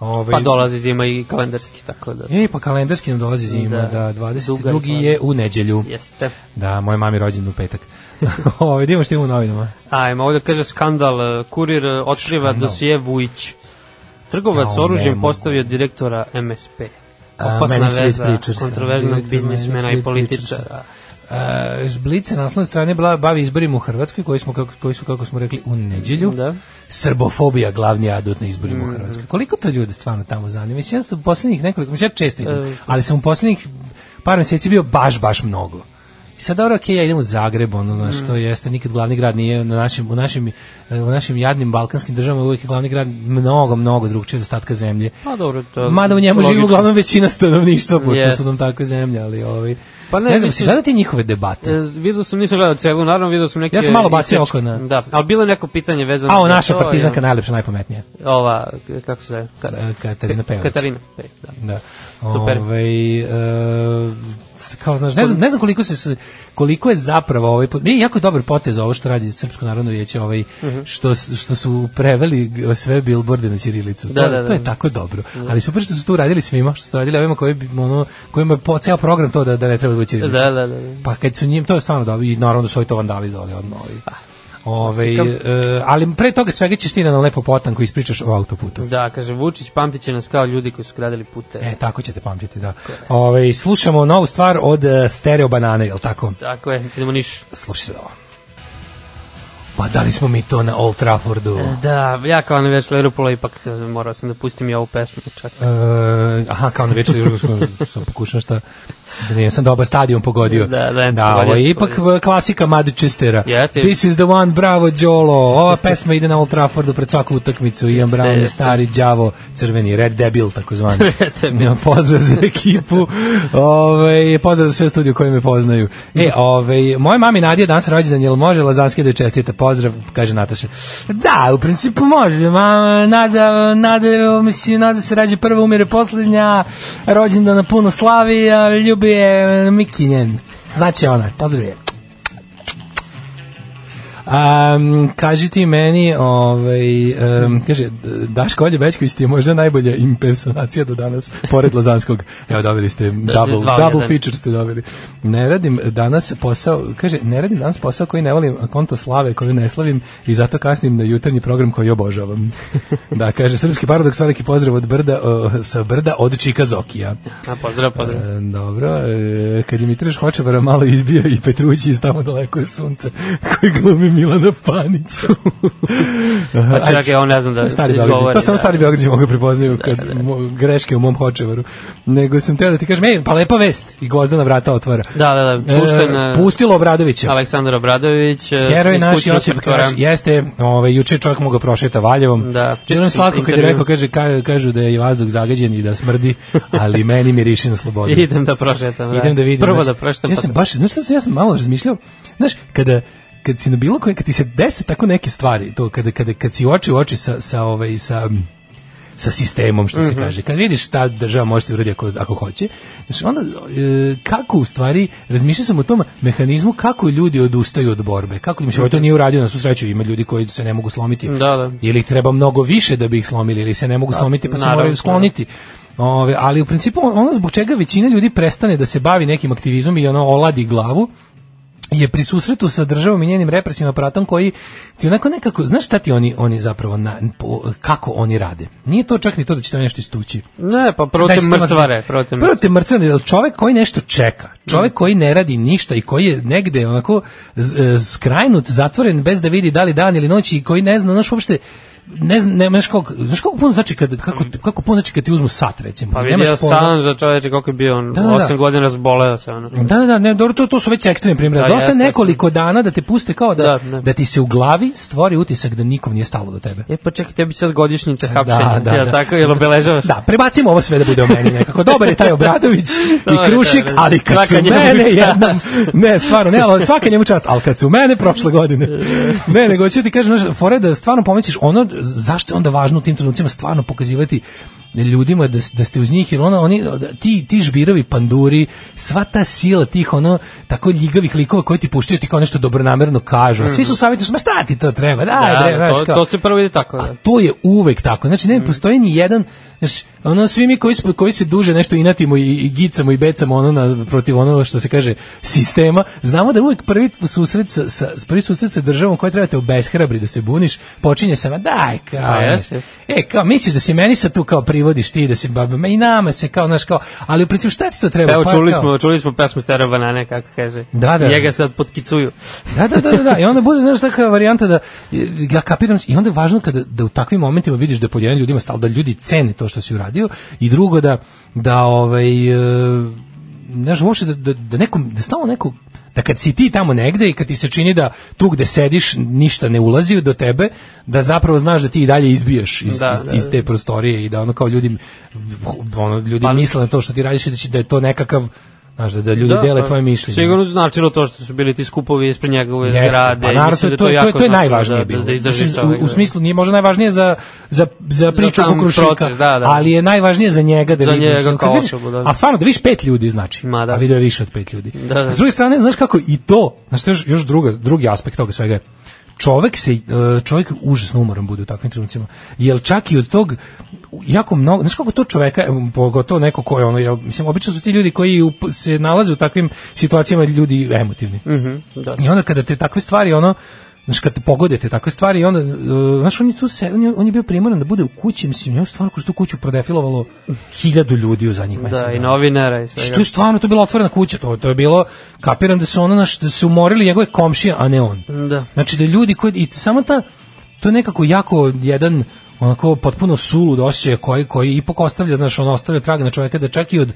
Speaker 5: Ove,
Speaker 6: Mhm. Pa dolazi zima i kalendarski, tako da.
Speaker 5: E, pa kalendarski nam dolazi zima, da,
Speaker 6: Da.
Speaker 5: 22.
Speaker 6: Duga i
Speaker 5: je u neđelju.
Speaker 6: Jeste.
Speaker 5: Da, moje mami rođen u petak. Ovaj, da Ove, idemo što ima u novinama.
Speaker 6: Ajmo, ovde kaže skandal, kurir e, otkriva
Speaker 5: Skandal.
Speaker 6: dosije Vujić. Trgovac
Speaker 5: Jao, ne
Speaker 6: oružjem
Speaker 5: mogu.
Speaker 6: postavio direktora MSP.
Speaker 5: A,
Speaker 6: Opasna
Speaker 5: Manic Street
Speaker 6: veza
Speaker 5: Preachers.
Speaker 6: kontroverznog
Speaker 5: Direktor Manic
Speaker 6: biznismena
Speaker 5: Street
Speaker 6: i političara.
Speaker 5: E, Blic se naslovne strane bla- bavi izborima u Hrvatskoj, koji, smo, kako, koji su, kako smo rekli, u neđelju.
Speaker 6: Da. Mm.
Speaker 5: Srbofobija glavni adut na izborima u Hrvatskoj. Koliko to ljude stvarno tamo zanima? Mislim, ja sam u poslednjih nekoliko, mislim, ja često idem,
Speaker 6: E.
Speaker 5: ali sam u poslednjih par meseci bio baš, baš mnogo. I sad dobro, okej, ja idem u Zagreb, ono na što
Speaker 6: Mm.
Speaker 5: jeste, nikad glavni grad nije na našim, u, našim, e, u našim jadnim balkanskim državama uvijek je glavni grad mnogo, mnogo drugčije od ostatka zemlje.
Speaker 6: Pa dobro, to je
Speaker 5: Mada da u njemu živi
Speaker 6: logično.
Speaker 5: uglavnom većina stanovništva, pošto
Speaker 6: Jeste.
Speaker 5: su nam takve zemlje, ali ovaj...
Speaker 6: Pa ne,
Speaker 5: ne znam,
Speaker 6: mislim-
Speaker 5: si gledati njihove debate?
Speaker 6: E, Vidio sam, nisam gledao celu, naravno vidio sam neke...
Speaker 5: Ja sam malo bacio
Speaker 6: isečke.
Speaker 5: oko na-
Speaker 6: Da, ali bilo je neko pitanje vezano...
Speaker 5: A, o,
Speaker 6: za
Speaker 5: naša
Speaker 6: Da, to,
Speaker 5: partizanka
Speaker 6: ja.
Speaker 5: najlepša, najpametnija.
Speaker 6: Ova, k- kako se zove? Ka-
Speaker 5: E, Katarina Peović.
Speaker 6: Katarina, e, da.
Speaker 5: Da.
Speaker 6: Super.
Speaker 5: Ovaj, e, kao, znaš, ne znam, ne znam koliko se s- koliko je zapravo ovaj pot- nije jako dobar potez ovo što radi Srpsko narodno vijeće ovaj
Speaker 6: Mhm.
Speaker 5: što s- što su preveli g- sve bilborde na ćirilicu.
Speaker 6: Da,
Speaker 5: to,
Speaker 6: da, da.
Speaker 5: to je tako dobro. Ali super što su to uradili svima, što su radili ovima koji bi ono kojima je po ceo program to da da ne treba da bude
Speaker 6: Da,
Speaker 5: ćirilica.
Speaker 6: da, da. da.
Speaker 5: Pa kad su njim, to je stvarno dobro i naravno da su ovi to vandalizovali odmah. Ovi.
Speaker 6: Pa,
Speaker 5: Ove, e, ali pre toga svega ćeš ti na lepo potanku ispričaš o autoputu.
Speaker 6: Da, kaže, Vučić pamtit će nas kao ljudi koji su gradili pute.
Speaker 5: E, tako ćete pamćiti, da. Ove, slušamo novu stvar od e, Stereo Banane, jel tako?
Speaker 6: Tako je, idemo niš.
Speaker 5: Slušaj se ovo. Pa da li smo mi to na Old Traffordu?
Speaker 6: Da, ja kao ne već Leropola ipak e, morao sam da pustim i ovu pesmu čak.
Speaker 5: E, aha, kao na večer Jurgovskom sam pokušao šta da nije sam dobar stadion pogodio.
Speaker 6: Da, da,
Speaker 5: da
Speaker 6: pogodio
Speaker 5: ovo je
Speaker 6: si,
Speaker 5: ipak
Speaker 6: pogodio
Speaker 5: v- klasika Madchestera.
Speaker 6: Jeste.
Speaker 5: This is the one, bravo Đolo. Ova pesma ide na Old Traffordu pred svaku utakmicu. Ian Brown je
Speaker 6: jeste.
Speaker 5: stari đavo, crveni, red debil takozvani. Ja, pozdrav za ekipu. Ovaj pozdrav za sve studije koji me poznaju. E, ovaj moje mami Nadija danas rođendan, jel može Lazanski da joj čestite?
Speaker 7: pozdrav, kaže Nataša.
Speaker 5: Da, u principu može. Ma, nada, nada, mislim, nada se rađe prva, umire poslednja, rođendana puno slavi, a ljubi je Miki njen. Znači ona, pozdrav je. Um, kaži ti meni, ovaj, um, kaže, Daško Olje Bečković ti je možda najbolja impersonacija do danas, pored Lazanskog. Evo, dobili ste double,
Speaker 6: Da, dva u
Speaker 5: double
Speaker 6: jedan.
Speaker 5: feature ste dobili. Ne radim danas posao, kaže, ne radim danas posao koji ne volim, a konto slave koju ne slavim i zato kasnim na jutarnji program koji obožavam. da, kaže, srpski paradoks, veliki pozdrav od brda, o, sa brda od Čika Zokija.
Speaker 6: A, pozdrav, pozdrav.
Speaker 5: E, dobro, e, kad je Mitraš Hočevara malo izbio i Petrući iz tamo daleko je sunce, koji glumi Milana Panića.
Speaker 6: Pa čekaj, on ne znam da
Speaker 5: Stari Beograd,
Speaker 6: izgovori,
Speaker 5: to samo
Speaker 6: da.
Speaker 5: stari Beograd mogu prepoznaju kad mo- greške u mom Hočevaru. Nego sam teo da ti kažem, ej, pa lepa vest, i Gozdana vrata otvara.
Speaker 6: Da, da, da,
Speaker 5: E,
Speaker 6: pušten e,
Speaker 5: pustilo Obradovića.
Speaker 6: Aleksandar Obradović. e,
Speaker 5: Heroj
Speaker 6: iz
Speaker 5: naš
Speaker 6: kućnog
Speaker 5: Josip
Speaker 6: zatvora.
Speaker 5: Kraš, jeste, ovaj, juče je čovjek mogao prošeta Valjevom.
Speaker 6: Da.
Speaker 5: Bilo mi slatko kad je
Speaker 6: Intervju.
Speaker 5: rekao, kaže, ka, kažu da je i vazduh zagađen i da smrdi, ali meni miriši na slobodu.
Speaker 6: Idem da prošetam.
Speaker 5: Idem da vidim.
Speaker 6: Prvo
Speaker 5: znaš,
Speaker 6: da prošetam.
Speaker 5: Ja
Speaker 6: pa
Speaker 5: sam baš, znaš šta sam, ja sam malo razmišljao, znaš, kada kad si na bilo koje, kad ti se dese tako neke stvari, to kada, kada, kad si oči u oči sa, sa, ovaj, sa, sa sistemom, što se
Speaker 6: Mhm.
Speaker 5: kaže. Kad vidiš šta država može ti uraditi ako, ako hoće, znači onda e, kako u stvari, razmišljao sam o tom mehanizmu kako ljudi odustaju od borbe, kako im se ovo to nije uradio na svu sreću, ima ljudi koji se ne mogu slomiti,
Speaker 6: Da, da.
Speaker 5: ili ih treba mnogo više da bi ih slomili, ili se ne mogu slomiti pa se
Speaker 6: naravno,
Speaker 5: moraju skloniti. Ove, ali u principu ono zbog čega većina ljudi prestane da se bavi nekim aktivizmom i ono oladi glavu, je pri susretu sa državom i njenim represivnim aparatom koji ti onako nekako, znaš šta ti oni, oni zapravo, na, po, kako oni rade? Nije to čak ni to da će to nešto istući.
Speaker 6: Ne, pa prvo te
Speaker 5: Daj, šta
Speaker 6: mrcvare.
Speaker 5: vas-
Speaker 6: Prvo te
Speaker 5: Prvo
Speaker 6: mrcvare.
Speaker 5: te mrcvare, jer čovek koji nešto čeka,
Speaker 6: Mm.
Speaker 5: čovek koji ne radi ništa i koji je negde onako z- e, skrajnut, zatvoren, bez da vidi da li dan ili noć i koji ne zna, znaš, uopšte, ne znam, ne, znaš kako, znaš kako puno znači kad, kako, kako puno znači kad ti uzmu sat, recimo.
Speaker 6: Mm. Pa
Speaker 5: Nemaš
Speaker 6: vidio
Speaker 5: pojma.
Speaker 6: Sanža čoveče kako je bio on.
Speaker 5: Da, da, da.
Speaker 6: 8 godina razboleo se ono.
Speaker 5: Da, da, da, ne, dobro, to, to su već ekstremni primjeri.
Speaker 6: Da,
Speaker 5: Da, Dosta je
Speaker 6: jeste,
Speaker 5: nekoliko dana da te puste kao da,
Speaker 6: Da,
Speaker 5: da,
Speaker 6: da.
Speaker 5: ti se u glavi stvori utisak da nikom nije stalo do tebe.
Speaker 6: E pa čekaj, tebi će sad godišnjica hapšenja.
Speaker 5: da,
Speaker 6: jel
Speaker 5: da.
Speaker 6: tako, jel obeležavaš?
Speaker 5: Da, prebacimo ovo sve da bude o meni nekako. Dobar je taj Obradović i
Speaker 6: Dobar je
Speaker 5: Krušik,
Speaker 6: taj, da.
Speaker 5: ali kad su
Speaker 6: Svaka njemu
Speaker 5: mene
Speaker 6: čast.
Speaker 5: jednom... Ne, stvarno, ne, ali svaka njemu čast, ali kad su mene prošle godine. Ne, nego ću ti kažem, znaš, fore da stvarno pomisliš ono, zašto je onda važno u tim trenucima stvarno pokazivati ljudima da, da ste uz njih, jer ono, oni, da, ti, ti žbirovi, panduri, sva ta sila tih, ono, tako ljigavih likova koji ti puštaju, ti kao nešto dobronamerno kažu, a svi su savjetni, ma šta ti to treba, daj,
Speaker 6: Da,
Speaker 5: bre,
Speaker 6: da,
Speaker 5: znaš,
Speaker 6: to,
Speaker 5: kao-
Speaker 6: to se prvo ide tako. Da. Mm.
Speaker 5: a to je uvek tako. Znači, ne postoji ni jedan, znači, ono, svi mi koji, smo- koji se duže nešto inatimo i, i gicamo i becamo ono na, protiv onoga što se kaže sistema, znamo da uvek prvi susret sa, sa, prvi susret sa državom koja treba te obeshrabri da se buniš, počinje sa, ma daj, kao,
Speaker 6: Pa, jeste,
Speaker 5: znaš, e, kao, misliš da si meni sad tu kao privodiš ti, da si baba, ma i nama se kao, znaš, kao, ali u principu šta ti to treba?
Speaker 6: Evo,
Speaker 5: Pa,
Speaker 6: čuli
Speaker 5: kao-
Speaker 6: smo, čuli smo pesmu Stera Banane, kako kaže.
Speaker 5: Da, da.
Speaker 6: Njega sad potkicuju.
Speaker 5: Da, da, da, da, da. I onda bude, znaš, takva varijanta da, ja kapiram, i onda je važno kada, da u takvim momentima vidiš da je pod jedan ljudima stalo, da ljudi cene to što si uradio i drugo da, da ovaj, e, znaš, uopšte da, da, da nekom, da stalo neko, da kad si ti tamo negde i kad ti se čini da tu gde sediš ništa ne ulazi do tebe, da zapravo znaš da ti i dalje izbiješ iz,
Speaker 6: Da,
Speaker 5: iz,
Speaker 6: da,
Speaker 5: iz te prostorije i da ono kao ljudi ono, ljudi
Speaker 6: Pa-
Speaker 5: misle na to što ti radiš i da, će, da je to nekakav Znaš, da, da ljudi
Speaker 6: Da,
Speaker 5: dele
Speaker 6: pa,
Speaker 5: tvoje mišljenje.
Speaker 6: Sigurno značilo to što su bili ti skupovi ispred njegove
Speaker 5: Jeste,
Speaker 6: zgrade.
Speaker 5: Pa naravno, to,
Speaker 6: Mislim
Speaker 5: je-
Speaker 6: da
Speaker 5: to, je- to, je-
Speaker 6: jako
Speaker 5: to je
Speaker 6: značilo
Speaker 5: najvažnije
Speaker 6: da,
Speaker 5: bilo.
Speaker 6: Da, da izdrži
Speaker 5: Mislim,
Speaker 6: čovjek,
Speaker 5: u, u
Speaker 6: da.
Speaker 5: smislu nije možda najvažnije za, za, za priču
Speaker 6: sam
Speaker 5: oko Krušika,
Speaker 6: proces, da, da.
Speaker 5: ali je najvažnije za njega da
Speaker 6: Za
Speaker 5: vidiš.
Speaker 6: njega
Speaker 5: Kad
Speaker 6: kao
Speaker 5: vidiš-
Speaker 6: osobu, da.
Speaker 5: A stvarno, da vidiš pet ljudi, znači.
Speaker 6: Ma, da.
Speaker 5: A video je više od pet ljudi.
Speaker 6: Da, da.
Speaker 5: A S druge strane, znaš kako i to, znaš to je još, još druga, drugi aspekt toga svega je, čovek se, e, čovek užasno umoran bude u takvim trenucima, jer čak i od tog jako mnogo, znaš kako to čoveka, e, pogotovo neko ko je ono, jel, mislim, obično su ti ljudi koji up- se nalaze u takvim situacijama ljudi emotivni.
Speaker 6: Mhm, da.
Speaker 5: I onda kada te takve stvari ono Znaš, kad te pogodete takve stvari, i onda, uh, znaš, on je tu se, on je, on je bio primoran da bude u kući, mislim, njemu stvarno kroz tu kuću prodefilovalo hiljadu ljudi u zadnjih mesec.
Speaker 6: Da, i
Speaker 5: dana.
Speaker 6: novinara i
Speaker 5: Što
Speaker 6: svega.
Speaker 5: je stvarno, to je bila otvorena kuća, to, to je bilo, kapiram da su ono, naš, da su umorili njegove komšije, a ne on.
Speaker 6: Da.
Speaker 5: Znači da ljudi koji, i samo ta, to je nekako jako jedan, onako potpuno sulud osjećaj koji, koji ipak ostavlja, znaš, ono ostavlja trag na čoveka da čak i od,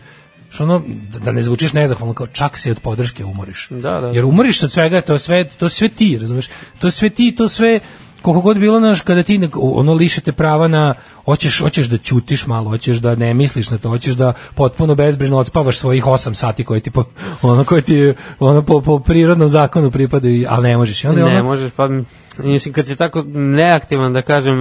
Speaker 5: što ono, da- da ne zvučiš nezahvalno, kao čak se od podrške umoriš.
Speaker 6: Da, da.
Speaker 5: Jer umoriš se od svega, to je sve, to je sve ti, razumeš? To je sve ti, to sve, koliko god bilo, znaš, kada ti nek- ono lišete prava na hoćeš, hoćeš da ćutiš malo, hoćeš da ne misliš na to, hoćeš da potpuno bezbrižno odspavaš svojih 8 sati koje ti po, ono koje ti ono po, po prirodnom zakonu pripadaju, ali ne možeš. I onda je
Speaker 6: Ne
Speaker 5: ono,
Speaker 6: možeš, pa mislim kad si tako neaktivan da kažem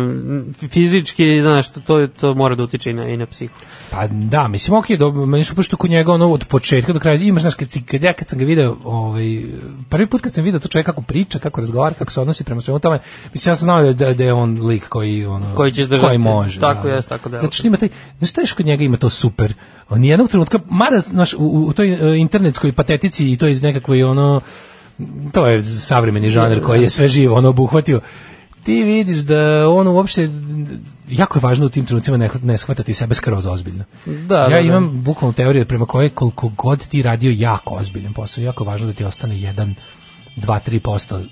Speaker 6: fizički, znaš, to to, to mora da utiče i na, i na psihu.
Speaker 5: Pa da, mislim, okej, dobro, meni su pošto kod njega ono od početka do kraja, imaš, znaš, kad, si, kad ja kad sam ga video, ovaj, prvi put kad sam video to čovjek kako priča, kako razgovara, kako se odnosi prema svemu tome, mislim, ja sam znao da, da, da je on lik koji, ono,
Speaker 6: Koji će izdržati.
Speaker 5: koji može.
Speaker 6: Tako
Speaker 5: da.
Speaker 6: jest, tako deluje.
Speaker 5: Zato što ima taj, znaš, šta još kod njega ima to super, on jednog trenutka, mada, znaš, u, u u toj e, internetskoj patetici i to iz nekakvoj, ono, to je savremeni žanr koji je sve živo ono obuhvatio. Ti vidiš da on uopšte jako je važno u tim trenucima ne, ne shvatati sebe skroz ozbiljno.
Speaker 6: Da,
Speaker 5: ja
Speaker 6: da, da.
Speaker 5: imam bukvalno teoriju prema kojoj koliko god ti radio jako ozbiljan posao, jako je važno da ti ostane 1 2 3%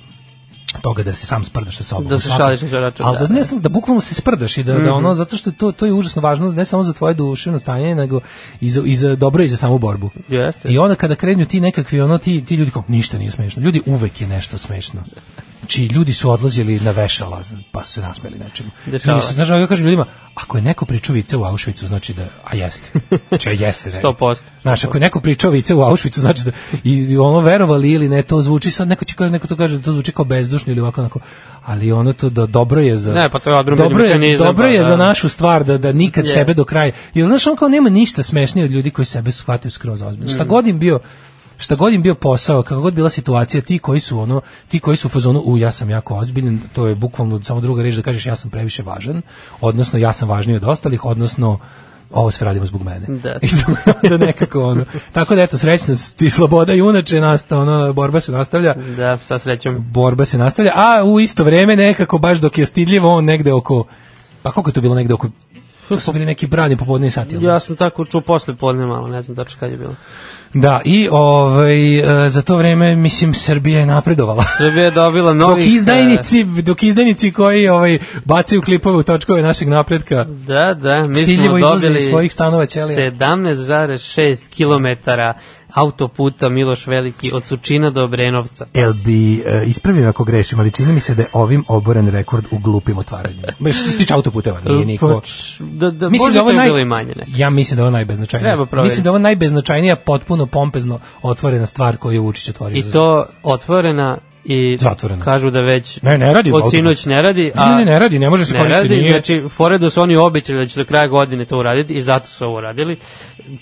Speaker 5: toga da se sam sprdaš sa sobom.
Speaker 6: Da se
Speaker 5: U svakom-
Speaker 6: šališ na svoj račun,
Speaker 5: Ali
Speaker 6: da, Mhm.
Speaker 5: da, ne sam, da bukvalno se sprdaš i da, da ono, zato što to, to je užasno važno ne samo za tvoje duševno stanje, nego i za, i za dobro i za samu borbu.
Speaker 6: Jeste.
Speaker 5: I onda kada krenju ti nekakvi, ono, ti, ti ljudi kao, ništa nije smešno. Ljudi uvek je nešto smešno. Či ljudi su odlazili na vešala, pa se nasmeli nečemu.
Speaker 6: Dešava
Speaker 5: Ljudi su, znaš, ja kažem ljudima, ako je neko pričao vice u Auschwitzu, znači da, a jeste. Če jeste. Ne.
Speaker 6: 100%.
Speaker 5: Znaš, ako je neko pričao vice u Auschwitzu, znači da, i ono, verovali ili ne, to zvuči, sad neko, će, ka- neko to kaže, da to zvuči kao bezdušno ili ovako, onako, ali ono to da dobro je za...
Speaker 6: Ne, pa to je odbrambeni
Speaker 5: dobro je,
Speaker 6: mehanizam,
Speaker 5: dobro je
Speaker 6: pa,
Speaker 5: za
Speaker 6: da.
Speaker 5: našu stvar da da nikad
Speaker 6: Je.
Speaker 5: sebe do kraja. Jer znaš on kao nema ništa smešnije od ljudi koji sebe shvataju skroz ozbiljno.
Speaker 6: Mm.
Speaker 5: Šta god im bio šta god im bio posao, kako god bila situacija, ti koji su ono, ti koji su u fazonu, u ja sam jako ozbiljan, to je bukvalno samo druga reč da kažeš ja sam previše važan, odnosno ja sam važniji od ostalih, odnosno ovo sve radimo zbog mene.
Speaker 6: Da.
Speaker 5: I to, da nekako ono. Tako da eto srećna ti sloboda i unače nasta, ono, borba se nastavlja
Speaker 6: Da, sa srećom.
Speaker 5: borba se nastavlja, a u isto vreme nekako baš dok je stidljivo on negde oko pa koliko je to bilo negde oko to su bili neki brani popodne sati. jel da?
Speaker 6: Ja sam tako čuo posle podne malo, ne znam tačno kad je bilo.
Speaker 5: Da, i ovaj, e, za to vreme, mislim, Srbija je napredovala.
Speaker 6: Srbija je Da dobila
Speaker 5: Dok
Speaker 6: novih... e,
Speaker 5: izdajnici, dok izdajnici koji ovaj, bacaju klipove u točkove našeg napretka,
Speaker 6: Da, da, mi
Speaker 5: Stiljivo
Speaker 6: smo
Speaker 5: izlaze iz
Speaker 6: dobili
Speaker 5: svojih stanova ćelija.
Speaker 6: 17,6 km autoputa Miloš Veliki od Sučina do Obrenovca.
Speaker 5: jel bi e, ispravio ako grešim, ali čini mi se da je ovim oboren rekord u glupim otvaranjima. Ma, Što se tiče autoputeva, nije niko...
Speaker 6: Pa, Da, da, mislim da
Speaker 5: ovo
Speaker 6: je
Speaker 5: naj-
Speaker 6: bilo i manje nekako.
Speaker 5: Ja mislim da je ovo najbeznačajnija.
Speaker 6: Treba provjeriti.
Speaker 5: Mislim da je ovo najbeznačajnija, potpuno pompezno otvorena stvar koju je Vučić otvorio.
Speaker 6: I
Speaker 5: za
Speaker 6: to otvorena i
Speaker 5: Zatvorena.
Speaker 6: kažu da već
Speaker 5: Ne, ne radi
Speaker 6: od
Speaker 5: autobus.
Speaker 6: sinoć ne radi. A
Speaker 5: Ne, ne, ne radi, ne može se
Speaker 6: ne
Speaker 5: koristiti,
Speaker 6: radi,
Speaker 5: nije-
Speaker 6: Znači, fore da su oni običali da će do kraja godine to uraditi i zato su ovo uradili.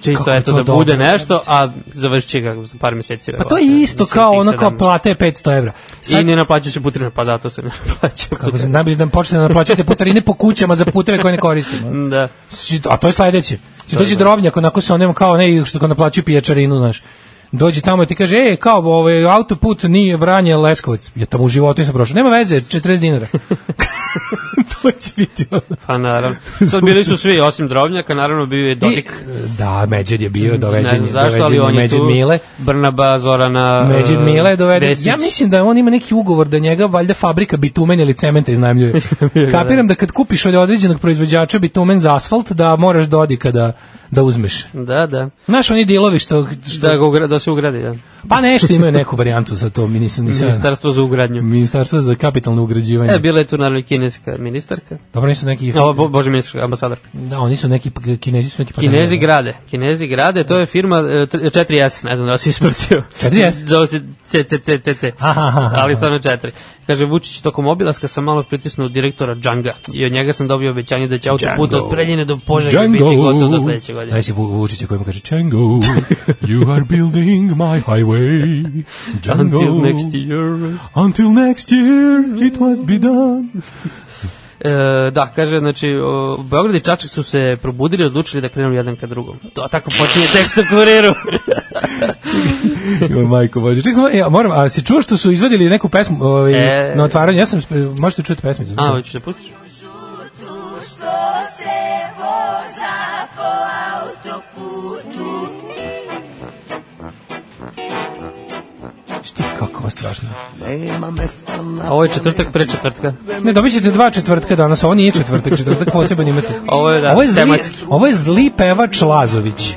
Speaker 6: Čisto
Speaker 5: Kako je
Speaker 6: eto
Speaker 5: to
Speaker 6: da bude
Speaker 5: dobro.
Speaker 6: nešto, a završit će ga za par meseci.
Speaker 5: Pa to
Speaker 6: verovatno.
Speaker 5: je isto
Speaker 6: Mislim,
Speaker 5: kao
Speaker 6: tih
Speaker 5: ono kao
Speaker 6: sedam-
Speaker 5: plata je 500 evra.
Speaker 6: I
Speaker 5: Sad,
Speaker 6: ne naplaćaju se putrine, pa zato se ne naplaćaju
Speaker 5: kako se
Speaker 6: putrine.
Speaker 5: najbolje da počnete da plaćate putarine po kućama za puteve koje ne koristimo.
Speaker 6: Da.
Speaker 5: Si- A to je sledeće. Će dođe drobnjak, onako se onem kao ne, što ga naplaćuju pijačarinu, znaš. Dođe tamo i ti kaže, ej, kao ovaj, autoput nije Vranje Leskovac. Ja tamo u životu nisam prošao. Nema veze, 40 dinara. to će biti ono.
Speaker 6: Pa naravno. Sad bili su svi, osim Drobnjaka, naravno bio je
Speaker 5: I,
Speaker 6: Dodik.
Speaker 5: da, Međed je bio,
Speaker 6: Ne
Speaker 5: doveđen,
Speaker 6: znam
Speaker 5: je-
Speaker 6: zašto, ali
Speaker 5: doveđen
Speaker 6: on
Speaker 5: je
Speaker 6: je
Speaker 5: Međed
Speaker 6: tu.
Speaker 5: Mile.
Speaker 6: Brnaba, Zorana,
Speaker 5: Međed
Speaker 6: e,
Speaker 5: Mile je doveden.
Speaker 6: Vesić.
Speaker 5: Ja mislim da on ima neki ugovor da njega valjda fabrika bitumen ili cementa iznajmljuje. Kapiram da kad kupiš od određenog proizvođača bitumen za asfalt da moraš dodika da da uzmeš.
Speaker 6: Da, da.
Speaker 5: Znaš oni dilovi što, što
Speaker 6: Da, ga ugra, da se ugradi, da.
Speaker 5: pa nešto imaju neku varijantu za to, mi nisam nisam.
Speaker 6: Ministarstvo za ugradnju.
Speaker 5: Mm. Ministarstvo za kapitalno ugrađivanje.
Speaker 6: E, bila je tu naravno i kineska ministarka.
Speaker 5: Dobro nisu neki
Speaker 6: O, bo, bože, ministarka, ambasadorka.
Speaker 5: da, oni su neki Kinezi su neki pa da,
Speaker 6: Kinezi grade. Kinezi grade, to je firma e, tr- 4S, ne znam da li si ispratio.
Speaker 5: 4S?
Speaker 6: Zove se CCCCC,
Speaker 5: Aha, aha, aha.
Speaker 6: ali stvarno 4. Kaže, Vučić, tokom obilaska sam malo pritisnuo direktora Džanga i od njega sam dobio obećanje da će autoput
Speaker 5: Django.
Speaker 6: od Preljine do Požega biti gotov do sledeće godine.
Speaker 5: Znaš si Vu- Vučića kojima kaže Django, you are building my highway. Django.
Speaker 6: Until next year.
Speaker 5: Until next year it must be done.
Speaker 6: E, da, kaže, znači, o, Beograd i Čačak su se probudili i odlučili da krenu jedan ka drugom. To, a tako počinje tekst na kuriru.
Speaker 5: Jo, majko bože. Ček, samo, e, a moram, a si čuo što su izvadili neku pesmu ovaj,
Speaker 6: E.
Speaker 5: na otvaranju? Ja sam, spre- možete čuti pesmicu.
Speaker 6: a, hoćeš da pustiš?
Speaker 5: Šti, kako vas strašno.
Speaker 6: Ovo je četvrtak pre četvrtka.
Speaker 5: Ne, dobit ćete dva četvrtka danas, ovo nije četvrtak, četvrtak poseban imate.
Speaker 6: Ovo je, da,
Speaker 5: ovo je zli,
Speaker 6: tematski.
Speaker 5: ovo je zli pevač Lazović.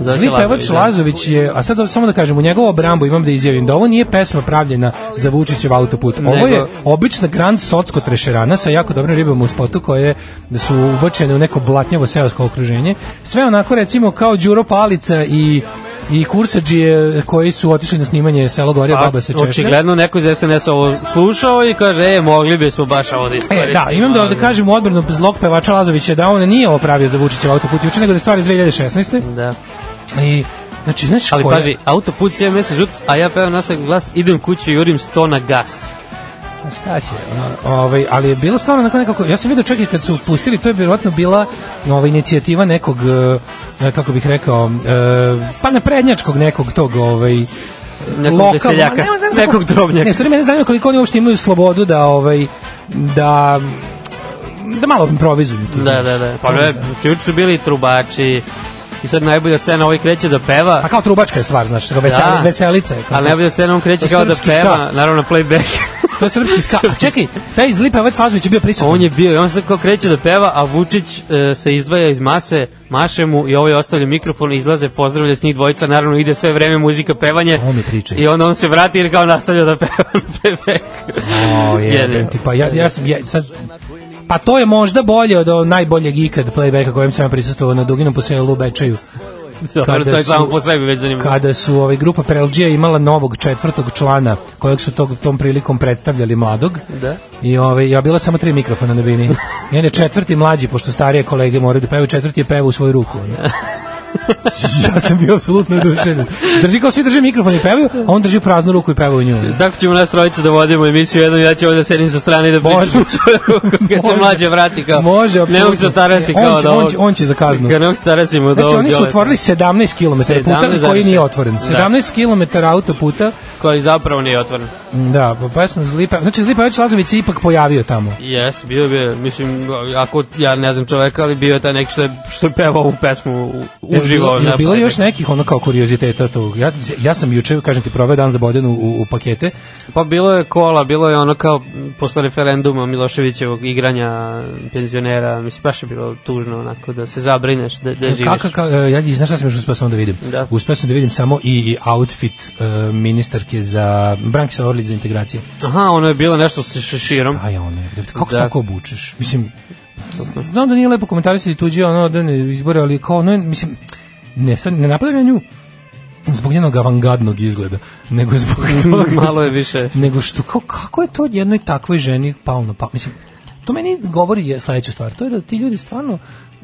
Speaker 6: Zoe
Speaker 5: Zli pevač
Speaker 6: Lazović, da.
Speaker 5: Lazović je, a sad samo da kažem, u njegovu obrambu imam da izjavim da ovo nije pesma pravljena za Vučićev autoput. Ovo je
Speaker 6: Nego-
Speaker 5: obična grand socko trešerana sa jako dobrim ribama u spotu koje su ubačene u neko blatnjavo seosko okruženje. Sve onako recimo kao Đuro Palica i i kursadžije koji su otišli na snimanje Selo Gorja Baba se Češlja.
Speaker 6: Pa, Očigledno neko iz SNS ovo slušao i kaže, e, mogli bismo baš ovo da
Speaker 5: E,
Speaker 6: iskoristimo.
Speaker 5: da, imam da, da kažem u odbranu zlog pevača Lazovića da on nije ovo pravio za Vučićev autoput juče, nego da je stvar iz 2016.
Speaker 6: Da.
Speaker 5: I, znači, znaš
Speaker 6: Ali
Speaker 5: koja-
Speaker 6: pazi, autoput sjeve mesec žut, a ja pevam na svoj glas, idem kući, jurim sto na gas.
Speaker 5: Pa Šta će? o- Ovaj, ali je bilo stvarno onako nekako, ja sam vidio čak i kad su pustili, to je vjerojatno bila nova inicijativa nekog, e, kako bih rekao, e, pa naprednjačkog nekog tog, ovaj,
Speaker 6: Nekog veseljaka,
Speaker 5: ma ne, ne znam
Speaker 6: nekog
Speaker 5: kako-
Speaker 6: drobnjaka.
Speaker 5: Ne, u stvari mene zanima koliko oni uopšte imaju slobodu da, ovaj, da, da malo improvizuju. tu,
Speaker 6: Da,
Speaker 5: znaš.
Speaker 6: da, da. Pa ne, čuč su bili i trubači. I sad najbolja scena, ovaj kreće da peva.
Speaker 5: Pa kao trubačka je stvar, znaš, kao veseli,
Speaker 6: Da.
Speaker 5: veselica je. kao-
Speaker 6: Ali najbolja scena, on kreće
Speaker 5: To je
Speaker 6: kao da
Speaker 5: Pa, srpski
Speaker 6: peva, naravno playback.
Speaker 5: To je srpski ska. A čekaj, taj zli pevač Lazović je bio prisutan.
Speaker 6: On je bio, i on sad kao kreće da peva, a Vučić e, se izdvaja iz mase, maše mu i ovaj ostavlja mikrofon, izlaze, pozdravlja s njih dvojica, naravno ide sve vreme muzika, pevanje.
Speaker 5: Ovo mi pričaj.
Speaker 6: I onda on se vrati jer kao nastavlja da peva na playback.
Speaker 5: O, jebem
Speaker 6: Jebem.
Speaker 5: ti, pa ja, ja sam, ja, sad, pa to je možda bolje od o, najboljeg ikad playbacka kojem sam ja prisustvovao na Duginom po selu u Bečaju.
Speaker 6: Dobro,
Speaker 5: Kada
Speaker 6: to je samo
Speaker 5: su-
Speaker 6: po sebi već zanimljivo.
Speaker 5: Kada su ovaj, grupa Perelđija imala novog četvrtog člana, kojeg su tog, tom prilikom predstavljali mladog.
Speaker 6: Da.
Speaker 5: I ovaj, ja bila samo tri mikrofona na bini. I on je četvrti mlađi, pošto starije kolege moraju da pevaju, četvrti je pevao u svoju ruku. ono. ja sam bio apsolutno oduševljen. Drži kao svi drže mikrofon i pevaju, a on drži praznu ruku i peva u nju.
Speaker 6: Tako ćemo nas trojica da vodimo emisiju jednom, ja ću ovdje da sedim sa strane i da
Speaker 5: Može.
Speaker 6: pričam svoju ruku kad se
Speaker 5: Može.
Speaker 6: mlađe vrati kao.
Speaker 5: Može,
Speaker 6: Ne mogu
Speaker 5: apsolutno. E,
Speaker 6: se tarasi
Speaker 5: On
Speaker 6: kao
Speaker 5: će-
Speaker 6: da
Speaker 5: on će- on će za kaznu.
Speaker 6: Kao ne mogu se tarasimo da
Speaker 5: Znači
Speaker 6: ovog
Speaker 5: oni su
Speaker 6: dole-
Speaker 5: otvorili 17 km puta
Speaker 6: 17,6.
Speaker 5: koji nije otvoren. 17 km autoputa.
Speaker 6: Koji zapravo nije otvoren.
Speaker 5: Da, pa pesma Zlipa. Znači Zlipa već Lazović se ipak pojavio tamo.
Speaker 6: Jeste, bio je, mislim, ako ja ne znam čoveka, ali bio je taj neki što je, što je pevao ovu pesmu u- uživo. pa
Speaker 5: Je,
Speaker 6: na
Speaker 5: bilo
Speaker 6: playback.
Speaker 5: još nekih ono kao kurioziteta tu. Ja, ja sam juče, kažem ti, proveo dan za Bodenu u, u pakete.
Speaker 6: Pa bilo je kola, bilo je ono kao m, posle referenduma Miloševićevog igranja penzionera, mislim, baš je bilo tužno onako da se zabrineš, da, da živiš.
Speaker 5: Kako, ka, e, ja, znaš šta sam još uspeo samo da vidim?
Speaker 6: Da.
Speaker 5: Uspeo sam da vidim samo i, i outfit e, ministarke za Branke Saorlić za integracije.
Speaker 6: Aha, ono je bilo nešto sa šeširom.
Speaker 5: Aj, ono je, kako se
Speaker 6: Da.
Speaker 5: tako obučeš? Mislim, znam da nije lepo komentarisati tuđe ono da ne izbore, ali kao, ono, je, mislim, ne, sad ne napadam ja nju zbog njenog avangardnog izgleda, nego zbog toga.
Speaker 6: Malo je više.
Speaker 5: Nego što, kao, kako je to jednoj takvoj ženi palo na pa, mislim, to meni govori je sledeću stvar, to je da ti ljudi stvarno,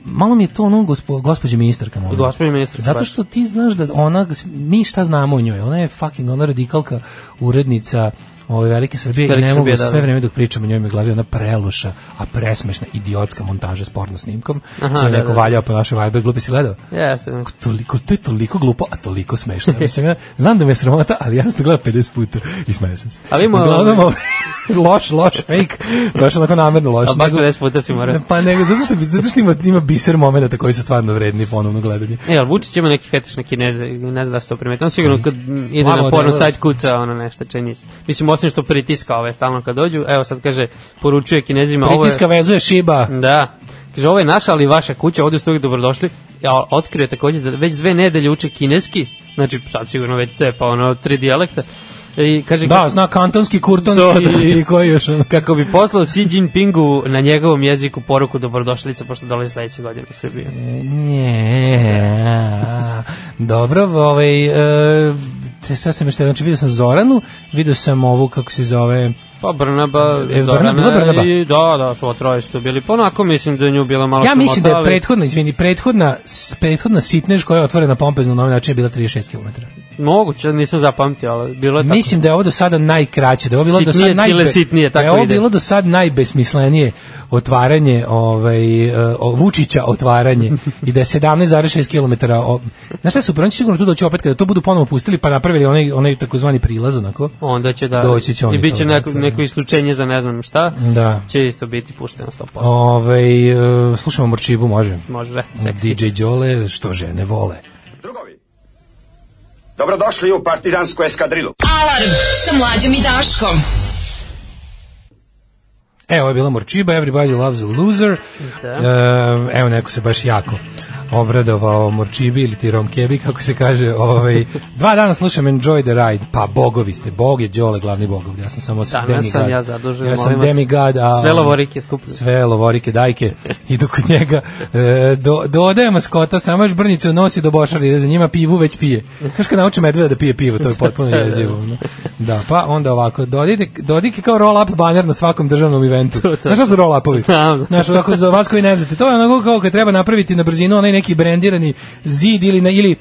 Speaker 5: malo mi je to ono gospo, gospođe ministarka, molim.
Speaker 6: Gospodin ministar.
Speaker 5: Zato što ti znaš da ona, mi šta znamo o njoj, ona je fucking ona radikalka urednica ove velike Srbije i
Speaker 6: Velike
Speaker 5: ne mogu
Speaker 6: Srbije, da,
Speaker 5: sve
Speaker 6: da.
Speaker 5: vreme dok pričam o njoj mi je u glavi ona preloša, a presmešna idiotska montaža s porno snimkom.
Speaker 6: Aha,
Speaker 5: Aha, je
Speaker 6: da,
Speaker 5: neko
Speaker 6: da.
Speaker 5: valjao po našoj Viber glupi si gledao?
Speaker 6: Jeste. znači,
Speaker 5: Toliko, to je toliko glupo, a toliko smešno. Ja, mislim, ja znam da me je sramota, ali ja sam to gledao 50 puta i smeo sam se.
Speaker 6: Ali ima-
Speaker 5: Uglavnom, ovaj, loš, loš, fake, baš onako namerno loš.
Speaker 6: A baš
Speaker 5: Znači Nego-
Speaker 6: 50 puta si morao.
Speaker 5: Pa nego, zato što, zato što ima, ima biser momenta koji su stvarno vredni ponovno gledanje.
Speaker 6: E, ali Vučić ima neki fetiš na kineze, ne znam da se to primeti. On sigurno kad m, ide
Speaker 5: Lama
Speaker 6: na porno
Speaker 5: odjela.
Speaker 6: sajt kuca ono nešto čenjice. Mislim, osim što pritiska ove stalno kad dođu, evo sad kaže, poručuje kinezima, ovo je...
Speaker 5: Pritiska vezuje šiba.
Speaker 6: Da. Kaže, ovo je naša, ali i vaša kuća, ovde ste uvijek dobrodošli. Ja, otkrio je takođe da već dve nedelje uče kineski, znači sad sigurno već cepa ono tri dijalekta. I kaže,
Speaker 5: Da, zna kantonski, kurtonski
Speaker 6: To, da.
Speaker 5: i koji još. ono.
Speaker 6: kako bi poslao Xi Jinpingu na njegovom jeziku poruku dobrodošlica, pošto dolazi sledeće godine u Srbiju.
Speaker 5: E, Nje, dobro, ovaj, e, te sad sam još, znači vidio sam Zoranu, vidio sam ovu, kako se zove,
Speaker 6: Pa Brnaba,
Speaker 5: E,
Speaker 6: e,
Speaker 5: Brna-
Speaker 6: Zorana
Speaker 5: bila Brnaba?
Speaker 6: i da, da, su otroje što bili. Pa onako mislim da je nju bila malo
Speaker 5: ja mislim da je
Speaker 6: sramota, ali-
Speaker 5: prethodna, izvini, prethodna, s- prethodna sitnež koja je otvorena pompezno na ovaj način je bila 36 km.
Speaker 6: Moguće, nisam zapamtio, ali bilo je tako.
Speaker 5: Mislim da je ovo do sada najkraće, da je ovo bilo do
Speaker 6: Sitnije,
Speaker 5: sada najbe,
Speaker 6: cile sitnije,
Speaker 5: da je
Speaker 6: tako
Speaker 5: ovo
Speaker 6: ide.
Speaker 5: bilo do sad najbesmislenije otvaranje ovaj e, o- Vučića otvaranje i da je 17,6 km. O, znaš šta su oni će sigurno tu doći opet kada to budu ponovo pustili pa napravili onaj onaj takozvani prilaz onako.
Speaker 6: Onda će da...
Speaker 5: Doći će oni
Speaker 6: I bit će
Speaker 5: toga,
Speaker 6: neko,
Speaker 5: da.
Speaker 6: neko isključenje za ne znam šta.
Speaker 5: Da.
Speaker 6: Će isto biti pušteno 100%.
Speaker 5: Ovaj e, slušamo Morčibu, može.
Speaker 6: Može, seksi.
Speaker 5: DJ Đole, što žene vole.
Speaker 8: Drugovi, dobrodošli u partizansku eskadrilu.
Speaker 4: Alarm sa mlađom i Daškom.
Speaker 5: E, ovo je bila Morčiba, Everybody Loves a Loser.
Speaker 6: Da.
Speaker 5: E, evo, neko se baš jako obradovao Morčibi ili ti Romkebi, kako se kaže. Ovaj, dva dana slušam Enjoy the Ride. Pa bogovi ste, bog je Đole glavni bogov. Ja sam samo
Speaker 6: Danas
Speaker 5: demigod.
Speaker 6: sam ja zadužen,
Speaker 5: Ja sam
Speaker 6: molim vas.
Speaker 5: demigod. A, ovaj,
Speaker 6: Sve lovorike skupno.
Speaker 5: Sve lovorike, dajke. Idu kod njega. E, do, dodaje maskota, samo još brnicu nosi do bošara, ide za njima pivu već pije. Znaš kad nauči medveda da pije pivo, to je potpuno
Speaker 6: da,
Speaker 5: jezivo. ono. Da, pa onda ovako, Dodik, Dodik je kao roll-up banner na svakom državnom eventu.
Speaker 6: To, to.
Speaker 5: Znaš šta su roll-upovi?
Speaker 6: Znam.
Speaker 5: Znaš, ovako za vas koji ne znate, to je onako kao kad treba napraviti na brzinu onaj neki brendirani zid ili na, ili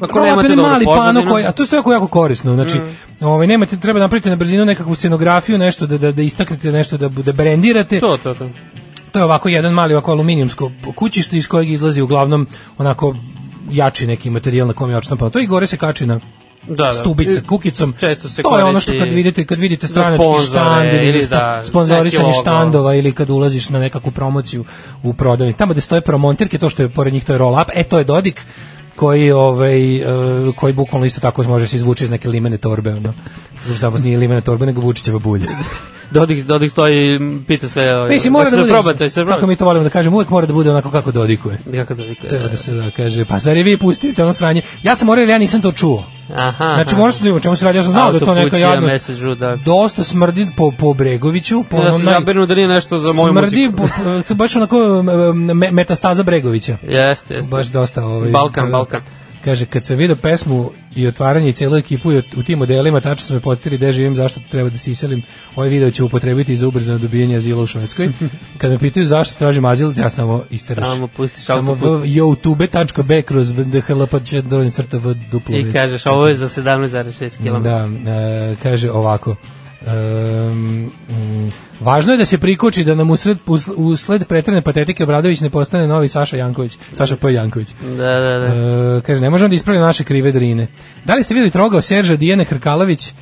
Speaker 6: Ako nemate
Speaker 5: Roll-up je
Speaker 6: dobru
Speaker 5: mali pano
Speaker 6: pozadinu.
Speaker 5: koji, a to je jako jako korisno. Znači,
Speaker 6: Mm.
Speaker 5: ovaj nemate treba napraviti na brzinu nekakvu scenografiju, nešto da da da istaknete, nešto da da brendirate.
Speaker 6: To, to, to.
Speaker 5: To je ovako jedan mali ovako aluminijumsko kućište iz kojeg izlazi uglavnom onako jači neki materijal na kom je odštampano. To i gore se kači na
Speaker 6: Da, da.
Speaker 5: stubica kukicom.
Speaker 6: Često se
Speaker 5: to je ono što
Speaker 6: koristi
Speaker 5: kad vidite kad vidite
Speaker 6: za
Speaker 5: stranački
Speaker 6: sponzore
Speaker 5: štand ili,
Speaker 6: ili
Speaker 5: ili
Speaker 6: da,
Speaker 5: da, sponzorisanje
Speaker 6: neki logo.
Speaker 5: štandova ili kad ulaziš na nekakvu promociju u prodavnici. Tamo gde stoje promontirke, to što je pored njih to je roll up, e to je Dodik koji ovaj e, koji bukvalno isto tako može se izvući iz neke limene torbe ono. Samo nije limene torbe nego Vučićeva bulja.
Speaker 6: Dodik, Dodik stoji i pita sve. ovaj,
Speaker 5: Mislim mora
Speaker 6: "Hoćete
Speaker 5: da bude.
Speaker 6: Probate, se
Speaker 5: kako
Speaker 6: probate.
Speaker 5: mi to volimo da kažemo, uvek mora da bude onako kako Dodikuje.
Speaker 6: Kako Dodik?
Speaker 5: Treba da se da kaže, pa zar je vi pustiste ono sranje? Ja sam morao jer ja nisam to čuo.
Speaker 6: Aha.
Speaker 5: Znači,
Speaker 6: aha.
Speaker 5: morao sam da vidim o čemu se radi, ja sam znao da je to neka
Speaker 6: Autopucija,
Speaker 5: jadnost.
Speaker 6: meseđu, da.
Speaker 5: Dosta smrdi po, po Bregoviću. Po
Speaker 6: Ja
Speaker 5: onom
Speaker 6: sam
Speaker 5: naj-
Speaker 6: zabrinu da nije nešto za moju
Speaker 5: smrdi
Speaker 6: muziku.
Speaker 5: po, po- baš onako em, me- metastaza Bregovića.
Speaker 6: Jeste, jeste.
Speaker 5: Baš dosta. Ovaj,
Speaker 6: Balkan, Balkan.
Speaker 5: Kaže, kad sam vidio pesmu i otvaranje i cijelu ekipu i u tim modelima, tačno su me podstili gde živim, zašto treba da se iselim. Ovaj video ću upotrebiti za ubrzano dobijanje azila u Švedskoj. Kad me pitaju zašto tražim azil, ja samo isteraš.
Speaker 6: Samo pustiš
Speaker 5: Samo
Speaker 6: autoput.
Speaker 5: v- youtube.b kroz vdhl pa će dovoljno crta v duplo.
Speaker 6: I kažeš, ovo je za 17,6 km.
Speaker 5: Da, e, kaže ovako. Um, mm, važno je da se prikoči da nam usred, usl- usled pretrene patetike Obradović ne postane novi Saša Janković, Saša P. Janković.
Speaker 6: Da, da, da.
Speaker 5: E, kaže, ne možemo da ispravimo naše krive drine. Da li ste videli trogao Serža Dijene Hrkalović e,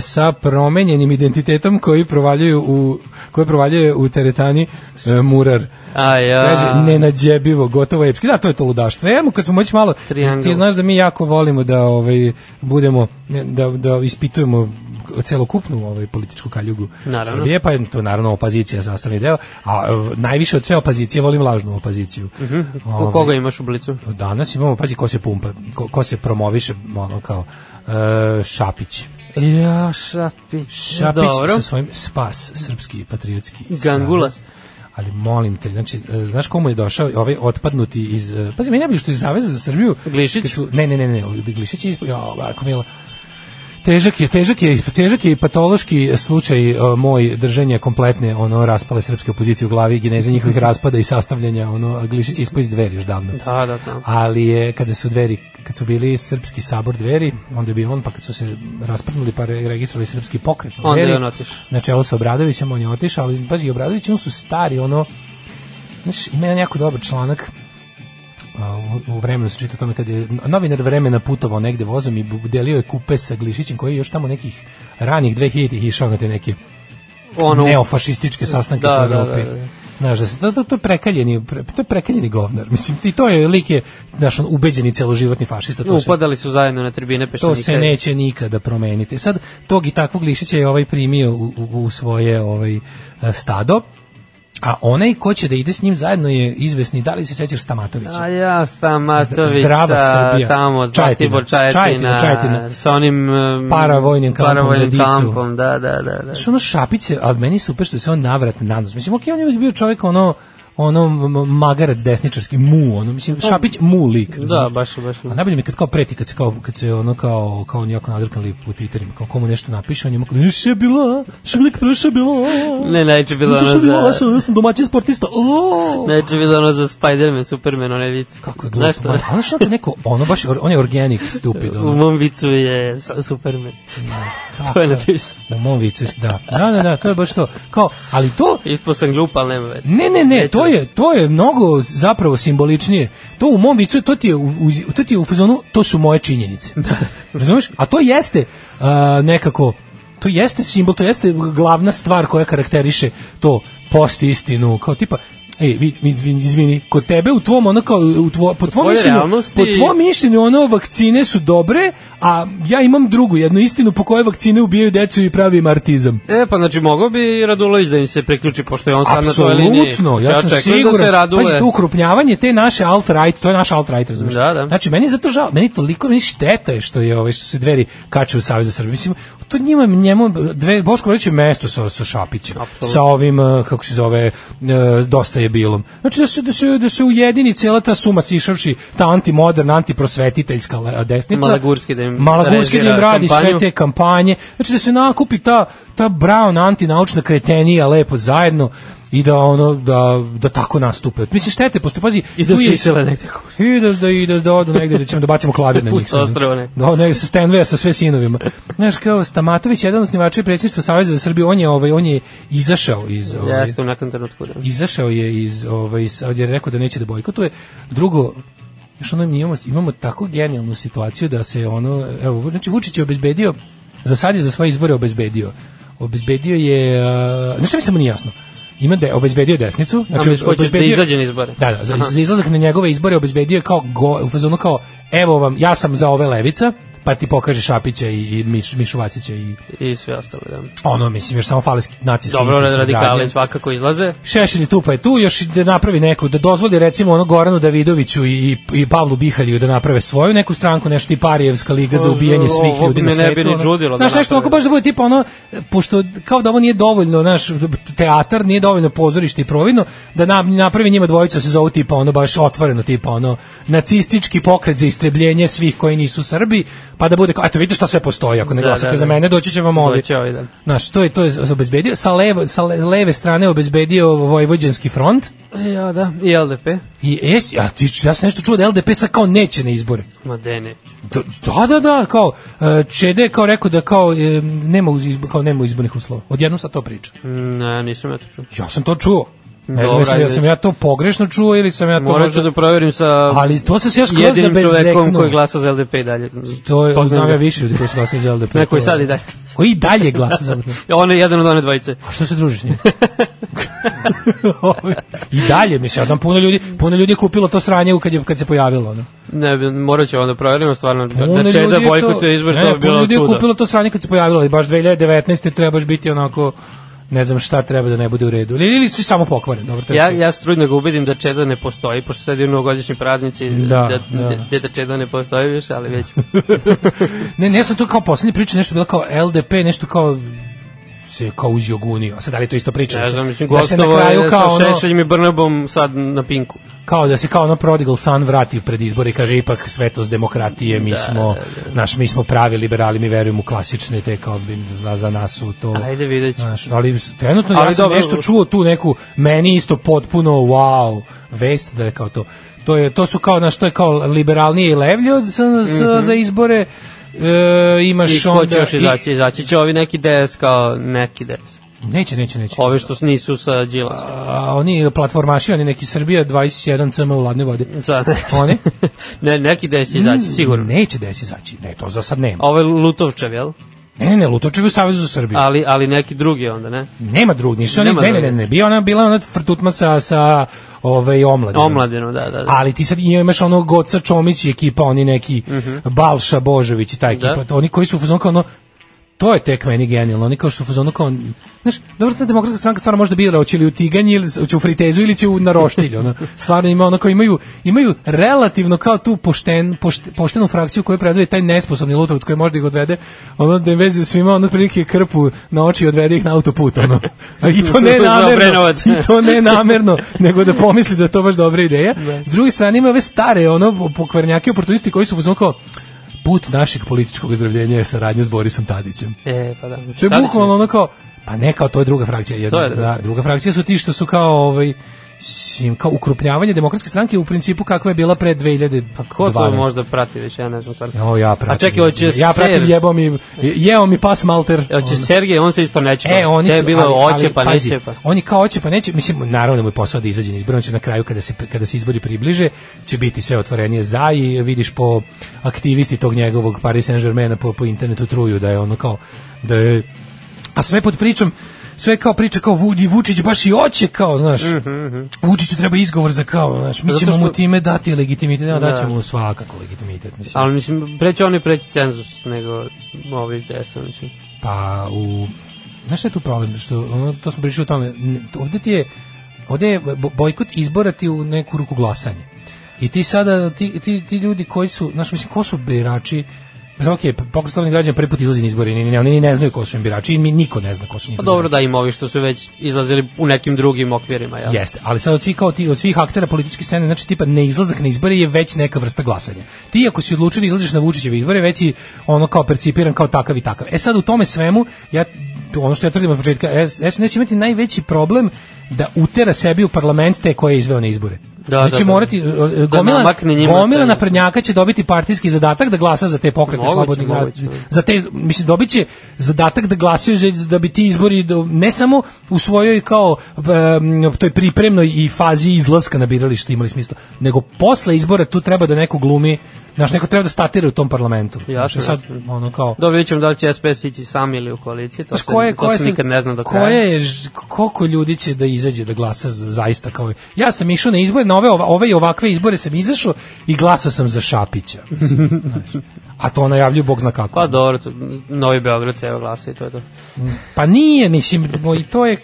Speaker 5: sa promenjenim identitetom koji provaljuju u, koji provaljuje u teretani e, Murar?
Speaker 6: A ja.
Speaker 5: Kaže, nenađebivo, gotovo epski. Da, to je to ludaštvo. Evo, kad smo moći malo,
Speaker 6: Triangle.
Speaker 5: ti znaš da mi jako volimo da ovaj, budemo, da, da ispitujemo celokupnu ovaj političku kaljugu
Speaker 6: Naravno.
Speaker 5: Srbije, pa je to naravno opozicija sastavni deo, a e, najviše od sve opozicije volim lažnu opoziciju.
Speaker 6: Mhm. Ko- Koga imaš u blicu?
Speaker 5: Ovaj, Danas imamo, pazi ko se pumpa, ko, ko se promoviše, ono kao e, Šapić.
Speaker 6: Ja, Šapić.
Speaker 5: Šapić
Speaker 6: Dobro.
Speaker 5: sa svojim spas, srpski patriotski
Speaker 6: Gangula.
Speaker 5: savez. Ali molim te, znači, e, znaš komu je došao ovaj otpadnuti iz... e, Pazi, meni je bilo što iz Zaveza za Srbiju...
Speaker 6: Glišić?
Speaker 5: kad Su, ne, ne, ne, ne, Glišić je ispod... Ja, ovako, mila. Težak je, težak je, težak je i patološki slučaj e, moj držanja kompletne ono raspale srpske opozicije u glavi, geneze njihovih raspada i sastavljanja, ono Glišić je ispod iz dveri još davno
Speaker 6: Da, da, da.
Speaker 5: ali je kada su dveri kad su bili srpski sabor dveri onda je bio on pa kad su se rasprnuli pa re- registrovali srpski pokret
Speaker 6: Onda
Speaker 5: dveri,
Speaker 6: je on otišao.
Speaker 5: na čelu sa Obradovićem on je otišao ali pazi Obradović on su stari ono znaš ima jedan jako dobar članak a, u, u vremenu se čita o tome kad je novinar vremena putovao negde vozom i bu- delio je kupe sa Glišićem koji je još tamo nekih ranih 2000-ih išao na te neke
Speaker 6: Ono,
Speaker 5: neofašističke sastanke
Speaker 6: Da,
Speaker 5: da,
Speaker 6: da,
Speaker 5: po Evropi.
Speaker 6: da, da.
Speaker 5: Znaš, da se, to, to, to je prekaljeni, pre, to je prekaljeni govnar. Mislim, i to je lik je, znaš, on ubeđeni celoživotni fašista. To se,
Speaker 6: upadali su zajedno na tribine pa
Speaker 5: to
Speaker 6: peštenika.
Speaker 5: se neće nikada promeniti. Sad, tog i takvog Glišića je ovaj primio u, u, u svoje ovaj, eh, stado, a onaj ko će da ide s njim zajedno je izvesni, da li se sećaš Stamatovića?
Speaker 6: A ja, Stamatović,
Speaker 5: Zdrava Srbija.
Speaker 6: tamo, Zlatibor, Čajetina,
Speaker 5: Čajetina, Čajetina, Čajetina.
Speaker 6: sa onim um,
Speaker 5: Paravojnim kampom
Speaker 6: paravojnim
Speaker 5: za dicu.
Speaker 6: kampom, da, da, da. da.
Speaker 5: Znaš, ono Šapić se, ali meni je super što se on navrat na nos. Mislim, okej, on je uvijek bio čovjek ono, ono m- m- magarac desničarski, mu, ono, mislim, Šapić mu lik.
Speaker 6: Pa, Da, baš, baš.
Speaker 5: A najbolje mi je kad kao preti, kad se, kao, kad se ono kao, kao on jako nadrkali po Twitterima, kao komu nešto napiše, on je kao, še je bilo, še je bilo, še je bilo,
Speaker 6: Ne, najče bilo
Speaker 5: Znaš šta
Speaker 6: ono
Speaker 5: je bilo,
Speaker 6: za...
Speaker 5: vaša, ja sam domaći sportista, o!
Speaker 6: Najče bilo ono za Spider-Man, Superman, one vice.
Speaker 5: Kako je
Speaker 6: Znaš
Speaker 5: glupo,
Speaker 6: šta?
Speaker 5: man. ali što je neko, ono baš, or- on je organic stupid,
Speaker 6: U
Speaker 5: ono.
Speaker 6: mom vicu je sa- Superman. to je napisao.
Speaker 5: U mom vicu, da. Da, da, da, to je baš to. Kao, ali to,
Speaker 6: Ispo sam glup, ali nema veze.
Speaker 5: Ne, ne, ne,
Speaker 6: Neću da-
Speaker 5: to je, to je mnogo zapravo simboličnije. To u mom vicu, to ti je u, u- to ti je u fazonu, to su moje činjenice.
Speaker 6: Da.
Speaker 5: Razumeš? A to jeste a, nekako, to jeste simbol, to jeste glavna stvar koja karakteriše to post istinu, kao tipa, Ej, vi, mi- izvini, izvini, kod tebe u tvom ono kao u tvo, po tvom
Speaker 6: tvojoj
Speaker 5: mišljenju,
Speaker 6: realnosti-
Speaker 5: po tvom mišljenju ono vakcine su dobre, a ja imam drugu jednu istinu po kojoj vakcine ubijaju decu i pravi im artizam.
Speaker 6: E, pa znači mogao bi i Radulović da im se priključi, pošto je on sad na toj liniji.
Speaker 5: Apsolutno, ja sam
Speaker 6: očekujem
Speaker 5: siguran.
Speaker 6: Da se Radule...
Speaker 5: Pazi, to ukrupnjavanje te naše alt-right, to je naš alt-right, razumiješ?
Speaker 6: Da, da.
Speaker 5: Znači, meni je zato žao, meni toliko meni šteta je što je ovaj, što se dveri kače u Savez za Srbiju. Mislim, to njima, njemu, dve, Boško Vrlić je mesto sa, sa Šapićem, sa ovim, eh, kako se zove, eh, dosta je bilom. Znači, da se, da se, da se ujedini cijela ta suma sišavši, ta antimoderna, antiprosvetiteljska le- desnica.
Speaker 6: Malagurski da im
Speaker 5: Malagurski da im
Speaker 6: režira
Speaker 5: radi sve
Speaker 6: kampanju.
Speaker 5: te kampanje. Znači da se nakupi ta ta brown antinaučna kretenija lepo zajedno i da ono da da tako nastupe. Mislim štete postoje pazi
Speaker 6: I da
Speaker 5: tu
Speaker 6: se
Speaker 5: je-
Speaker 6: isele negde.
Speaker 5: I da, da, i da, da odu negde da ćemo da bacimo klavir na njih.
Speaker 6: Pusto ostrvo, ne.
Speaker 5: Da, ne, sa Stanveja, sa sve sinovima. Znaš, kao Stamatović, jedan od snimača i predsjedništva Saveza za Srbiju, on je, ovaj, on je izašao iz... Ovaj,
Speaker 6: Jeste u nekom trenutku. Da.
Speaker 5: izašao je iz ovaj iz- od je rekao da neće da bojkotuje. Drugo još ono mi imamo imamo tako genijalnu situaciju da se ono evo znači Vučić je obezbedio za sad je za svoje izbore obezbedio. Obezbedio je uh, znači mi samo nije jasno. Ima da obezbedio desnicu, znači
Speaker 6: misliš, hoćeš da izađe na izbore?
Speaker 5: Da, da, za,
Speaker 6: Aha.
Speaker 5: za izlazak na njegove izbore obezbedio je kao go, u fazonu kao evo vam ja sam za ove levica pa ti pokaže Šapića i, i Miš, Mišu Vacića i
Speaker 6: I sve ostalo, da.
Speaker 5: ono mislim još samo faleski da, nacisti
Speaker 6: Dobro, radikale svakako izlaze.
Speaker 5: Šešelj i Tupa je tu, još i da napravi neku, da dozvoli recimo ono Goranu Davidoviću i, i Pavlu Bihalju da naprave svoju neku stranku, nešto i Parijevska liga za ubijanje svih
Speaker 6: Ovo
Speaker 5: ljudi na
Speaker 6: me
Speaker 5: svetu.
Speaker 6: ne bi ni
Speaker 5: ono.
Speaker 6: čudilo da
Speaker 5: Znaš, nešto
Speaker 6: naprave.
Speaker 5: ako baš da bude tipa ono, pošto kao da ovo nije dovoljno, naš teatar nije dovoljno pozorište i providno, da na, napravi njima dvojica se zovu tipa ono baš otvoreno, tipa ono nacistički pokret za istrebljenje svih koji nisu Srbi, pa da bude kao, eto vidite šta sve postoji, ako ne
Speaker 6: Da,
Speaker 5: glasate
Speaker 6: da,
Speaker 5: za
Speaker 6: da.
Speaker 5: mene, doći će vam ovi.
Speaker 6: Doći ovi, da.
Speaker 5: Znaš, to je, to je obezbedio. Sa, levo, sa le- leve strane obezbedio Vojvođanski front.
Speaker 6: Ja, da. I LDP.
Speaker 5: I jes, ja, ti, ja sam nešto čuo da LDP sad kao neće na izbore.
Speaker 6: Ma dene.
Speaker 5: Da, da, da, da kao, e, Čede je kao rekao da kao, e, nema, uz- izb, kao nema izbornih uslova. Odjednom sad to priča.
Speaker 6: Mm, Ne, nisam ja to čuo.
Speaker 5: Ja sam to čuo. Ne znam,
Speaker 6: Dobra,
Speaker 5: jesam, ja
Speaker 6: ajde.
Speaker 5: sam ja to pogrešno čuo ili sam ja to
Speaker 6: Morat ću
Speaker 5: možda...
Speaker 6: da proverim sa
Speaker 5: Ali to sam se ja skroz
Speaker 6: jedinim čovekom
Speaker 5: zabezeknuo.
Speaker 6: koji glasa za LDP i dalje.
Speaker 5: To je,
Speaker 6: Poznam
Speaker 5: znam
Speaker 6: ga.
Speaker 5: ja više ljudi koji su glasali za LDP.
Speaker 6: Neko i
Speaker 5: To-
Speaker 6: sad i dalje.
Speaker 5: Koji i dalje glasa za LDP.
Speaker 6: On je jedan od one dvojice.
Speaker 5: A što se družiš s njim? I dalje, mislim, ja znam puno ljudi, puno ljudi je kupilo to sranje u kad, je, kad se pojavilo. Ono.
Speaker 6: Ne, bi- morat ćemo da proverimo stvarno. Da,
Speaker 5: Puno
Speaker 6: da će
Speaker 5: ljudi
Speaker 6: da
Speaker 5: je to-
Speaker 6: bojkotuje izbor,
Speaker 5: ne,
Speaker 6: to bi
Speaker 5: Puno
Speaker 6: bilo
Speaker 5: ljudi je
Speaker 6: čudo.
Speaker 5: kupilo to sranje kad se pojavilo, ali baš 2019. trebaš biti onako, ne znam šta treba da ne bude u redu. Ili, ili si samo pokvaren, dobro, to je
Speaker 6: Ja,
Speaker 5: sve.
Speaker 6: ja se trudim da ga ubedim da Čeda ne postoji, pošto sad je novogodišnji praznici,
Speaker 5: Da,
Speaker 6: da,
Speaker 5: da.
Speaker 6: da, da, da Čeda ne postoji više, ali već.
Speaker 5: Ne, ne, ja sam to kao poslednje priče, nešto bilo kao LDP, nešto kao se kao uz Jogunio. A sad da li je to isto priča?
Speaker 6: Ne
Speaker 5: Da se-
Speaker 6: znam, mislim,
Speaker 5: da se na
Speaker 6: gostovo
Speaker 5: kraju
Speaker 6: je
Speaker 5: kao
Speaker 6: sa
Speaker 5: ono,
Speaker 6: Šešeljim i Brnabom sad na Pinku.
Speaker 5: kao da se kao ono prodigal san vrati pred izbore i kaže ipak svetost demokratije,
Speaker 6: Da,
Speaker 5: mi smo, naš, mi smo pravi liberali, mi verujemo u klasične te kao bi za, za nas su to.
Speaker 6: Ajde, vidjet ću.
Speaker 5: Znaš, ali trenutno ja
Speaker 6: Ali
Speaker 5: sam
Speaker 6: dobro.
Speaker 5: nešto čuo tu neku meni isto potpuno wow vest da je kao to. To je to su kao na što je kao liberalnije i levlje od s, s, za izbore. E,
Speaker 6: Mhm. I
Speaker 5: imaš
Speaker 6: ko će
Speaker 5: onda
Speaker 6: još
Speaker 5: i-
Speaker 6: izaći? Izaći će ovi neki DS kao neki DS.
Speaker 5: neće neće neće
Speaker 6: Ovi što nisu sa Đilasom.
Speaker 5: A, oni platformaši oni neki Srbija 21 cm u ladnoj vodi
Speaker 6: Sad,
Speaker 5: Oni?
Speaker 6: ne, neki DS će izaći, sigurno.
Speaker 5: neće da se izaći ne to za sad nema
Speaker 6: Ovo je Lutovčev, jel?
Speaker 5: Ne, ne, ne, Lutočev je u Savezu za Srbiju.
Speaker 6: Ali, ali neki drugi onda, ne?
Speaker 5: Nema drugog, nisu oni,
Speaker 6: Nema
Speaker 5: ne, ne, ne,
Speaker 6: drugog.
Speaker 5: ne, bio ona, bila ona frtutma sa, sa ovaj, omladinom.
Speaker 6: Omladinu, da, da, da.
Speaker 5: Ali ti sad imaš ono Goca Čomić i ekipa, oni neki Balša Božović i ta ekipa,
Speaker 6: Mhm. Da.
Speaker 5: oni koji su u fazonu kao ono, to je tek meni genijalno, oni kao što su u fazonu kao, znaš, dobro, ta demokratska stranka stvarno može da bira, hoće li u tiganji, ili će u fritezu, ili će u naroštilj, ono, stvarno ima ono kao imaju, imaju relativno kao tu pošten, pošte, poštenu frakciju koju predvodi taj nesposobni Lutovac koji možda ih odvede, ono da im veze svima, ono prilike krpu na oči i odvede ih na autoput, ono, A i to ne
Speaker 6: Za
Speaker 5: namerno,
Speaker 6: Obrenovac.
Speaker 5: i to ne namerno, nego da pomisli da je to baš dobra ideja.
Speaker 6: Da.
Speaker 5: S druge strane ima ove stare ono pokvarnjake oportunisti koji su uzmano kao put našeg političkog ozdravljenja je saradnja s Borisom Tadićem.
Speaker 6: E, pa da.
Speaker 5: To je
Speaker 6: Tadić
Speaker 5: bukvalno ono kao, pa ne kao to je druga frakcija. Jedna,
Speaker 6: To je druga
Speaker 5: da, druga frakcija su ti što su kao ovaj, sim, kao ukrupnjavanje demokratske stranke u principu kakva je bila pre 2000 pa
Speaker 6: Ko to možda prati već, ja ne znam stvarno.
Speaker 5: Jo, ja pratim.
Speaker 6: A čekaj, hoće
Speaker 5: ja pratim
Speaker 6: Serž-
Speaker 5: jebom i jeo mi pas malter.
Speaker 6: Hoće
Speaker 5: Ono.
Speaker 6: Sergej, on se isto neće.
Speaker 5: E, oni
Speaker 6: Te je
Speaker 5: su,
Speaker 6: bilo
Speaker 5: ali-
Speaker 6: hoće,
Speaker 5: ali,
Speaker 6: pa
Speaker 5: pazi,
Speaker 6: neće, pa.
Speaker 5: Oni kao hoće pa neće, mislim naravno mu je posao da izađe na izbore, on će na kraju kada se kada se izbori približe, će biti sve otvorenije za i vidiš po aktivisti tog njegovog Paris Saint-Germaina po, po internetu truju da je ono kao da je a sve pod pričom sve kao priča kao Vudi Vučić baš i oće kao, znaš. Mm -hmm. Vučiću treba izgovor za kao, znaš, mi
Speaker 6: Mhm, Pa Zato
Speaker 5: ćemo
Speaker 6: što-
Speaker 5: mu time dati legitimitet, da,
Speaker 6: Da.
Speaker 5: daćemo mu svakako legitimitet, mislim.
Speaker 6: Ali mislim, preći oni preći cenzus nego ovi iz DS-a, mislim.
Speaker 5: Pa u Znaš šta je tu problem? Što, ono, to smo pričali o tome. N- Ovde ti je, ovde je bo- bojkot izbora ti u neku ruku glasanje. I ti sada, ti, ti, ti ljudi koji su, znaš, mislim, ko su birači, Mislim, ok, pokret slobodnih građana prvi put izlazi na izbore, ni, ni, oni ni ne znaju ko su im birači i mi niko ne zna ko su
Speaker 6: Pa
Speaker 5: njihovi
Speaker 6: dobro
Speaker 5: birači.
Speaker 6: da im ovi što su već izlazili u nekim drugim okvirima, jel?
Speaker 5: Jeste, ali sad od svih, kao ti, od svih aktera političke scene, znači tipa neizlazak na izbore je već neka vrsta glasanja. Ti ako si odlučio da izlaziš na Vučićeve izbore, već si ono kao percipiran kao takav i takav. E sad u tome svemu, ja, ono što ja tvrdim od početka, S- SNS će imati najveći problem da utera sebi u parlament te koje je izveo na izbore.
Speaker 6: Da,
Speaker 5: znači
Speaker 6: da, da.
Speaker 5: morati, e, e,
Speaker 6: Da
Speaker 5: gomila,
Speaker 6: namakne njima
Speaker 5: gomila
Speaker 6: cenu.
Speaker 5: naprednjaka će dobiti partijski zadatak da glasa za te pokrete
Speaker 6: Moguće,
Speaker 5: slobodnih gra-
Speaker 6: moguće. da.
Speaker 5: za te mislim dobiće zadatak da glasaju za, da bi ti izbori do, ne samo u svojoj kao em, toj pripremnoj i fazi izlaska na biralište imali smisla, nego posle izbora tu treba da neko glumi, znaš, neko treba da statira u tom parlamentu. Znaš,
Speaker 6: Jasno,
Speaker 5: i sad
Speaker 6: jasno.
Speaker 5: ono kao
Speaker 6: Dobro, vidjet ćemo da li će SPS ići sam ili u koaliciji, to
Speaker 5: Znaš,
Speaker 6: se,
Speaker 5: koje,
Speaker 6: to
Speaker 5: koje
Speaker 6: se nikad ne zna do kraja.
Speaker 5: Koje je, ž- koliko ljudi će da izađe da glasa za, zaista kao... Ja sam išao na izbore, na ove, ova- ove i ovakve izbore sam izašao i glasao sam za Šapića. mislim, znaš. A to najavljuju Bog zna kako.
Speaker 6: Pa dobro, to, Novi Beograd se evo glasa i to je to.
Speaker 5: Pa nije, mislim, bo- i to je...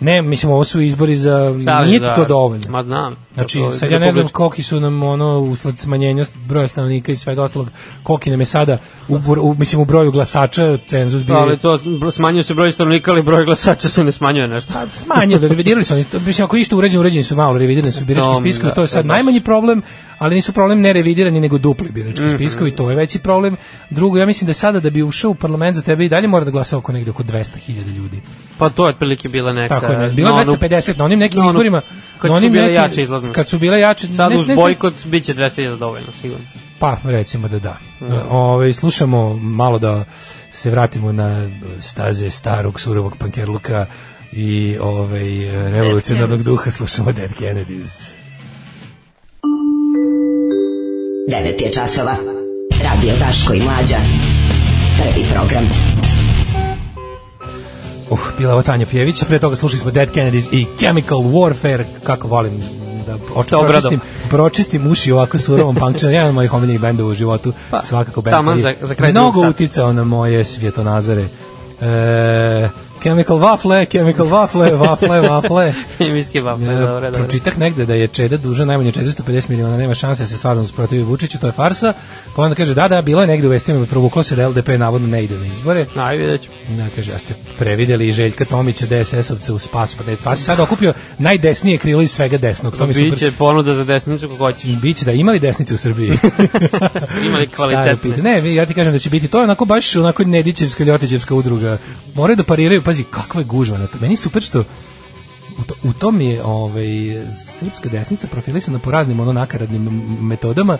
Speaker 5: Ne, mislim, ovo su izbori za...
Speaker 6: Šalim,
Speaker 5: nije ti to dovoljno.
Speaker 6: da. Ma znam.
Speaker 5: Znači,
Speaker 6: Tako,
Speaker 5: sad ja ne znam
Speaker 6: republički.
Speaker 5: koliki su nam ono usled smanjenja broja stanovnika i svega ostalog, koliki nam je sada u, br- u mislim u broju glasača cenzus bio.
Speaker 6: Ali to bro- smanjuje se broj stanovnika, ali broj glasača se ne smanjuje nešto.
Speaker 5: Pa smanjio, da revidirali su oni, to, mislim, ako ište uređeno, uređeni su malo, revidirani su birački
Speaker 6: Tom,
Speaker 5: spiskovi,
Speaker 6: da,
Speaker 5: to je sad
Speaker 6: da, baš.
Speaker 5: najmanji problem, ali nisu problem ne revidirani, nego dupli birački
Speaker 6: Mhm.
Speaker 5: spiskovi, to je veći problem. Drugo, ja mislim da sada da bi ušao u parlament za tebe i dalje mora da glasa oko negde oko 200.000 ljudi.
Speaker 6: Pa to je otprilike bila neka...
Speaker 5: Tako je, ne. bilo
Speaker 6: na
Speaker 5: je
Speaker 6: onu-
Speaker 5: 250 na onim nekim
Speaker 6: na onu-
Speaker 5: izborima.
Speaker 6: kad
Speaker 5: na
Speaker 6: su
Speaker 5: onim
Speaker 6: bile
Speaker 5: nekim-
Speaker 6: jače izlazne.
Speaker 5: Kad su bile jače,
Speaker 6: Sad
Speaker 5: ne-
Speaker 6: uz
Speaker 5: ne-
Speaker 6: bojkot bit će 200.000 dovoljno, sigurno.
Speaker 5: Pa, recimo da da. Ove, slušamo malo da se vratimo na staze starog surovog pankerluka i ovaj e, revolucionarnog duha slušamo Dead Kennedys.
Speaker 4: 9 je časova. Radio Daško i Mlađa. Prvi program.
Speaker 5: Uh, bila je ovo Tanja Pjević, pre toga slušali smo Dead Kennedys i Chemical Warfare, kako volim da oči,
Speaker 6: Sa obradom.
Speaker 5: pročistim, pročistim uši ovako surovom punkčanom, jedan od mojih omiljenih bendova u životu,
Speaker 6: Pa,
Speaker 5: svakako bend
Speaker 6: taman
Speaker 5: koji je
Speaker 6: za- za kraj
Speaker 5: mnogo
Speaker 6: drugog sata.
Speaker 5: uticao na moje svjetonazore. E, chemical Waffle, Chemical Waffle, Waffle, Waffle.
Speaker 6: Miski vam,
Speaker 5: E,
Speaker 6: dobro, dobro.
Speaker 5: pročitah negde da je Čeda dužan najmanje 450 miliona, nema šanse da se stvarno usprotivi Vučiću, to je farsa. Pa onda kaže, da, da, bilo je negde u vestima, provuklo se da LDP navodno ne ide na izbore.
Speaker 6: Aj, vidjet ću.
Speaker 5: Da, kaže, a ste prevideli i Željka Tomića, DSS-ovca u spas, pa da je pa si sada okupio najdesnije krilo iz svega desnog. To mi je super.
Speaker 6: Biće ponuda za desnicu kako hoćeš.
Speaker 5: Biće da imali desnice u Srbiji.
Speaker 6: Imali
Speaker 5: Da. Staro pitanje.
Speaker 6: kvalitetne.
Speaker 5: Ne, vi- ja ti kažem da će biti to je onako baš onako Nedićevska Ljotićevska udruga. Moraju da pariraju, pazi kakva je gužva na to. Meni je super što u, to, u tom je ovaj srpska desnica profilisana po raznim ono nakaradnim m- metodama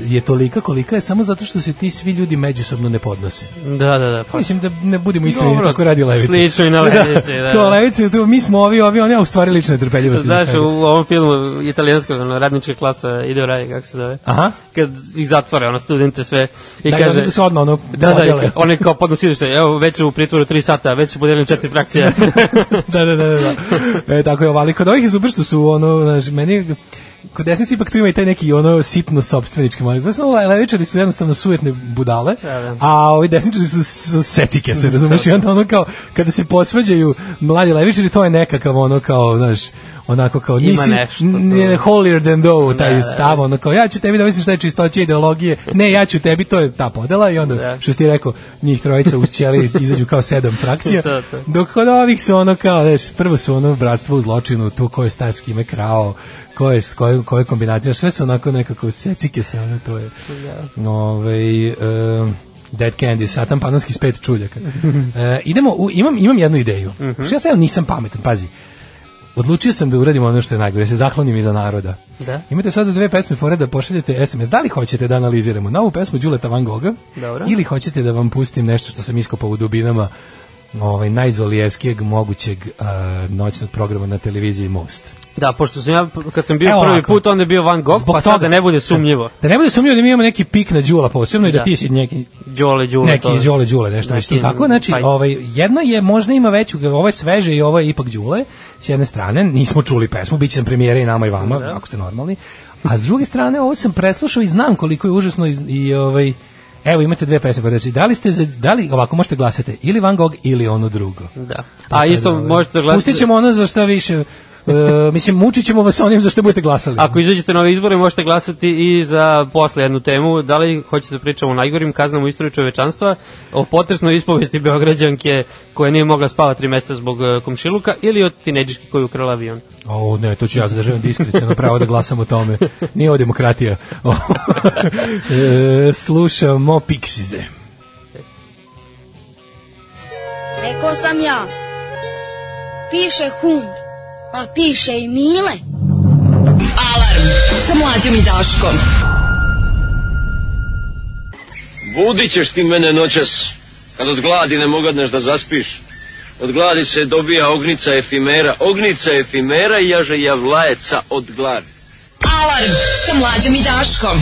Speaker 5: je tolika kolika je samo zato što se ti svi ljudi međusobno ne podnose.
Speaker 6: Da, da, da.
Speaker 5: Pa,
Speaker 6: Pa,
Speaker 5: Mislim da ne budemo iskreni,
Speaker 6: Dobro,
Speaker 5: tako radi levica.
Speaker 6: slično i na levici, da.
Speaker 5: Kao levica, tu mi smo ovi, ovi, oni, a u stvari lična je trpeljivost.
Speaker 6: Znaš, u ovom filmu italijanskog, ono, radnička klasa ide u raj, kako se zove.
Speaker 5: Aha.
Speaker 6: Kad ih zatvore, ono, studente sve. I
Speaker 5: I da,
Speaker 6: kaže,
Speaker 5: kaže, da, se odmah ono
Speaker 6: Da, da,
Speaker 5: podele.
Speaker 6: i one kao podnosili se, evo već su u pritvoru 3 sata, već su podeljeni četiri frakcije.
Speaker 5: da, da, da, da. da. E, tako je, ali kod ovih je super što su ono, znaš, meni kod desnici ipak tu ima i taj neki ono sitno sobstvenički mali. Znaš, ono, le- levičari su jednostavno sujetne budale,
Speaker 6: da.
Speaker 5: a ovi desničari su, su secike, se razumiješ, i onda ono kao, kada se posvađaju mladi levičari, to je nekakav ono kao, znaš, onako kao
Speaker 6: Ima
Speaker 5: nisi
Speaker 6: nešto
Speaker 5: n-
Speaker 6: tu.
Speaker 5: n- holier than thou taj
Speaker 6: Da, da,
Speaker 5: stav ono kao ja ću tebi da misliš šta je čistoća ideologije ne ja ću tebi to je ta podela i onda
Speaker 6: Da.
Speaker 5: što si ti rekao njih trojica uz ćeli izađu kao sedam frakcija
Speaker 6: To, to.
Speaker 5: Dok kod ovih su ono kao, znaš, prvo su ono bratstvo u zločinu, tu ko je star s kime krao, ko je s kojom, koja je kombinacija, sve su onako nekako secike se, ono to je.
Speaker 6: Da.
Speaker 5: Ove, um, Dead Candy, Satan Panonski s pet čuljaka. e, idemo, u, imam, imam jednu ideju. Mm
Speaker 6: Mhm.
Speaker 5: -hmm. Ja sad nisam pametan, pazi. Odlučio sam da uradim ono što je najgore, da se zahlonim iza naroda.
Speaker 6: Da.
Speaker 5: Imate sada dve pesme fore da pošaljete SMS. Da li hoćete da analiziramo novu pesmu Đuleta Van Goga
Speaker 6: Dobro.
Speaker 5: ili hoćete da vam pustim nešto što sam iskopao u dubinama ovaj, najzolijevskijeg mogućeg uh, noćnog programa na televiziji Most.
Speaker 6: Da, pošto sam ja, kad sam bio
Speaker 5: Evo
Speaker 6: prvi
Speaker 5: ovako.
Speaker 6: put, onda je bio Van Gogh, pa sad da ne bude sumnjivo.
Speaker 5: Da ne bude sumnjivo da mi imamo neki pik na Đula posebno i da,
Speaker 6: Da.
Speaker 5: ti si neki
Speaker 6: Đole, Đule.
Speaker 5: neki
Speaker 6: to je.
Speaker 5: Đole Đule nešto već
Speaker 6: Neki-
Speaker 5: tu tako znači
Speaker 6: pa-
Speaker 5: ovaj jedno je možda ima veću ovo je sveže i ovo je ipak Đule s jedne strane nismo čuli pesmu biće nam premijera i nama i vama
Speaker 6: Da.
Speaker 5: ako ste normalni a s druge strane ovo sam preslušao i znam koliko je užasno i, i ovaj Evo imate dve pesme, pa znači, da li ste za, da li ovako možete glasati ili Van Gogh ili ono drugo.
Speaker 6: Da.
Speaker 5: Pa
Speaker 6: A
Speaker 5: sad,
Speaker 6: isto
Speaker 5: ovaj,
Speaker 6: možete glasati...
Speaker 5: Pustit ćemo ono za šta više, e, mislim, mučit ćemo vas onim za što budete glasali.
Speaker 6: Ako izađete na ove izbore, možete glasati i za posle jednu temu. Da li hoćete da pričamo o najgorim kaznama u istoriji čovečanstva, o potresnoj ispovesti Beograđanke koja nije mogla spava tri meseca zbog e, komšiluka ili o tineđiški koji je ukrala avion?
Speaker 5: O, ne, to ću ja zadržavam diskrecijno pravo da glasam o tome. Nije ovo demokratija. e, slušamo Pixize.
Speaker 9: Rekao sam ja. Piše hum, a piše i mile.
Speaker 4: Alarm sa mlađom i Daškom.
Speaker 10: Budit ćeš ti mene noćas, kad od gladi ne mogadneš da zaspiš. Od gladi se dobija ognica efimera, ognica efimera i jaže javlajeca od gladi.
Speaker 4: Alarm sa mlađom i Daškom.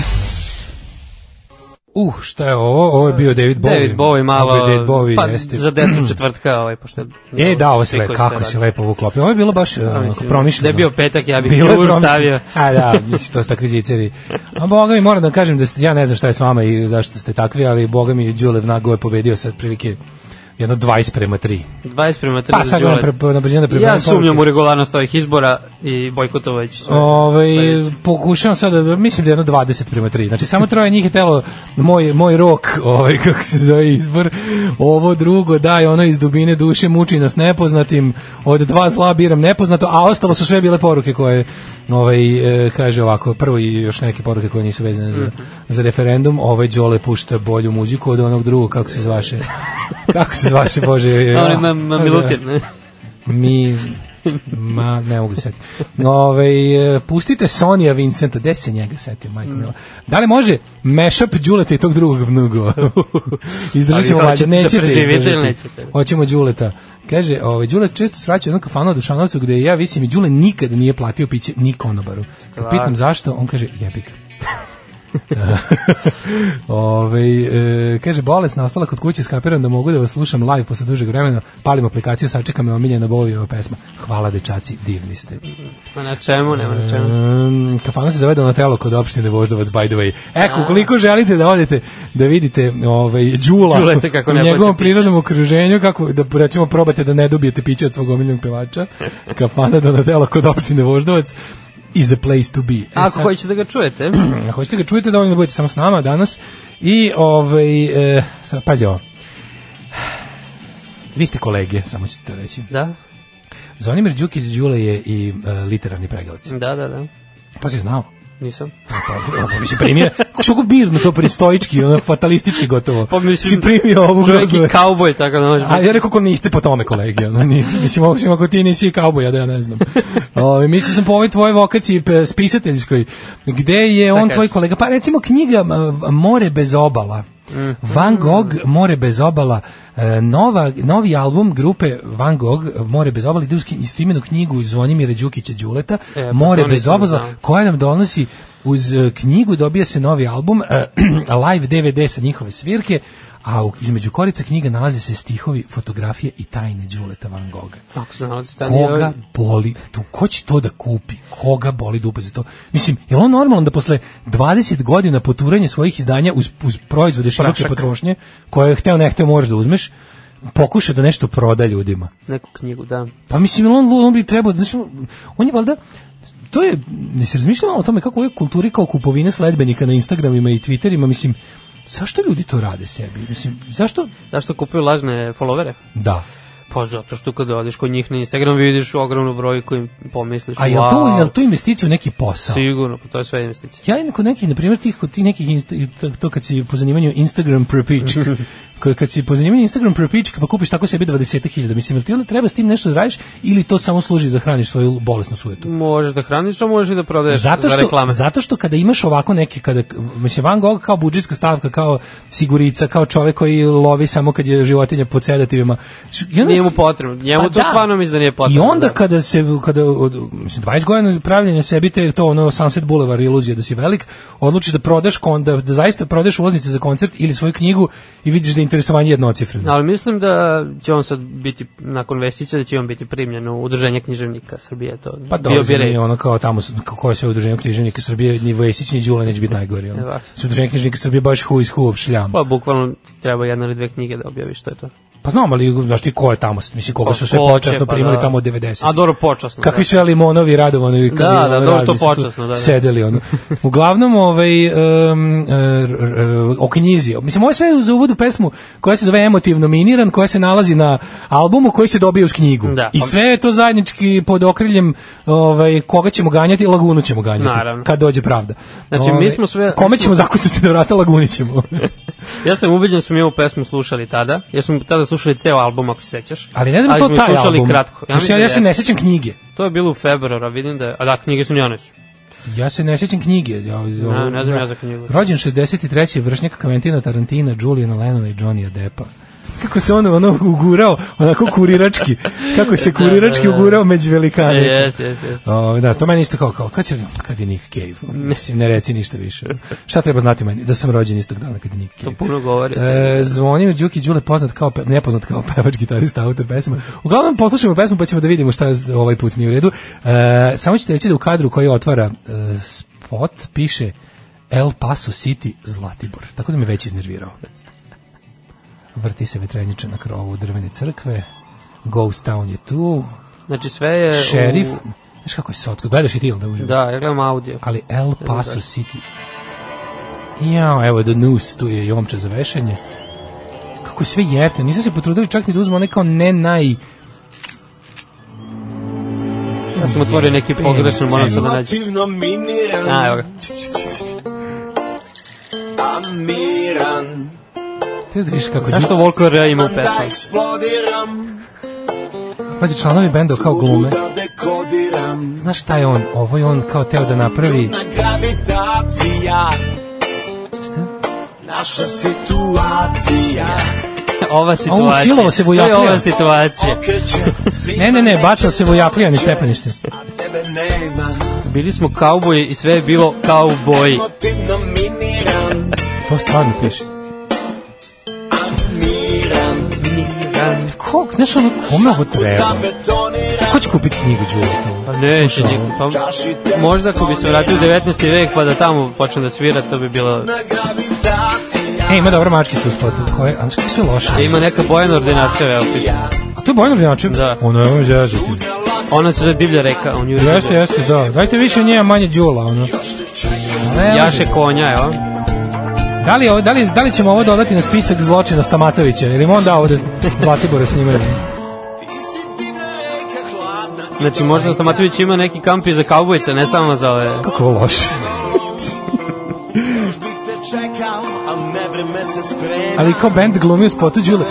Speaker 5: Uh, šta je ovo? Ovo je bio David Bowie.
Speaker 6: David Bowie malo...
Speaker 5: Ovo je David Bowie,
Speaker 6: pa,
Speaker 5: jeste.
Speaker 6: Za decu četvrtka, ovaj, pošto...
Speaker 5: E, da, ovo se lepo,
Speaker 6: Svi koji
Speaker 5: kako
Speaker 6: ste
Speaker 5: se
Speaker 6: radili.
Speaker 5: lepo ovo uklopio. Ovo je bilo baš
Speaker 6: Pa,
Speaker 5: onako,
Speaker 6: mislim,
Speaker 5: promišljeno.
Speaker 6: Da je bio petak, ja bih
Speaker 5: Bilo
Speaker 6: jur
Speaker 5: je promišljeno.
Speaker 6: stavio.
Speaker 5: A da, mislim, to ste takvi ziceri. A boga mi moram da vam kažem da ste, ja ne znam šta je s vama i zašto ste takvi, ali boga mi Đulev Nago je pobedio sa prilike jedno 20 prema 3.
Speaker 6: 20 prema 3
Speaker 5: Pa sad moram pre, pre, na brzinu da
Speaker 6: Ja
Speaker 5: prebrojim
Speaker 6: sumnjam
Speaker 5: poruke.
Speaker 6: u regularnost ovih izbora i bojkotovajući sve.
Speaker 5: Ove,
Speaker 6: sledeće.
Speaker 5: Ovaj, pokušavam sad, da- mislim da je jedno 20 prema 3. Znači, samo troje njih je telo moj, moj rok, ovaj, kako se zove izbor, ovo drugo, daj, ono iz dubine duše muči nas nepoznatim, od dva zla biram nepoznato, a ostalo su sve bile poruke koje, ovaj, e, kaže ovako, prvo i još neke poruke koje nisu vezane
Speaker 6: Mhm.
Speaker 5: za, za referendum, ovaj Đole pušta bolju muziku od onog drugog, kako se zvaše, kako se zvaše, Bože.
Speaker 6: Ono
Speaker 5: a,
Speaker 6: ima ma-
Speaker 5: a,
Speaker 6: Milutin.
Speaker 5: da.
Speaker 6: ne?
Speaker 5: mi... Ma, ne mogu se setiti. Ove, e, pustite Sonija Vincenta, gde se njega setio, majko
Speaker 6: Mm.
Speaker 5: mila. Da li može mashup Đuleta i tog drugog vnugo? Izdržat ćemo
Speaker 6: Ali
Speaker 5: mlađe,
Speaker 6: hoćete da
Speaker 5: nećete
Speaker 6: preživite ili
Speaker 5: izdržati.
Speaker 6: nećete?
Speaker 5: Hoćemo Đuleta. Kaže, ovaj, Đulet često svraća u jednom kafanu u Dušanovcu gde ja visim i Đule nikada nije platio piće ni konobaru. Kad pitam zašto, on kaže, jebika. Ove, e, kaže, bolesna ostala kod kuće, skapiram da mogu da vas slušam live posle dužeg vremena, palim aplikaciju, sačekam me omiljena Bovijeva pesma. Hvala dečaci, divni ste.
Speaker 6: Ma na čemu, nema na čemu.
Speaker 5: Um, kafana se zove Donatello kod opštine Voždovac, by the way. Eko, ukoliko želite da odete da vidite ovaj, Đula
Speaker 6: Đulete kako ne
Speaker 5: u njegovom
Speaker 6: plaća
Speaker 5: prirodnom okruženju, kako, da recimo probate da ne dobijete piće od svog omiljenog pevača, kafana Donatello kod opštine Voždovac is a place to be. E,
Speaker 6: Ako
Speaker 5: sad-
Speaker 6: hoćete da ga čujete,
Speaker 5: ako hoćete ga čujete, dovoljno da budete samo s nama danas. I, ovaj, e, sad, pazi ovo. Vi ste kolege, samo ću ti to reći.
Speaker 6: da,
Speaker 5: Zvonimir Đukić Đule je i e, literarni pregavac.
Speaker 6: da, da, da,
Speaker 5: To si znao.
Speaker 6: nisam.
Speaker 5: Pa, pa, mislim, primio, kako što birno to pri stoički, ono, fatalistički gotovo.
Speaker 6: Pa mislim,
Speaker 5: si primio ovu
Speaker 6: Čovjek
Speaker 5: groznu.
Speaker 6: je kauboj, tako da može
Speaker 5: A
Speaker 6: biti.
Speaker 5: ja rekao, ko niste po tome, kolegi, ono, niste, mislim, osim ako ti nisi kauboj, ja da ja ne znam. Ove, mislim sam po ovoj tvojoj vokaciji p- spisateljskoj, gde je on
Speaker 6: kažeš?
Speaker 5: tvoj kolega, pa recimo knjiga m, More bez obala,
Speaker 6: Mhm.
Speaker 5: Van Gogh, More bez obala, e, nova, novi album grupe Van Gogh, More bez obala, ide uz ki- istoimenu knjigu Zvonimira Đukića Đuleta,
Speaker 6: E, pa
Speaker 5: More
Speaker 6: to
Speaker 5: bez
Speaker 6: nisam
Speaker 5: obala,
Speaker 6: znao.
Speaker 5: koja nam donosi uz e, knjigu dobija se novi album e, live DVD sa njihove svirke a u, između korica knjiga nalaze se stihovi, fotografije i tajne Đuleta Van Gogha.
Speaker 6: Ako se nalazi tamo,
Speaker 5: Koga boli, tu, ko će to da kupi? Koga boli dupe za to? Mislim, je li on normalno da posle 20 godina poturanja svojih izdanja uz, uz proizvode široke
Speaker 6: Prašak.
Speaker 5: potrošnje, koje je hteo ne hteo moraš da uzmeš, pokuša da nešto proda ljudima?
Speaker 6: neku knjigu, da.
Speaker 5: Pa mislim, jel on, lud, on bi trebao, znači, on je valjda, to je, ne se razmišljalo o tome kako je kulturi kao kupovine sledbenika na Instagramima i Twitterima, mislim, zašto ljudi to rade sebi? Mislim, zašto?
Speaker 6: Zašto kupuju lažne followere?
Speaker 5: Da.
Speaker 6: Pa zato što kada odeš kod njih na Instagram vidiš ogromnu brojku i pomisliš,
Speaker 5: A je li to, je li to investicija u neki posao?
Speaker 6: sigurno, pa to je sve investicija.
Speaker 5: Ja jednako neki, na primjer, tih, kod tih nekih, insta, to kad si po zanimanju Instagram prepičk, kad, kad si po zanimanju Instagram prepička pa kupiš tako sebi 20.000, mislim, jel ti onda treba s tim nešto da radiš ili to samo služi da hraniš svoju bolesnu sujetu?
Speaker 6: Možeš da hraniš, a možeš i da prodaješ
Speaker 5: zato
Speaker 6: za
Speaker 5: što,
Speaker 6: reklame.
Speaker 5: zato što kada imaš ovako neke, kada, mislim, Van Gogh kao budžetska stavka, kao sigurica, kao čovek koji lovi samo kad je životinja po sedativima. Š- i onda
Speaker 6: Nije mu
Speaker 5: se-
Speaker 6: potrebno. Njemu to stvarno mislim da nije potrebno,
Speaker 5: Pa I onda
Speaker 6: da.
Speaker 5: kada se, kada, od, mislim, 20 godina pravljenja sebi, te, to ono Sunset Boulevard iluzija da si velik, odlučiš da prodaš, kon- da, da zaista prodaš ulaznice za koncert ili svoju knjigu i vidiš da je interesovanje jednocifreno.
Speaker 6: Ali mislim da će on sad biti, nakon Vesića, da će on biti primljen u udruženje književnika Srbije. To bio
Speaker 5: Pa
Speaker 6: bi
Speaker 5: dolazi mi
Speaker 6: red.
Speaker 5: ono kao tamo su- kako je sve udruženje književnika Srbije, ni Vesić ni Đule neće biti najgori. Ono.
Speaker 6: Da.
Speaker 5: Su udruženje književnika Srbije baš who is who of šljam.
Speaker 6: Pa bukvalno ti treba jedna ili dve knjige da objaviš što je to.
Speaker 5: Pa znam, ali znaš ti ko je tamo, mislim koga
Speaker 6: Pa
Speaker 5: su sve
Speaker 6: ko će,
Speaker 5: počasno
Speaker 6: pa
Speaker 5: primili
Speaker 6: da.
Speaker 5: tamo od 90.
Speaker 6: A dobro, počasno.
Speaker 5: Kakvi
Speaker 6: da.
Speaker 5: sve limonovi, radovanovi,
Speaker 6: Da, da, dobro, to
Speaker 5: razni su tu
Speaker 6: počasno, da, da.
Speaker 5: Sedeli, ono. Uglavnom, ovaj, um, er, er, o knjizi. Mislim, ovo je sve za uvodu pesmu koja se zove Emotivno miniran, koja se nalazi na albumu koji se dobije uz knjigu.
Speaker 6: Da.
Speaker 5: I sve je to zajednički pod okriljem ovaj, koga ćemo ganjati, lagunu ćemo ganjati.
Speaker 6: Naravno.
Speaker 5: Kad dođe pravda. Ovaj,
Speaker 6: Znači, mi smo sve-
Speaker 5: Kome ćemo zakucati na vrata, laguni ćemo.
Speaker 6: Ja sam ubeđen da smo mi ovu pesmu slušali tada. Ja smo tada slušali ceo album, ako se sećaš.
Speaker 5: Ali ne znam
Speaker 6: Ali
Speaker 5: to
Speaker 6: smo
Speaker 5: taj
Speaker 6: slušali
Speaker 5: album.
Speaker 6: kratko.
Speaker 5: Ja,
Speaker 6: mislim
Speaker 5: ja,
Speaker 6: da
Speaker 5: ja se ne
Speaker 6: jeste.
Speaker 5: sećam knjige.
Speaker 6: To je bilo u februara, vidim da je... A da, knjige su njonesu.
Speaker 5: Ja se ne sjećam knjige. Ja,
Speaker 6: Ne, ne znam ja za knjigu.
Speaker 5: Rođen 63. vršnjak Kventina Tarantina, Julijana Lenona i Johnny Deppa. Kako se on ono ugurao, onako kurirački. Kako se
Speaker 6: Da,
Speaker 5: kurirački ugurao među velikane.
Speaker 6: Jes, jes, jes.
Speaker 5: O, da, to meni isto kao, kao kad, će, kad je Nick Cave? Mislim, ne reci ništa više. Šta treba znati meni? Da sam rođen istog dana kad je Nick Cave.
Speaker 6: To puno govori.
Speaker 5: E, zvonio Đuki Đule poznat kao pe, nepoznat kao pevač, gitarista, autor pesma. Uglavnom poslušajmo pesmu pa ćemo da vidimo šta je ovaj put nije u redu. E, samo ćete reći da u kadru koji otvara e, spot piše El Paso City Zlatibor. Tako da me već iznervirao. Vrti se vetrenjača na krovu drvene crkve. Ghost Town je tu.
Speaker 6: Znači sve je... u-
Speaker 5: Šerif. Znaš kako je sotko? Gledaš i ti ili da uživo?
Speaker 6: Da, ja gledam audio.
Speaker 5: ali El Paso City. Jao, evo The News, tu je Jomče za vešanje. Kako je sve jeftino, nisu se potrudili čak ni da uzmu one kao ne naj...
Speaker 6: Ja sam otvorio neki pogrešan, moram sad da nađem. A, evo ga.
Speaker 5: Te da vidiš kako...
Speaker 6: Zašto
Speaker 5: Zašto?
Speaker 6: Volko R ima u pesmi?
Speaker 5: Pazi, članovi benda kao glume. Znaš šta je on? Ovo je on kao teo da napravi... Šta?
Speaker 6: Ova situacija.
Speaker 5: silovo se vojaklija.
Speaker 6: To je ova situacija.
Speaker 5: Ne, ne, ne, bacao se vojaklija ni stepenište.
Speaker 6: Bili smo kauboji i sve je bilo kauboji.
Speaker 5: To stvarno piše. Ko, znaš ono, kome ovo treba? Ko će kupiti knjigu Đuleta?
Speaker 6: Pa neće
Speaker 5: Slušaj,
Speaker 6: niko. Pa, možda ako bi se vratio u 19. vek pa da tamo počne da svira, to bi bilo...
Speaker 5: E, ima dobra mačkica u spotu. Koje, a znaš kako sve loše?
Speaker 6: Da ima neka bojena ordinacija, evo piše.
Speaker 5: A to je Bojana Vrnjačev?
Speaker 6: Da.
Speaker 5: Ono je ono zezati.
Speaker 6: Ona se zove divlja reka, on ju
Speaker 5: Jeste, jeste, da. Dajte više nje, a manje Đula, ono. Ne,
Speaker 6: Jaše konja, evo.
Speaker 5: Da li, ovo, da, li, da li ćemo ovo dodati na spisak zločina Stamatovića? Jer im on dao ovde Zlatibore snimaju.
Speaker 6: Znači možda Stamatović ima neki kamp i za kaubojice, ne samo za ove...
Speaker 5: Kako je ovo loše. Ali kao band glumi u spotu Đule.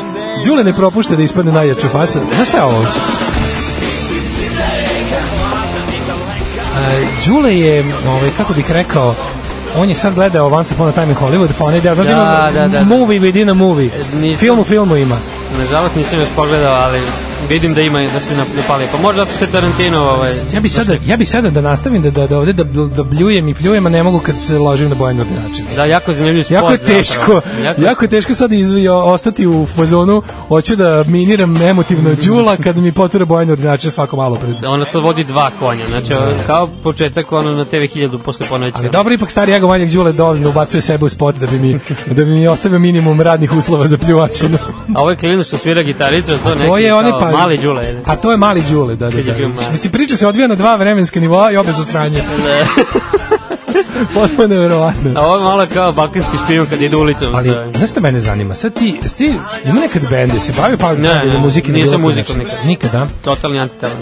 Speaker 5: Đule ne propušta da ispadne najjača faca. Znaš šta je ovo? E, Đule je, ovaj, kako bih rekao, on je sad gledao Once Upon a Time in Hollywood, pa onaj deo, znači
Speaker 6: Da,
Speaker 5: ima
Speaker 6: da, da, da.
Speaker 5: movie within a movie,
Speaker 6: nisam.
Speaker 5: film u filmu ima.
Speaker 6: Nažalost nisam još pogledao, ali vidim da ima da se napali. Pa možda zato što je Tarantino ovaj...
Speaker 5: Ja bi sada, ja bi sada da nastavim da, da, da ovde da, da bljujem i pljujem, a ne mogu kad se ložim na Bojanu Ordinačinu.
Speaker 6: Da, jako zanimljiv spot.
Speaker 5: Jako je
Speaker 6: zapravo.
Speaker 5: teško,
Speaker 6: Jako,
Speaker 5: jako je teško sad iz, jo, ostati u fazonu, hoću da miniram emotivno Đula kad mi potura Bojan Ordinača svako malo pred.
Speaker 6: Ona sad vodi dva konja, znači kao početak ono na TV 1000 posle ponoći.
Speaker 5: Da. Ali dobro, ipak stari Jago Manjak Đule dovoljno ubacuje sebe u spot da bi mi, da bi mi ostavio minimum radnih uslova za pljuvačinu.
Speaker 6: A ovo je klinac što svira gitaricu, to neki
Speaker 5: To je
Speaker 6: kao
Speaker 5: one pa...
Speaker 6: mali đula. je.
Speaker 5: A to je mali Đule, da, da,
Speaker 6: Kad je
Speaker 5: da.
Speaker 6: bio mali.
Speaker 5: Mislim, priča se odvija na dva vremenske nivoa i obe su sranje. Potpuno nevjerovatno.
Speaker 6: A ovo je malo kao balkanski špijun kad ide ulicom.
Speaker 5: Ali,
Speaker 6: sa-
Speaker 5: znaš što mene zanima? Sad ti, jesi ti ima nekad bende, se bavi pa
Speaker 6: Ne, ne,
Speaker 5: muzike?
Speaker 6: nisam
Speaker 5: bilo
Speaker 6: muzikom
Speaker 5: nešto?
Speaker 6: nikad.
Speaker 5: Nikad, a?
Speaker 6: Totalni antitalan.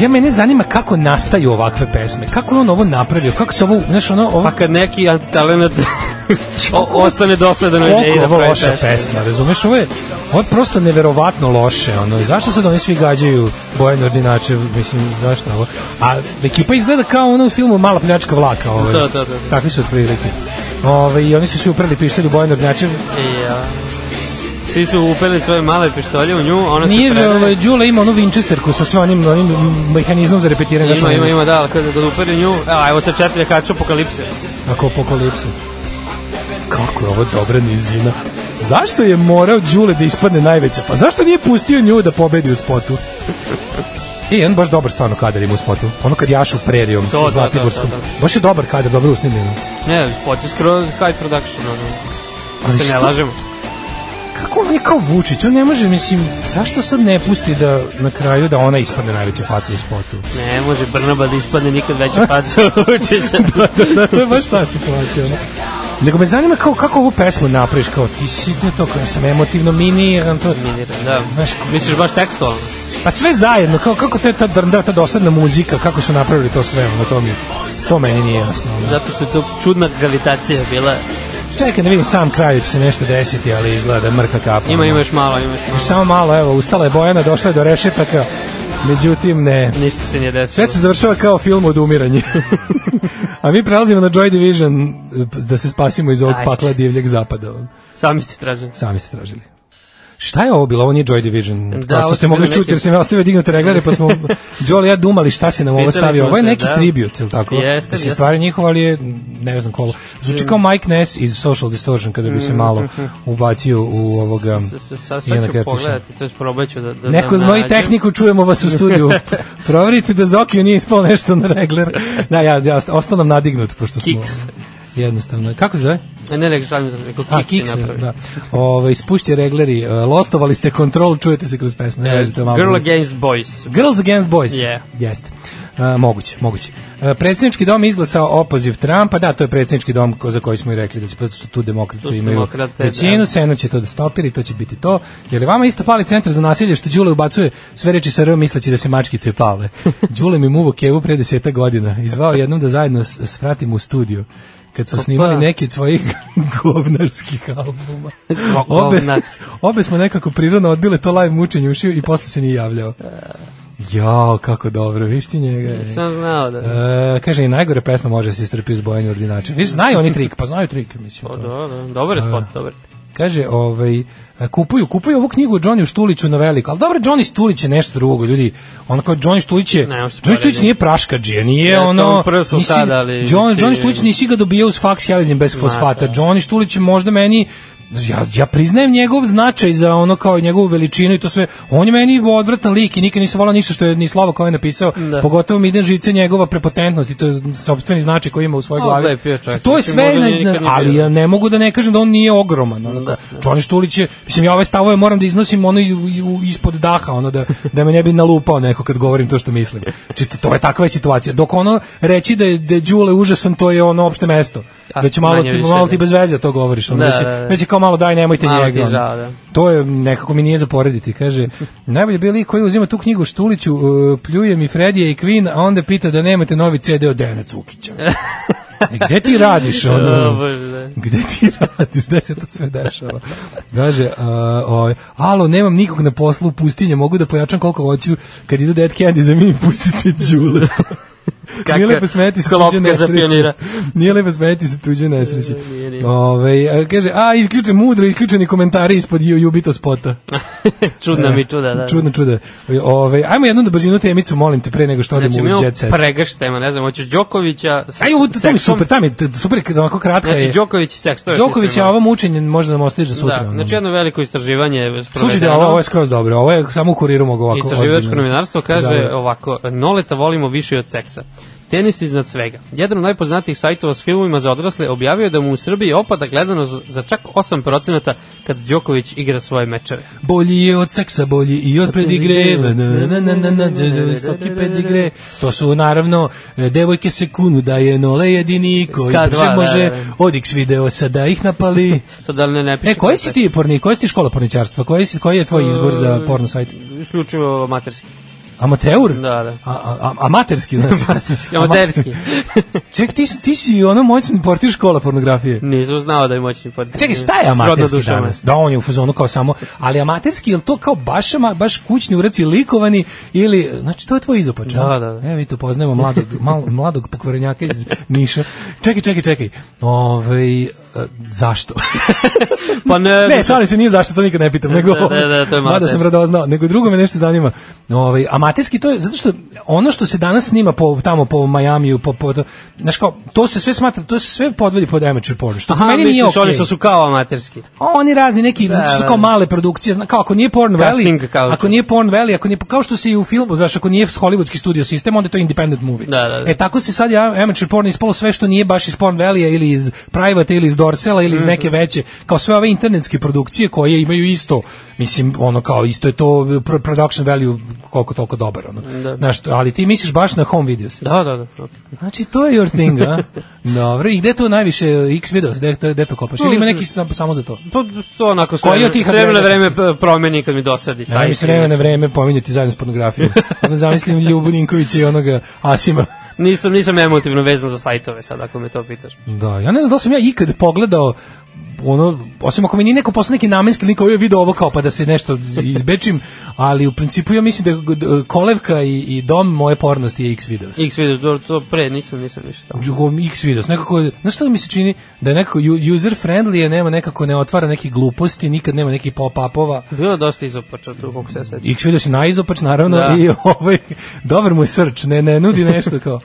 Speaker 5: Ja mene zanima kako nastaju ovakve pesme, kako je on ovo napravio, kako se ovo, znaš ono, ovo...
Speaker 6: Pa kad neki Pa antitalenat O, ostane dosledano
Speaker 5: Koliko
Speaker 6: ideji
Speaker 5: je
Speaker 6: da
Speaker 5: ovo
Speaker 6: pravi
Speaker 5: loša
Speaker 6: pesmu.
Speaker 5: pesma, razumeš? Ovo je, ovo je prosto neverovatno loše. Ono. I Zašto sad oni svi gađaju Bojan Ordinačev? Mislim, zašto ovo? A ekipa izgleda kao ono u filmu Mala pljačka vlaka. Ovaj.
Speaker 6: Da, da, da, da.
Speaker 5: Takvi su otprilike. Ove, I oni su svi uprali pištolj u Bojan Ordinačev.
Speaker 6: I, ja. Svi su upeli svoje male pištolje u nju, ona se
Speaker 5: Nije,
Speaker 6: predaje.
Speaker 5: ovaj, Đula ima onu Winchesterku sa sve onim, onim mehanizmom za repetiranje.
Speaker 6: Ima,
Speaker 5: šoljena.
Speaker 6: ima, ima, da, ali kada kada uperi nju, a, evo sad četiri kaču apokalipse.
Speaker 5: Ako apokalipsa. Kako je ovo dobra nizina. Zašto je morao Đule da ispadne najveća? Pa zašto nije pustio nju da pobedi u spotu? I on baš dobar stvarno kadar ima u spotu. Ono kad jašu prerijom
Speaker 6: To,
Speaker 5: sa
Speaker 6: da,
Speaker 5: Zlatiborskom.
Speaker 6: da, da, da.
Speaker 5: Baš je dobar kadar, dobro usnimljeno.
Speaker 6: Ne, spot je skroz high production, ono. Da
Speaker 5: Ali
Speaker 6: se ne
Speaker 5: što-
Speaker 6: lažemo.
Speaker 5: Kako on je kao Vučić? On ne može, mislim, zašto sad ne pusti da na kraju da ona ispadne najveća faca u spotu?
Speaker 6: Ne, može Brnaba da ispadne nikad veća faca od Vučića.
Speaker 5: da, da, to je baš ta situacija. Ono. Nego me zanima kao, kako ovu pesmu napraviš, kao ti si ne to, kao ja sam emotivno miniran, to
Speaker 6: Da,
Speaker 5: Znaš,
Speaker 6: misliš baš tekstualno?
Speaker 5: Pa sve zajedno, kao, kako to je ta drnda, ta dosadna muzika, kako su napravili to sve, ono, to, mi, to meni nije jasno. Ono.
Speaker 6: Zato što je to čudna gravitacija bila.
Speaker 5: Čekaj da vidim sam kraj, će se nešto desiti, ali izgleda da je mrka kapa.
Speaker 6: Ima,
Speaker 5: ono.
Speaker 6: ima još malo, ima još malo.
Speaker 5: Samo malo, evo, ustala je Bojana, došla je do rešetaka, međutim ne.
Speaker 6: Ništa se nije desilo.
Speaker 5: Sve se završava kao film od umiranja. A mi prelazimo na Joy Division da se spasimo iz ovog
Speaker 6: Ajde.
Speaker 5: pakla divljeg zapada. ono.
Speaker 6: Sami ste tražili.
Speaker 5: Sami ste tražili. Šta je ovo bilo? Ovo nije Joy Division. Da,
Speaker 6: Da,
Speaker 5: kao što
Speaker 6: ovo
Speaker 5: ste
Speaker 6: su
Speaker 5: mogli
Speaker 6: bili
Speaker 5: čuti,
Speaker 6: neki-
Speaker 5: jer sam ja ostavio dignute reglare, pa smo Đole i ja dumali šta se nam ovo
Speaker 6: Pitali
Speaker 5: stavio.
Speaker 6: smo
Speaker 5: Ovo je
Speaker 6: se,
Speaker 5: neki
Speaker 6: da.
Speaker 5: tribute, ili tako?
Speaker 6: Jeste,
Speaker 5: Mislim,
Speaker 6: jeste.
Speaker 5: stvari njihova, ali je, ne znam kolo. Zvuči kao Mike Ness iz Social Distortion, kada bi se
Speaker 6: Mm.
Speaker 5: malo ubacio u ovoga...
Speaker 6: Sa- sa- Sad
Speaker 5: Ijana
Speaker 6: ću
Speaker 5: Kertiša.
Speaker 6: pogledati, to je probat ću da, da,
Speaker 5: Neko
Speaker 6: da
Speaker 5: znoji
Speaker 6: nađem.
Speaker 5: tehniku, čujemo vas u studiju. Proverite da Zokiju nije ispao nešto na regler. Da, ja, ja ostao nam nadignut, pošto smo...
Speaker 6: Kiks.
Speaker 5: Jednostavno. Kako se zove?
Speaker 6: Ne, ne, ne, šalim se, neko
Speaker 5: A,
Speaker 6: kiks
Speaker 5: kiks,
Speaker 6: se napravi.
Speaker 5: da. Ove, ispušće regleri, e, lostovali ste kontrol, čujete se kroz pesmu.
Speaker 6: E,
Speaker 5: Ne, vezi, to je malo
Speaker 6: Girl
Speaker 5: drugo.
Speaker 6: Against Boys.
Speaker 5: Girls Against Boys.
Speaker 6: Yeah.
Speaker 5: Jeste. E, moguće, moguće. E, predsjednički dom izglasao opoziv Trumpa, da, to je predsjednički dom ko, za koji smo i rekli da će, zato što tu demokrati
Speaker 6: Tu su
Speaker 5: imaju
Speaker 6: demokrate,
Speaker 5: većinu,
Speaker 6: da.
Speaker 5: Senat će to da stopiri, to će biti to. Je li vama isto pali centar za nasilje što Đule ubacuje sve reči sa R misleći da se mačkice pale? Đule mi muvo kevu pre deseta godina. i zvao jednom da zajedno s- svratim u studiju kad su snimali neki od svojih govnarskih albuma. Obe,
Speaker 6: govnarskih.
Speaker 5: obe smo nekako prirodno odbile to live mučenje ušiju i posle se nije javljao. Jao, kako dobro, viš ti njega. je.
Speaker 6: Sam znao da...
Speaker 5: E, kaže, i najgore pesma može se istrpi uz bojanje ordinača. Viš, znaju oni trik, pa znaju trik, mislim.
Speaker 6: O,
Speaker 5: to.
Speaker 6: da, da, dobar je
Speaker 5: e,
Speaker 6: spot, dobar.
Speaker 5: Kaže, ovaj, e, kupuju, kupuju ovu knjigu Johnny Štuliću na veliko, ali dobro, Johnny Štulić je nešto drugo, ljudi, ono kao Johnny Štulić je,
Speaker 6: Ne, on se
Speaker 5: Johnny Štulić
Speaker 6: poredi.
Speaker 5: nije praškađe, nije
Speaker 6: Jeste,
Speaker 5: ono,
Speaker 6: on prsao
Speaker 5: nisi,
Speaker 6: sad, ali
Speaker 5: John,
Speaker 6: mislim-
Speaker 5: Johnny Štulić nisi ga dobijao uz faks jelizim bez fosfata, Johnny Štulić je možda meni, Ja, ja priznajem njegov značaj za ono kao i njegovu veličinu i to sve. On je meni odvratan lik i nikad nisam volao ništa što je ni Slava koji je napisao.
Speaker 6: Da.
Speaker 5: Pogotovo mi ide žice njegova prepotentnost i to je sopstveni značaj koji ima u svojoj
Speaker 6: A,
Speaker 5: glavi.
Speaker 6: lep je čovjek,
Speaker 5: to je
Speaker 6: mislim,
Speaker 5: sve,
Speaker 6: možda
Speaker 5: na-
Speaker 6: nije nikad ni
Speaker 5: ali
Speaker 6: bio.
Speaker 5: ja ne mogu da ne kažem da on nije ogroman. Ono, da, Čoni Štulić je, mislim, ja ove stavove moram da iznosim ono i- i- u- ispod daha, ono da, da me ne bi nalupao neko kad govorim to što mislim. Či to je takva je situacija. Dok ono reći da je, da je Đule užasan, to je ono opšte mesto.
Speaker 6: A,
Speaker 5: Već malo,
Speaker 6: manje
Speaker 5: ti,
Speaker 6: više,
Speaker 5: malo
Speaker 6: da.
Speaker 5: ti bez veze to govoriš. Ono,
Speaker 6: Da,
Speaker 5: već, je-
Speaker 6: da, da.
Speaker 5: već je kao malo daj, nemojte
Speaker 6: Malo ti
Speaker 5: njega.
Speaker 6: je
Speaker 5: ono.
Speaker 6: žao, da.
Speaker 5: To je nekako mi nije za porediti, kaže. Najbolje bili koji uzima tu knjigu Štuliću, uh, pljuje mi Fredija i Queen, a onda pita da nemate novi CD od Dejana Cukića. E, gde ti radiš? Ono?
Speaker 6: O, bože, da.
Speaker 5: Gde ti radiš? Gde se to sve dešava? Kaže, uh, ovaj, alo, nemam nikog na poslu u pustinje, mogu da pojačam koliko hoću, kad idu Dead Candy za mini, pustite Đule.
Speaker 6: Kaka
Speaker 5: Nije lepo smeti se tuđe
Speaker 6: klopka za
Speaker 5: nesreće.
Speaker 6: pionira.
Speaker 5: Nije lepo smeti se tuđe nesreće.
Speaker 6: Nije, nije.
Speaker 5: Ove, a, kaže, a, isključen, mudro, isključeni komentari ispod ju- Jubito spota. e,
Speaker 6: Čudna mi čuda, da.
Speaker 5: Čudno, čuda. Ove, ajmo jednu da brzinu temicu, molim te, pre nego što odemo
Speaker 6: Znači, mi
Speaker 5: u
Speaker 6: imamo
Speaker 5: jet set.
Speaker 6: pregrš tema, ne znam, hoćeš Đokovića sa
Speaker 5: Aj, ovo, to mi je
Speaker 6: seksom?
Speaker 5: super, tam je t- super, ovako kratka je.
Speaker 6: Znači, Đoković i seks, to je
Speaker 5: Đoković je ovo mučenje, možda nam ostaje za sutra.
Speaker 6: Da,
Speaker 5: ono.
Speaker 6: znači jedno veliko istraživanje je sprovedeno.
Speaker 5: Slušajte, ovo, ovo je skroz dobro, ovo je samo u kuriru mogu ovako.
Speaker 6: Istraživačko
Speaker 5: ozbiljno. da
Speaker 6: novinarstvo kaže
Speaker 5: Zabavno.
Speaker 6: ovako, noleta volimo više i od seksa. Tenis iznad svega. Jedan od najpoznatijih sajtova s filmima za odrasle objavio je da mu u Srbiji opada gledano za za čak 8% kad Đoković igra svoje mečeve.
Speaker 5: Bolji je od seksa, bolji i od predigre. Na, na, na, na, na, na, na, visoki pedigre. To su naravno e, devojke se kunu da je Nole jedini koji
Speaker 6: K2,
Speaker 5: brže
Speaker 6: da,
Speaker 5: može
Speaker 6: da, da.
Speaker 5: od X video sada ih napali.
Speaker 6: To da li ne ne piše?
Speaker 5: E, koji si
Speaker 6: E,
Speaker 5: ti porni, koji si ti škola porničarstva, koji, si, koji je tvoj izbor za porno sajt?
Speaker 6: Isključivo amaterski.
Speaker 5: Amateur?
Speaker 6: Da, da.
Speaker 5: A, a, a- amaterski, znači.
Speaker 6: Amaterski, amaterski.
Speaker 5: Ama- Ček, ti, si- ti si ono moćni portir škola pornografije.
Speaker 6: Nisam znao da je moćni partner.
Speaker 5: Čekaj, šta je amaterski danas? Da, on je u fazonu kao samo, ali amaterski, je li to kao baš, ama- baš kućni uraci likovani ili, znači to je tvoj izopač, a?
Speaker 6: Da, da, da.
Speaker 5: E, mi tu poznajemo mladog, mal, mladog pokvarenjaka iz Niša. Čekaj, čekaj, čekaj. Ove, zašto?
Speaker 6: Pa ne,
Speaker 5: ne,
Speaker 6: ne,
Speaker 5: stvarno se nije zašto, to nikad ne pitam, nego ovaj,
Speaker 6: Da, da, da, to je malo
Speaker 5: mada sam
Speaker 6: teško.
Speaker 5: radoznao, nego drugo me nešto zanima. Ovaj amaterski to je zato što ono što se danas snima po tamo po Majamiju, po po znaš kao to se sve smatra, to se sve podvodi pod amateur porn. Što po
Speaker 6: Aha,
Speaker 5: meni nije
Speaker 6: misliš
Speaker 5: okej.
Speaker 6: oni što su kao amaterski.
Speaker 5: Oni razni neki, zato što su
Speaker 6: da,
Speaker 5: kao
Speaker 6: da.
Speaker 5: male produkcije, zna, kao ako nije Porn Valley,
Speaker 6: Casting kao-
Speaker 5: ako nije Porn Valley, ako nije, kao što se i u filmu, znaš, ako nije hollywoodski studio sistem, onda je to independent movie.
Speaker 6: Da, da, da.
Speaker 5: E tako se sad ja, amateur porn ispalo sve što nije baš iz Porn Valley ili iz Private ili iz Dorsela ili
Speaker 6: Mhm.
Speaker 5: iz neke veće, kao sve ove internetske produkcije koje imaju isto, mislim, ono kao isto je to pro- production value koliko toliko dobar, ono. Znaš, ali ti misliš baš na home videos.
Speaker 6: Da, da, da.
Speaker 5: Znači, to je your thing, a? Dobro, i gde to najviše X videos, gde, to- gde to kopaš? Ili ima neki sam- samo za to?
Speaker 6: Pa to onako
Speaker 5: Koji
Speaker 6: sve,
Speaker 5: od tih
Speaker 6: s vremena na
Speaker 5: adrenalina?
Speaker 6: vreme p- promeni kad mi dosadi
Speaker 5: Ajde mi
Speaker 6: sajt.
Speaker 5: se vreme na vreme pominjati zajedno s pornografijom. Onda zamislim Ljubu Ninkovića i onoga Asima.
Speaker 6: Nisam, nisam emotivno vezan za sajtove sad, ako me to pitaš.
Speaker 5: Da, ja ne znam da li sam ja ikad pogledao ono, osim ako mi nije neko posle neki namenski lik, ovo je video ovo kao pa da se nešto izbečim, ali u principu ja mislim da g- kolevka i, i dom moje pornosti je X videos.
Speaker 6: X video, to, to pre, nisam, nisam ništa.
Speaker 5: X videos, nekako, je- znaš što mi se čini da je nekako ju- user friendly, je, nema nekako, ne otvara nekih gluposti, nikad nema nekih pop-upova,
Speaker 6: Bilo je dosta izopača tu, koliko se sveća.
Speaker 5: X videos je najizopač naravno
Speaker 6: Da.
Speaker 5: i ovaj, dobar mu je search, ne, ne nudi nešto kao.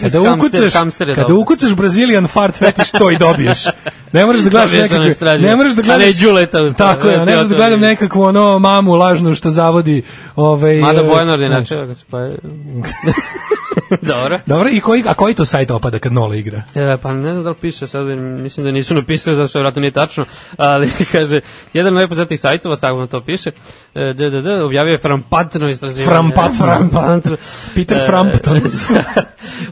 Speaker 5: kada ukucaš, kada ukucaš Brazilian fart fetish, to i dobiješ. Ne moraš da gledaš
Speaker 6: Dobiješ ono
Speaker 5: nekakve,
Speaker 6: istražnje.
Speaker 5: ne moraš da gledaš...
Speaker 6: A ne Đuleta uz to,
Speaker 5: Tako je,
Speaker 6: da,
Speaker 5: a ne
Speaker 6: to-
Speaker 5: moraš da
Speaker 6: to
Speaker 5: gledam
Speaker 6: vidim.
Speaker 5: nekakvu ono mamu lažnu što zavodi... Ovaj,
Speaker 6: Mada
Speaker 5: eh,
Speaker 6: Bojanor je
Speaker 5: znaš.
Speaker 6: načeo ga se pa... Dobro.
Speaker 5: Dobro, i koji, a koji to sajt opada kad Nola igra?
Speaker 6: E, pa ne znam da li piše sad, mislim da nisu napisali zato što vjerojatno nije tačno, ali kaže, jedan od najpoznatijih sajtova, sagledno to piše, e, DDD, objavio je frampantno istraživanje.
Speaker 5: Frampa-
Speaker 6: Frampantno.
Speaker 5: Peter
Speaker 6: E,
Speaker 5: Frampton.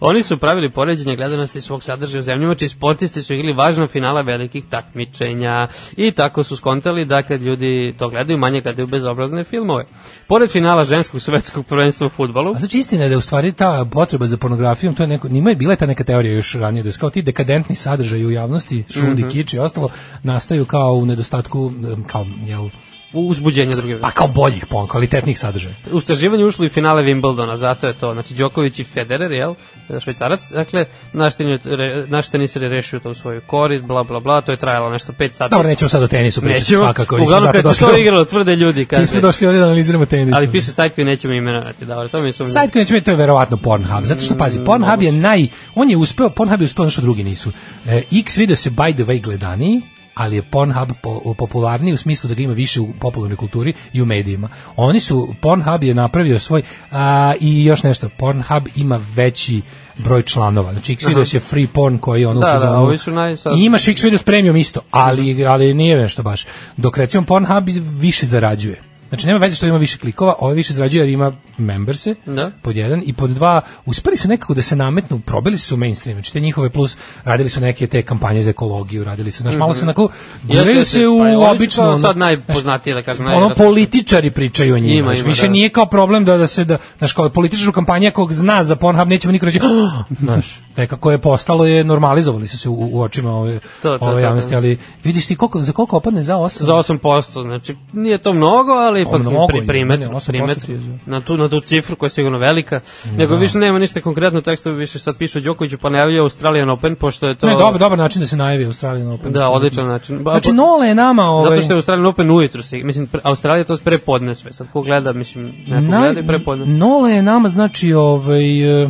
Speaker 6: Oni su pravili poređenje gledanosti svog sadržaja u zemljama, čiji sportisti su igrali važna finala velikih takmičenja i tako su skontali da kad ljudi to gledaju, manje gledaju bezobrazne filmove. Pored finala ženskog svetskog prvenstva u futbolu,
Speaker 5: A znači istina je da je u stvari ta potreba za pornografijom, to je neko, njima je bila ta neka teorija još ranije, da je kao ti dekadentni sadržaj u javnosti, šund
Speaker 6: Mhm.
Speaker 5: i kič i ostalo, nastaju kao u nedostatku, em, kao, jel,
Speaker 6: uzbuđenje druge vrste.
Speaker 5: pa kao boljih, pon, kvalitetnih sadržaja.
Speaker 6: U istraživanje ušlo i finale Wimbledona, zato je to. Znači, Đoković i Federer, jel? Švajcarac. Dakle, naš tenis, re, naš tenis je rešio to u svoju korist, bla, bla, bla. To je trajalo nešto 5 sati.
Speaker 5: Dobro, nećemo sad o tenisu pričati
Speaker 6: Nećemo.
Speaker 5: svakako. nismo
Speaker 6: Uglavnom,
Speaker 5: zato
Speaker 6: kad se
Speaker 5: došli
Speaker 6: to
Speaker 5: ovde.
Speaker 6: igralo, tvrde ljudi,
Speaker 5: Nismo
Speaker 6: kaže.
Speaker 5: došli ovdje da analiziramo tenis.
Speaker 6: Ali piše sajt koji nećemo imenovati. Dobro, to mi su...
Speaker 5: Sajt koji neće biti, to je verovatno Pornhub. Zato što,
Speaker 6: Mm,
Speaker 5: pazi, Pornhub je naj... On je uspeo, Pornhub je uspeo ono što drugi nisu. E, X video se by the way gledaniji, ali je Pornhub po, popularniji u smislu da ga ima više u popularnoj kulturi i u medijima. Oni su, Pornhub je napravio svoj... A, I još nešto, Pornhub ima veći broj članova. Znači, X videos je free porn koji je ono
Speaker 6: Da,
Speaker 5: u
Speaker 6: da,
Speaker 5: fazonu-
Speaker 6: ovi su naj- sad-
Speaker 5: I imaš X videos premium isto, ali, ali nije nešto baš. Dok recimo Pornhub više zarađuje. Znači nema veze što ima više klikova, ovaj više zarađuje jer ima memberse,
Speaker 6: Da.
Speaker 5: pod jedan, i pod dva, uspeli su nekako da se nametnu, probili su u mainstream, znači te njihove plus, radili su neke te kampanje za ekologiju, radili su, znaš, malo se onako, guraju
Speaker 6: Mhm. jeste.
Speaker 5: se u
Speaker 6: Pa, oni su kao
Speaker 5: obično, ono,
Speaker 6: sad
Speaker 5: znaš,
Speaker 6: najpoznatiji, da kažem,
Speaker 5: ono
Speaker 6: najraspetiji.
Speaker 5: političari pričaju o njima,
Speaker 6: Ima,
Speaker 5: znaš,
Speaker 6: ima,
Speaker 5: više
Speaker 6: da.
Speaker 5: nije kao problem da, da se, da, znaš, kao političar u kampanji kog zna za Pornhub, nećemo niko reći, "Ah!" znaš, nekako je postalo, je normalizovali su se u, u očima ove,
Speaker 6: to, to,
Speaker 5: ove
Speaker 6: to.
Speaker 5: javnosti, ali vidiš ti koliko, za koliko opadne za osam?
Speaker 6: Za 8%, znači nije to mnogo, ali ipak
Speaker 5: mnogo
Speaker 6: pri,
Speaker 5: je,
Speaker 6: primet,
Speaker 5: ne, ne, 8%
Speaker 6: primet
Speaker 5: ti je za-
Speaker 6: na, tu, na tu cifru koja je sigurno velika, nego
Speaker 5: Da.
Speaker 6: više nema ništa konkretno teksta, više sad piše o Đokoviću, pa najavljaju Australian Open, pošto je to...
Speaker 5: Ne, dobar, dobar način da se najavi Australijan Open.
Speaker 6: Da, odličan način. Ba-
Speaker 5: Znači,
Speaker 6: ba-
Speaker 5: Nola je nama... Ovaj,
Speaker 6: Zato što je Australian Open ujutru, si, mislim, pre- Australija to pre podne sve, sad ko gleda, mislim, neko
Speaker 5: Naj-
Speaker 6: gleda i pre podne.
Speaker 5: Nola je nama znači ovaj e,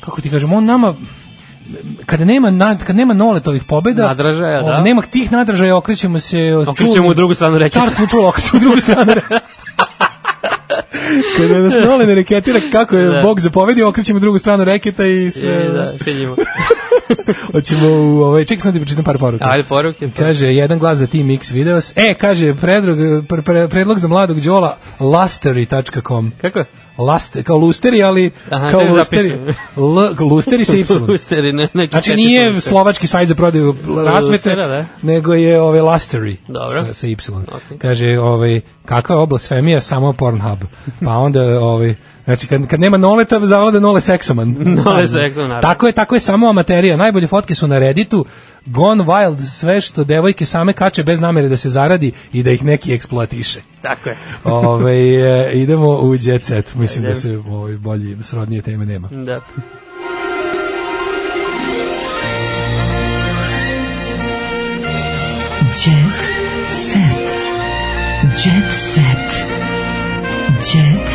Speaker 5: kako ti kažem, on nama kada nema nad, kad nema noletovih pobeda,
Speaker 6: Nadražaja,
Speaker 5: ovaj,
Speaker 6: da.
Speaker 5: nema tih nadražaja, okrećemo se od
Speaker 6: Okrećemo u drugu stranu reći.
Speaker 5: Carstvo čulo, okrećemo u drugu stranu. re- kada nas Nole ne reketira kako je
Speaker 6: Da. E,
Speaker 5: Bog zapovedio, okrećemo u drugu stranu reketa i sve.
Speaker 6: Da, šeljimo.
Speaker 5: Hoćemo u ovaj ček sam ti pročitam par poruka.
Speaker 6: Ajde, poruke. pa.
Speaker 5: Kaže, jedan glas za Team X videos. E, kaže, predlog, pre, pre, predlog za mladog Đola, lasteri.com.
Speaker 6: Kako?
Speaker 5: Laste, kao lusteri, ali
Speaker 6: Aha,
Speaker 5: kao
Speaker 6: to je
Speaker 5: lusteri. L, lusteri sa Y.
Speaker 6: Lusteri, ne, neki
Speaker 5: Znači
Speaker 6: četiri
Speaker 5: nije
Speaker 6: lusteri.
Speaker 5: slovački sajt za prodaju rasvete,
Speaker 6: Lustera, da.
Speaker 5: nego je ovaj Lastery
Speaker 6: Dobro.
Speaker 5: sa, sa Y. Kaže, ovaj, kakva je oblasfemija, samo Pornhub. Pa onda, ovaj, znači kad, kad nema noleta, zavlada da nole seksoman.
Speaker 6: Nole seksoman, naravno.
Speaker 5: Tako je, tako je samo amaterija. Najbolje fotke su na Redditu, Gone Wild, sve što devojke same kače bez namere da se zaradi i da ih neki eksploatiše.
Speaker 6: Tako je.
Speaker 5: Ove, e, idemo u jet set. Mislim da se ovaj, bolji, srodnije teme nema.
Speaker 6: Da.
Speaker 4: Jet set. Jet set. Jet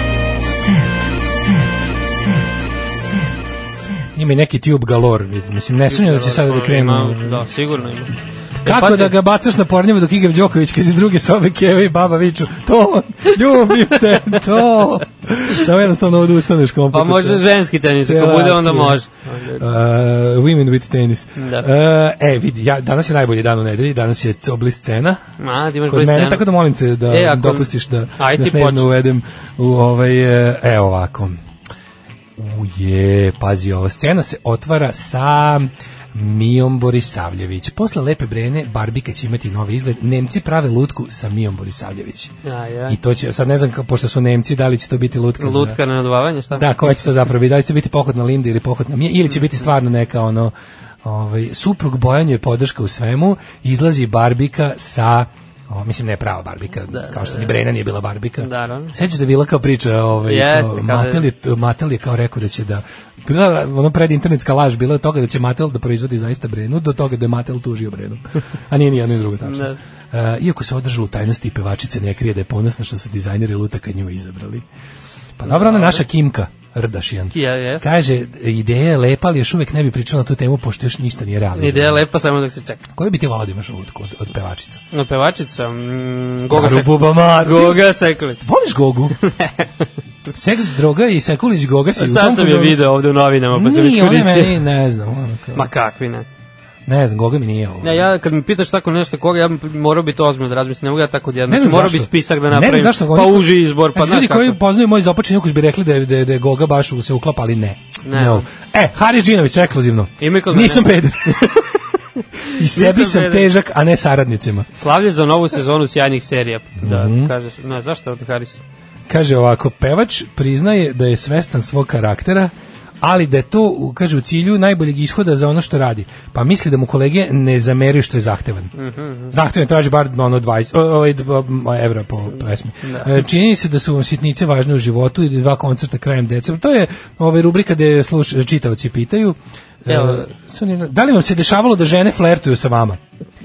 Speaker 4: set. Set. Set. Set.
Speaker 5: Ima i neki tube galore, vid- mislim, ne sumnjam da će sada da krenu.
Speaker 6: Ima, Da, sigurno ima.
Speaker 5: Kako
Speaker 6: pazi.
Speaker 5: da ga bacaš na pornjevo dok igra Đoković kad iz druge sobe keve i baba viču, to, ljubim te, to. Samo jednostavno ovdje ustaneš kompletno.
Speaker 6: Pa može ženski tenis, ako
Speaker 5: Cijela
Speaker 6: bude onda
Speaker 5: akcija.
Speaker 6: može.
Speaker 5: Uh, women with tennis.
Speaker 6: Da.
Speaker 5: Uh, e, vidi, ja, danas je najbolji dan u nedelji, danas je oblis cena.
Speaker 6: Ma, ti imaš
Speaker 5: Kod
Speaker 6: broj
Speaker 5: mene,
Speaker 6: scena.
Speaker 5: tako da molim te da
Speaker 6: E,
Speaker 5: e,
Speaker 6: ako-
Speaker 5: dopustiš da,
Speaker 6: Aj,
Speaker 5: da
Speaker 6: ti
Speaker 5: snežno
Speaker 6: počni.
Speaker 5: uvedem u ovaj, e, e, ovako. Uje, pazi, ova scena se otvara sa Mijom Borisavljević. Posle Lepe Brene, Barbika će imati novi izgled. Nemci prave lutku sa Mijom Borisavljević.
Speaker 6: Ja, ja.
Speaker 5: I to će, sad ne znam, ka- pošto su Nemci, da li će to biti lutka, za-
Speaker 6: Lutka na nadvavanje, šta?
Speaker 5: da, koja će to zapravo biti? Da li će biti pohod na Linde ili pohod na Mije? Ili će biti stvarno neka ono... Ovaj, suprug Bojan je podrška u svemu, izlazi Barbika sa O, mislim, ne prava Barbika, kao što ni Brena nije bila Barbika.
Speaker 6: Da, da.
Speaker 5: Sećaš da je bila kao priča, ovaj,
Speaker 6: Jeste,
Speaker 5: kao,
Speaker 6: kao da-
Speaker 5: Matel, je, Matel je kao rekao da će da... Bila ono predinternetska laž bila od toga da će Matel da proizvodi zaista Brenu, do toga da je Matel tužio Brenu. A nije ni jedno ni drugo tačno.
Speaker 6: Da.
Speaker 5: E, iako se održalo u tajnosti, pevačica ne krije da je ponosna što su dizajneri lutaka nju izabrali. Pa dobro, ona naša Kimka, Rdašijan.
Speaker 6: Kija, jes.
Speaker 5: Kaže, ideja je lepa, ali još uvek ne bi pričala na tu temu, pošto još ništa nije realizovano.
Speaker 6: Ideja je lepa, samo dok se čeka.
Speaker 5: Koju bi ti volao da imaš lutku od, od pevačica?
Speaker 6: No, pevačica, mm, Goga
Speaker 5: Maru
Speaker 6: Seklić.
Speaker 5: Buba Maru.
Speaker 6: Goga Seklić.
Speaker 5: Voliš Gogu? Seks, droga i Sekulić Goga si u tom
Speaker 6: Sad sam je
Speaker 5: fazonu.
Speaker 6: video ovde u novinama, pa sam već
Speaker 5: Nije, ona
Speaker 6: koristio.
Speaker 5: meni, ne znam. ono kao-
Speaker 6: Ma kakvi ne.
Speaker 5: Ne znam, Goga mi nije ovo.
Speaker 6: Ne, ja kad mi pitaš tako nešto koga, ja bi morao bi to ozbiljno da razmislim, ne mogu ja tako odjedno.
Speaker 5: Ne znam
Speaker 6: morao
Speaker 5: zašto.
Speaker 6: bi spisak da
Speaker 5: Ne znam
Speaker 6: napravim.
Speaker 5: zašto,
Speaker 6: pa
Speaker 5: oni-
Speaker 6: uži izbor, pa
Speaker 5: Znači,
Speaker 6: znaš
Speaker 5: ljudi
Speaker 6: kako.
Speaker 5: koji poznaju moj započen ukuš bi rekli da je, da je, da je Goga baš u- se uklapa, ali ne.
Speaker 6: Ne.
Speaker 5: No. E, Haris Džinović, ekskluzivno.
Speaker 6: Ime kod mene.
Speaker 5: Nisam peder. I sebi sam
Speaker 6: peder.
Speaker 5: težak, a ne saradnicima.
Speaker 6: Slavlje za novu sezonu sjajnih serija. Da,
Speaker 5: Mhm.
Speaker 6: kaže se. Ne, zašto od Haris?
Speaker 5: Kaže ovako, pevač priznaje da je svestan svog karaktera, ali da je to, u- kaže, u cilju najboljeg ishoda za ono što radi. Pa misli da mu kolege ne zameraju što je zahtevan. Zahtevan traži bar ono 20 o- ovaj, d- o- evra po pesmi. E, Čini mi se da su vam sitnice važne u životu i da dva koncerta krajem decembra. To je ovaj rubrika gde sluš, čitaoci pitaju. E,
Speaker 6: Evo.
Speaker 5: sad ne- da li vam se dešavalo da žene flertuju sa vama?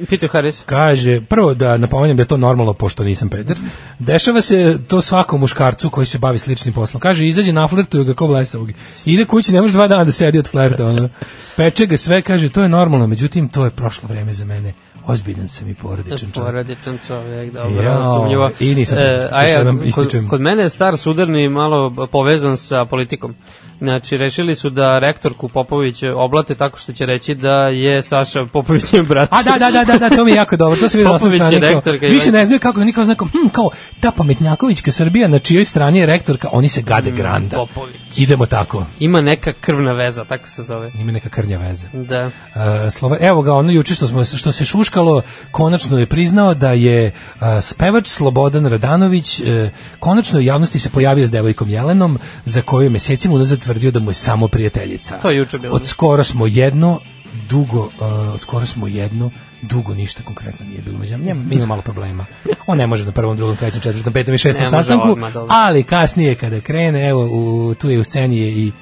Speaker 6: Pitao Haris.
Speaker 5: Kaže, prvo da napominjem da je to normalno pošto nisam peder. Dešava se to svakom muškarcu koji se bavi sličnim poslom. Kaže, izađe na flertuju ga ko blesavog. Ide kući, ne može dva dana da sedi od flerta. Ono. Peče ga sve, kaže, to je normalno, međutim, to je prošlo vreme za mene. Ozbiljan sam i porodičan čovjek.
Speaker 6: Porodičan čovjek, dobro,
Speaker 5: Jao,
Speaker 6: sumnjivo.
Speaker 5: i nisam
Speaker 6: E,
Speaker 5: peder,
Speaker 6: a
Speaker 5: još
Speaker 6: ja,
Speaker 5: jednom
Speaker 6: kod,
Speaker 5: ističem.
Speaker 6: kod mene je star sudarni malo b- povezan sa politikom. Znači, rešili su da rektorku Popović oblate tako što će reći da je Saša Popovićev brat.
Speaker 5: A da, da, da, da, da, to mi je jako dobro. To se vidi na osnovu
Speaker 6: Popović je
Speaker 5: strane. kao-
Speaker 6: rektorka i
Speaker 5: Više
Speaker 6: Vanja.
Speaker 5: ne znaju kako oni kao znaju, kao, hm, kao ta pametnjakovićka Srbija na čijoj strani je rektorka, oni se gade granda.
Speaker 6: Mm, Popović.
Speaker 5: Idemo tako.
Speaker 6: Ima neka krvna veza, tako se zove.
Speaker 5: Ima neka krnja veza.
Speaker 6: Da.
Speaker 5: E, Slova, evo ga, ono juče što, smo, što se šuškalo, konačno je priznao da je e, spevač Slobodan Radanović e, konačno u javnosti se pojavio s devojkom Jelenom, za koju je mesecima unazad tvrdio da mu je samo prijateljica.
Speaker 6: To je juče bilo.
Speaker 5: Od skoro smo jedno, dugo, e, od skoro smo jedno, dugo ništa konkretno nije bilo. Međutim, njemu ima malo problema. On ne može na prvom, drugom, trećem, četvrtom, petom i šestom
Speaker 6: Ne može
Speaker 5: sastanku,
Speaker 6: odmah, dobro.
Speaker 5: ali kasnije kada krene, evo, u, tu je u sceni je i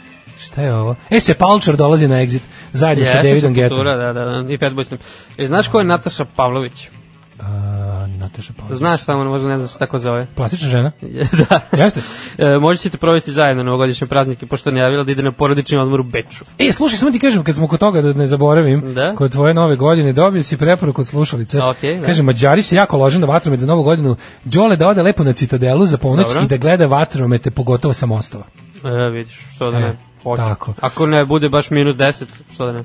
Speaker 5: Šta je ovo? E, se Palčar dolazi na exit zajedno sa
Speaker 6: Jeste,
Speaker 5: Davidom Getom.
Speaker 6: kultura, Da, da, da, i Fat Boy Slim. E, znaš ko je Nataša Pavlović?
Speaker 5: A, Nataša Palčar.
Speaker 6: Znaš samo, možda ne znaš šta tako zove.
Speaker 5: Plastična žena?
Speaker 6: da.
Speaker 5: Jeste?
Speaker 6: E, možda ćete provesti zajedno novogodišnje praznike, pošto je najavila da ide na porodični odmor u Beču.
Speaker 5: E, slušaj, samo ti kažem, kad smo kod toga, da ne zaboravim,
Speaker 6: Da?
Speaker 5: kod tvoje nove godine, dobio si preporuku od slušalice.
Speaker 6: A, okej, da.
Speaker 5: Kaže, Mađari se jako lože na vatromet za novu godinu. Đole da ode lepo na citadelu za ponoć
Speaker 6: Dobro.
Speaker 5: i da gleda vatromete, pogotovo sa mostova.
Speaker 6: E, vidiš, što da
Speaker 5: E,
Speaker 6: ne.
Speaker 11: hoću.
Speaker 5: Tako.
Speaker 6: Ako ne bude baš minus 10, što da ne.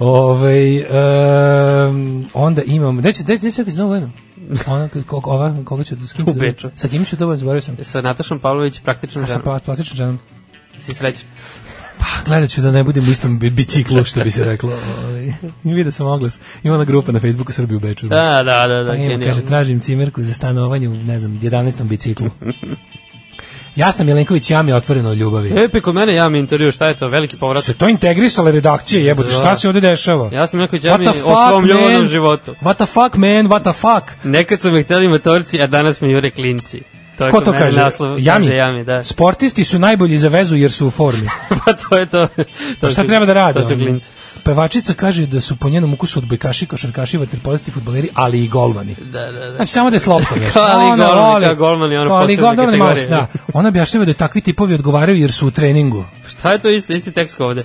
Speaker 5: Ovaj um, onda imam, gde će gde će se kako gledam? Ona koga ova koga ću s kim ću
Speaker 6: U
Speaker 5: da budem?
Speaker 6: Beču.
Speaker 5: Sa kim ću da budem, zaboravio sam.
Speaker 6: E, Sa Natašom Pavlović praktično
Speaker 5: A E, sa pa-
Speaker 6: ženom.
Speaker 5: pla- plastičnom ženom.
Speaker 6: Si srećan.
Speaker 5: Pa gledat ću da ne budem u istom bi- biciklu što bi se reklo. Ovaj. Vidio sam oglas. Ima ona grupa na Facebooku Srbiju u Beču.
Speaker 6: Da, da, da, da,
Speaker 5: Pa ima,
Speaker 6: genijalno.
Speaker 5: kaže, tražim cimerku za stanovanje u, ne znam, 11. biciklu. Jasna Milenković jam je otvoreno od ljubavi.
Speaker 6: Epi, kod mene jam intervju, šta je to, veliki povrat.
Speaker 5: Se E, to integrisale redakcije, jebote, šta se ovde dešava?
Speaker 6: Da. Ja sam neko
Speaker 5: What
Speaker 6: jam
Speaker 5: the fuck,
Speaker 6: o svom ljubavnom
Speaker 5: man?
Speaker 6: životu.
Speaker 5: What the fuck, man, what the fuck?
Speaker 6: Nekad su me hteli motorci, a danas mi jure klinci. To je
Speaker 5: Ko
Speaker 6: kod
Speaker 5: to
Speaker 6: mene
Speaker 5: kaže?
Speaker 6: Naslov,
Speaker 5: Jami?
Speaker 6: Kaže jami, da.
Speaker 5: Sportisti su najbolji za vezu jer su u formi.
Speaker 6: pa to je to.
Speaker 5: Pa
Speaker 6: to
Speaker 5: šta
Speaker 6: su-
Speaker 5: treba da rade?
Speaker 6: To su
Speaker 5: ono?
Speaker 6: klinci.
Speaker 5: Pevačica kaže da su po njenom ukusu odbojkaši, košarkaši, vaterpolisti, futboleri, ali i golmani.
Speaker 6: Da, da, da.
Speaker 5: Znači samo da je slopka veš.
Speaker 6: Kao ali
Speaker 5: Ona
Speaker 6: golmani,
Speaker 5: voli-
Speaker 6: kao golmani, ono
Speaker 5: kao ali
Speaker 6: posebne
Speaker 5: golmani,
Speaker 6: kategorije.
Speaker 5: da. Ona objašnjava da takvi tipovi odgovaraju jer su u treningu.
Speaker 6: Šta je to isti, isti tekst kao ovde?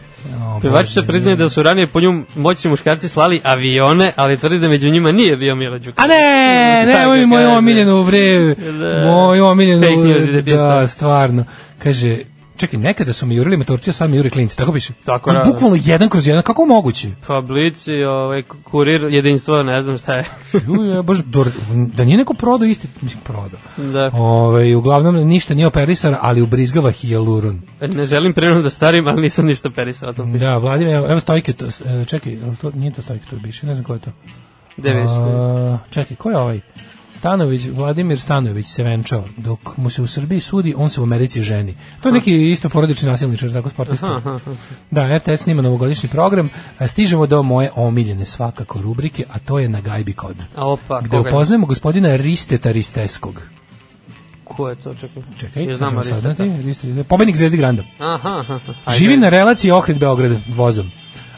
Speaker 5: O,
Speaker 6: Pevačica
Speaker 5: Bože,
Speaker 6: priznaje da su ranije po njom moćni muškarci slali avione, ali tvrdi da među njima nije bio Milo Đukanović.
Speaker 5: A ne, ne,
Speaker 6: Tako
Speaker 5: ovo je
Speaker 6: kaže.
Speaker 5: moju omiljenu, bre,
Speaker 6: Da.
Speaker 5: moju omiljenu,
Speaker 6: Fake news i debilca.
Speaker 5: da, stvarno. Kaže, čekaj, nekada su mi jurili motorci, a sad mi juri klinci, tako piše.
Speaker 6: Tako,
Speaker 5: Ali
Speaker 6: da, da.
Speaker 5: Bukvalno jedan kroz jedan, kako moguće?
Speaker 6: Pa Blici, ovaj, kurir, jedinstvo, ne znam šta je.
Speaker 5: Ju, je, baš, dor- da nije neko prodao isti, mislim, prodao.
Speaker 6: da.
Speaker 5: Ove, uglavnom ništa nije operisano, ali ubrizgava hijaluron.
Speaker 6: Ne želim prirodno da starim, ali nisam ništa perisao. To
Speaker 5: Da, Vladimir, evo, evo stojke, to, e, čekaj, jel to, nije to stojke, to je biše, ne znam ko je to.
Speaker 6: Gde vidiš?
Speaker 5: A, čekaj, ko je ovaj? Stanović, Vladimir Stanović se venčao. Dok mu se u Srbiji sudi, on se u Americi ženi. To je neki isto porodični nasilničar, tako sportista. Da, RTS snima novogodišnji program. A Stižemo do moje omiljene svakako rubrike, a to je na gajbi kod.
Speaker 6: A opa,
Speaker 5: Gde
Speaker 6: Pa, koga?
Speaker 5: upoznajemo gospodina Risteta Risteskog.
Speaker 6: Ko je to? Čekaj.
Speaker 5: Čekaj,
Speaker 6: Ja
Speaker 5: ja
Speaker 6: znam Aristeta.
Speaker 5: Pobednik Zvezdi Granda.
Speaker 6: Aha, aha. ajde.
Speaker 5: Živi na relaciji Ohrid Beograd vozom.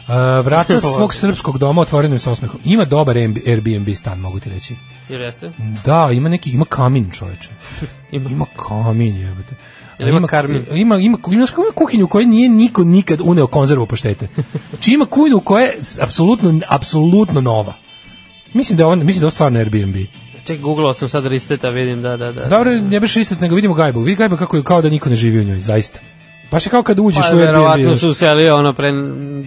Speaker 5: Uh, vrata svog srpskog doma otvorenim sa osmehom. Ima dobar Airbnb- Airbnb stan, mogu ti reći.
Speaker 6: Jer jeste?
Speaker 5: Da, ima neki, ima kamin čoveče.
Speaker 6: Ima.
Speaker 5: Ima, kamin jebote.
Speaker 6: Jel ima karmin?
Speaker 5: Ima, ima, ima, ima kuhinju u kojoj nije niko nikad uneo konzervu paštete. Či ima kuhinju koja je s- apsolutno, apsolutno nova. Mislim da je ovo, mislim da je ovo stvarno Airbnb.
Speaker 6: Ček, googlao sam sad Risteta, vidim, da, da, da.
Speaker 5: Dobro, ne baš istet, nego vidimo gajbu. Vidi gajbu kako je, kao da niko ne živi u njoj, zaista. Baš je kao kad uđeš
Speaker 6: Pa,
Speaker 5: u Airbnb.
Speaker 6: verovatno
Speaker 5: znaš.
Speaker 6: su uselili ono pre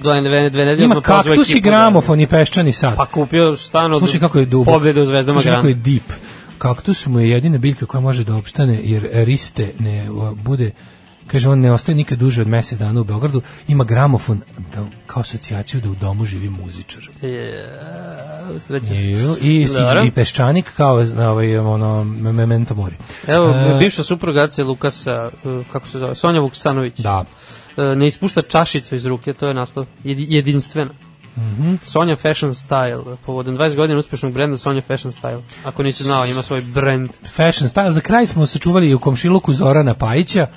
Speaker 6: dve, dve, dve nedelje.
Speaker 5: Ima
Speaker 6: pa pozvao
Speaker 5: kaktus i
Speaker 6: ekipu da-
Speaker 5: gramofon i peščani sat.
Speaker 6: Pa kupio stan od
Speaker 5: Slušaj kako je dubok.
Speaker 6: pobjede u Zvezdama
Speaker 5: Slušaj kako
Speaker 6: Grana.
Speaker 5: je deep. Kaktus mu je jedina biljka koja može da opstane, jer riste ne o, bude kaže on ne ostaje nikad duže od mesec dana u Beogradu, ima gramofon da, kao asocijaciju da u domu živi muzičar.
Speaker 6: E, Je, sreća se.
Speaker 5: I, i,
Speaker 6: Dobro.
Speaker 5: i, i peščanik kao na ovaj, ono, me- memento mori.
Speaker 6: Evo,
Speaker 5: E,
Speaker 6: bivša supruga Ace Lukasa, e, kako se zove, Sonja Vuksanović.
Speaker 5: Da.
Speaker 6: E, ne ispušta čašicu iz ruke, to je naslov, jedi- jedinstvena. Mm
Speaker 5: Mhm.
Speaker 6: -hmm. Sonja Fashion Style, povodom 20 godina uspešnog brenda Sonja Fashion Style. Ako nisi znao, ima svoj brend.
Speaker 5: Fashion style. Za kraj smo sačuvali i u komšiluku Zorana Pajića.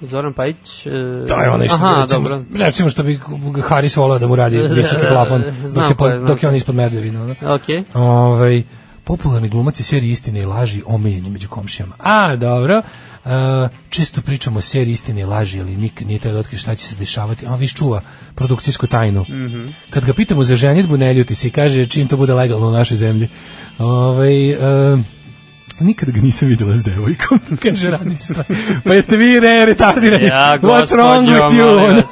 Speaker 6: Zoran Pajić... E,
Speaker 5: To je ono što
Speaker 6: Aha,
Speaker 5: Da, recimo,
Speaker 6: dobro.
Speaker 5: recimo što bi Haris volao da mu radi visoki plafon
Speaker 6: Znam
Speaker 5: dok je,
Speaker 6: ko je,
Speaker 5: poz-
Speaker 6: znam
Speaker 5: dok je on
Speaker 6: ko.
Speaker 5: ispod merdevina. ono.
Speaker 6: Ok.
Speaker 5: Ovaj popularni glumac iz serije Istine i laži omiljeni među komšijama. A, dobro. Uh, često pričamo o seriji Istine i laži, ali nikad nije te da otkrije šta će se dešavati. A on viš čuva produkcijsku tajnu. Mm
Speaker 6: Mhm.
Speaker 5: -hmm. Kad ga pitamo za ženitbu, ne ljuti se i kaže čim to bude legalno u našoj zemlji. Ovaj, uh, nikad ga nisam videla s devojkom, kaže radnica. Pa jeste vi re, retardirani?
Speaker 6: Ja,
Speaker 5: What's wrong
Speaker 6: gospođo,
Speaker 5: with you?
Speaker 6: molim vas.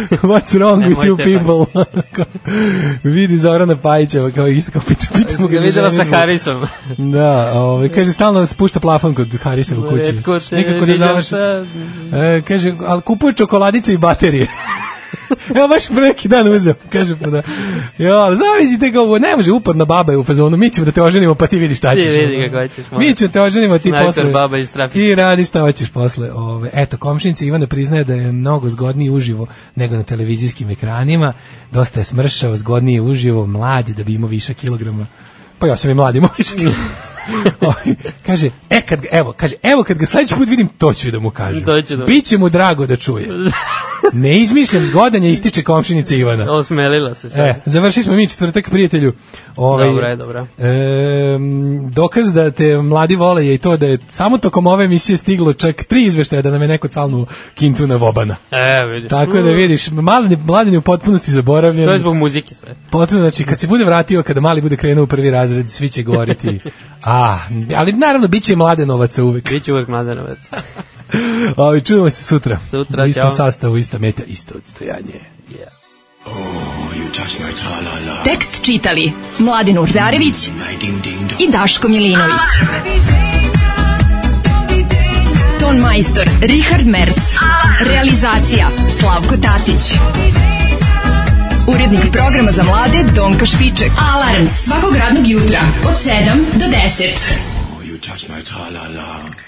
Speaker 5: What's wrong with you
Speaker 6: Nemojte,
Speaker 5: people? vidi Zorana Pajića, kao isto kao pita, pita mu ga za
Speaker 6: Videla sa
Speaker 5: ženidbu.
Speaker 6: Harisom.
Speaker 5: Da, ovaj, kaže, stalno spušta plafon kod Harisa u kući.
Speaker 6: Retko te
Speaker 5: Nikako ne
Speaker 6: viđam
Speaker 5: završi.
Speaker 6: sa-
Speaker 5: E, kaže, ali kupuje čokoladice i baterije. Evo baš pre neki dan uzeo, kaže pa da. Jo, ali zamislite ga, ovo, ne može upadna baba je u fazonu, mi ćemo da te oženimo, pa ti vidi šta
Speaker 6: Ti
Speaker 5: ćeš.
Speaker 6: vidi kako ćeš, molim.
Speaker 5: Mi ćemo te oženimo, ti
Speaker 6: Snajper,
Speaker 5: posle.
Speaker 6: baba iz trafike.
Speaker 5: Ti radi šta hoćeš posle. Ove, eto, komšinica Ivana priznaje da je mnogo zgodniji uživo nego na televizijskim ekranima. Dosta je smršao, zgodniji je uživo, mladi da bi imao više kilograma. Pa ja sam i mladi, imao više kilograma. Ovaj, kaže, e kad ga, evo, kaže, evo kad ga sledeći put vidim, to ću da mu kažem.
Speaker 6: To ću da mu-
Speaker 5: Biće mu drago da čuje. Ne izmišljam zgodan je ističe komšinica Ivana.
Speaker 6: Osmelila se sad.
Speaker 5: E, završili smo mi četvrtak, prijatelju. Ovaj,
Speaker 6: Dobra je, dobra.
Speaker 5: E, dokaz da te mladi vole je i to da je samo tokom ove emisije stiglo čak tri izveštaja da nam je neko calnu kintu na vobana.
Speaker 6: E, vidiš.
Speaker 5: Tako da vidiš, mali, mladen je u potpunosti zaboravljen.
Speaker 6: To je zbog muzike sve.
Speaker 5: Potrebno, znači, kad se bude vratio, kada mali bude krenuo u prvi razred, svi će govoriti, a, ali naravno, bit će mladenovaca uvek.
Speaker 6: Biće uvek mladenovac.
Speaker 5: Ovi, čujemo se sutra.
Speaker 6: Sutra,
Speaker 5: U istom
Speaker 6: ćao.
Speaker 5: sastavu, ista meta, isto odstojanje.
Speaker 4: Tekst čitali Mladin Urdarević i Daško Milinović. Ton majstor Richard Merc. Realizacija Slavko Tatić. Urednik programa za mlade Donka Špiček. Alarms svakog radnog jutra od 7 do 10.
Speaker 12: You touch my tra-la-la.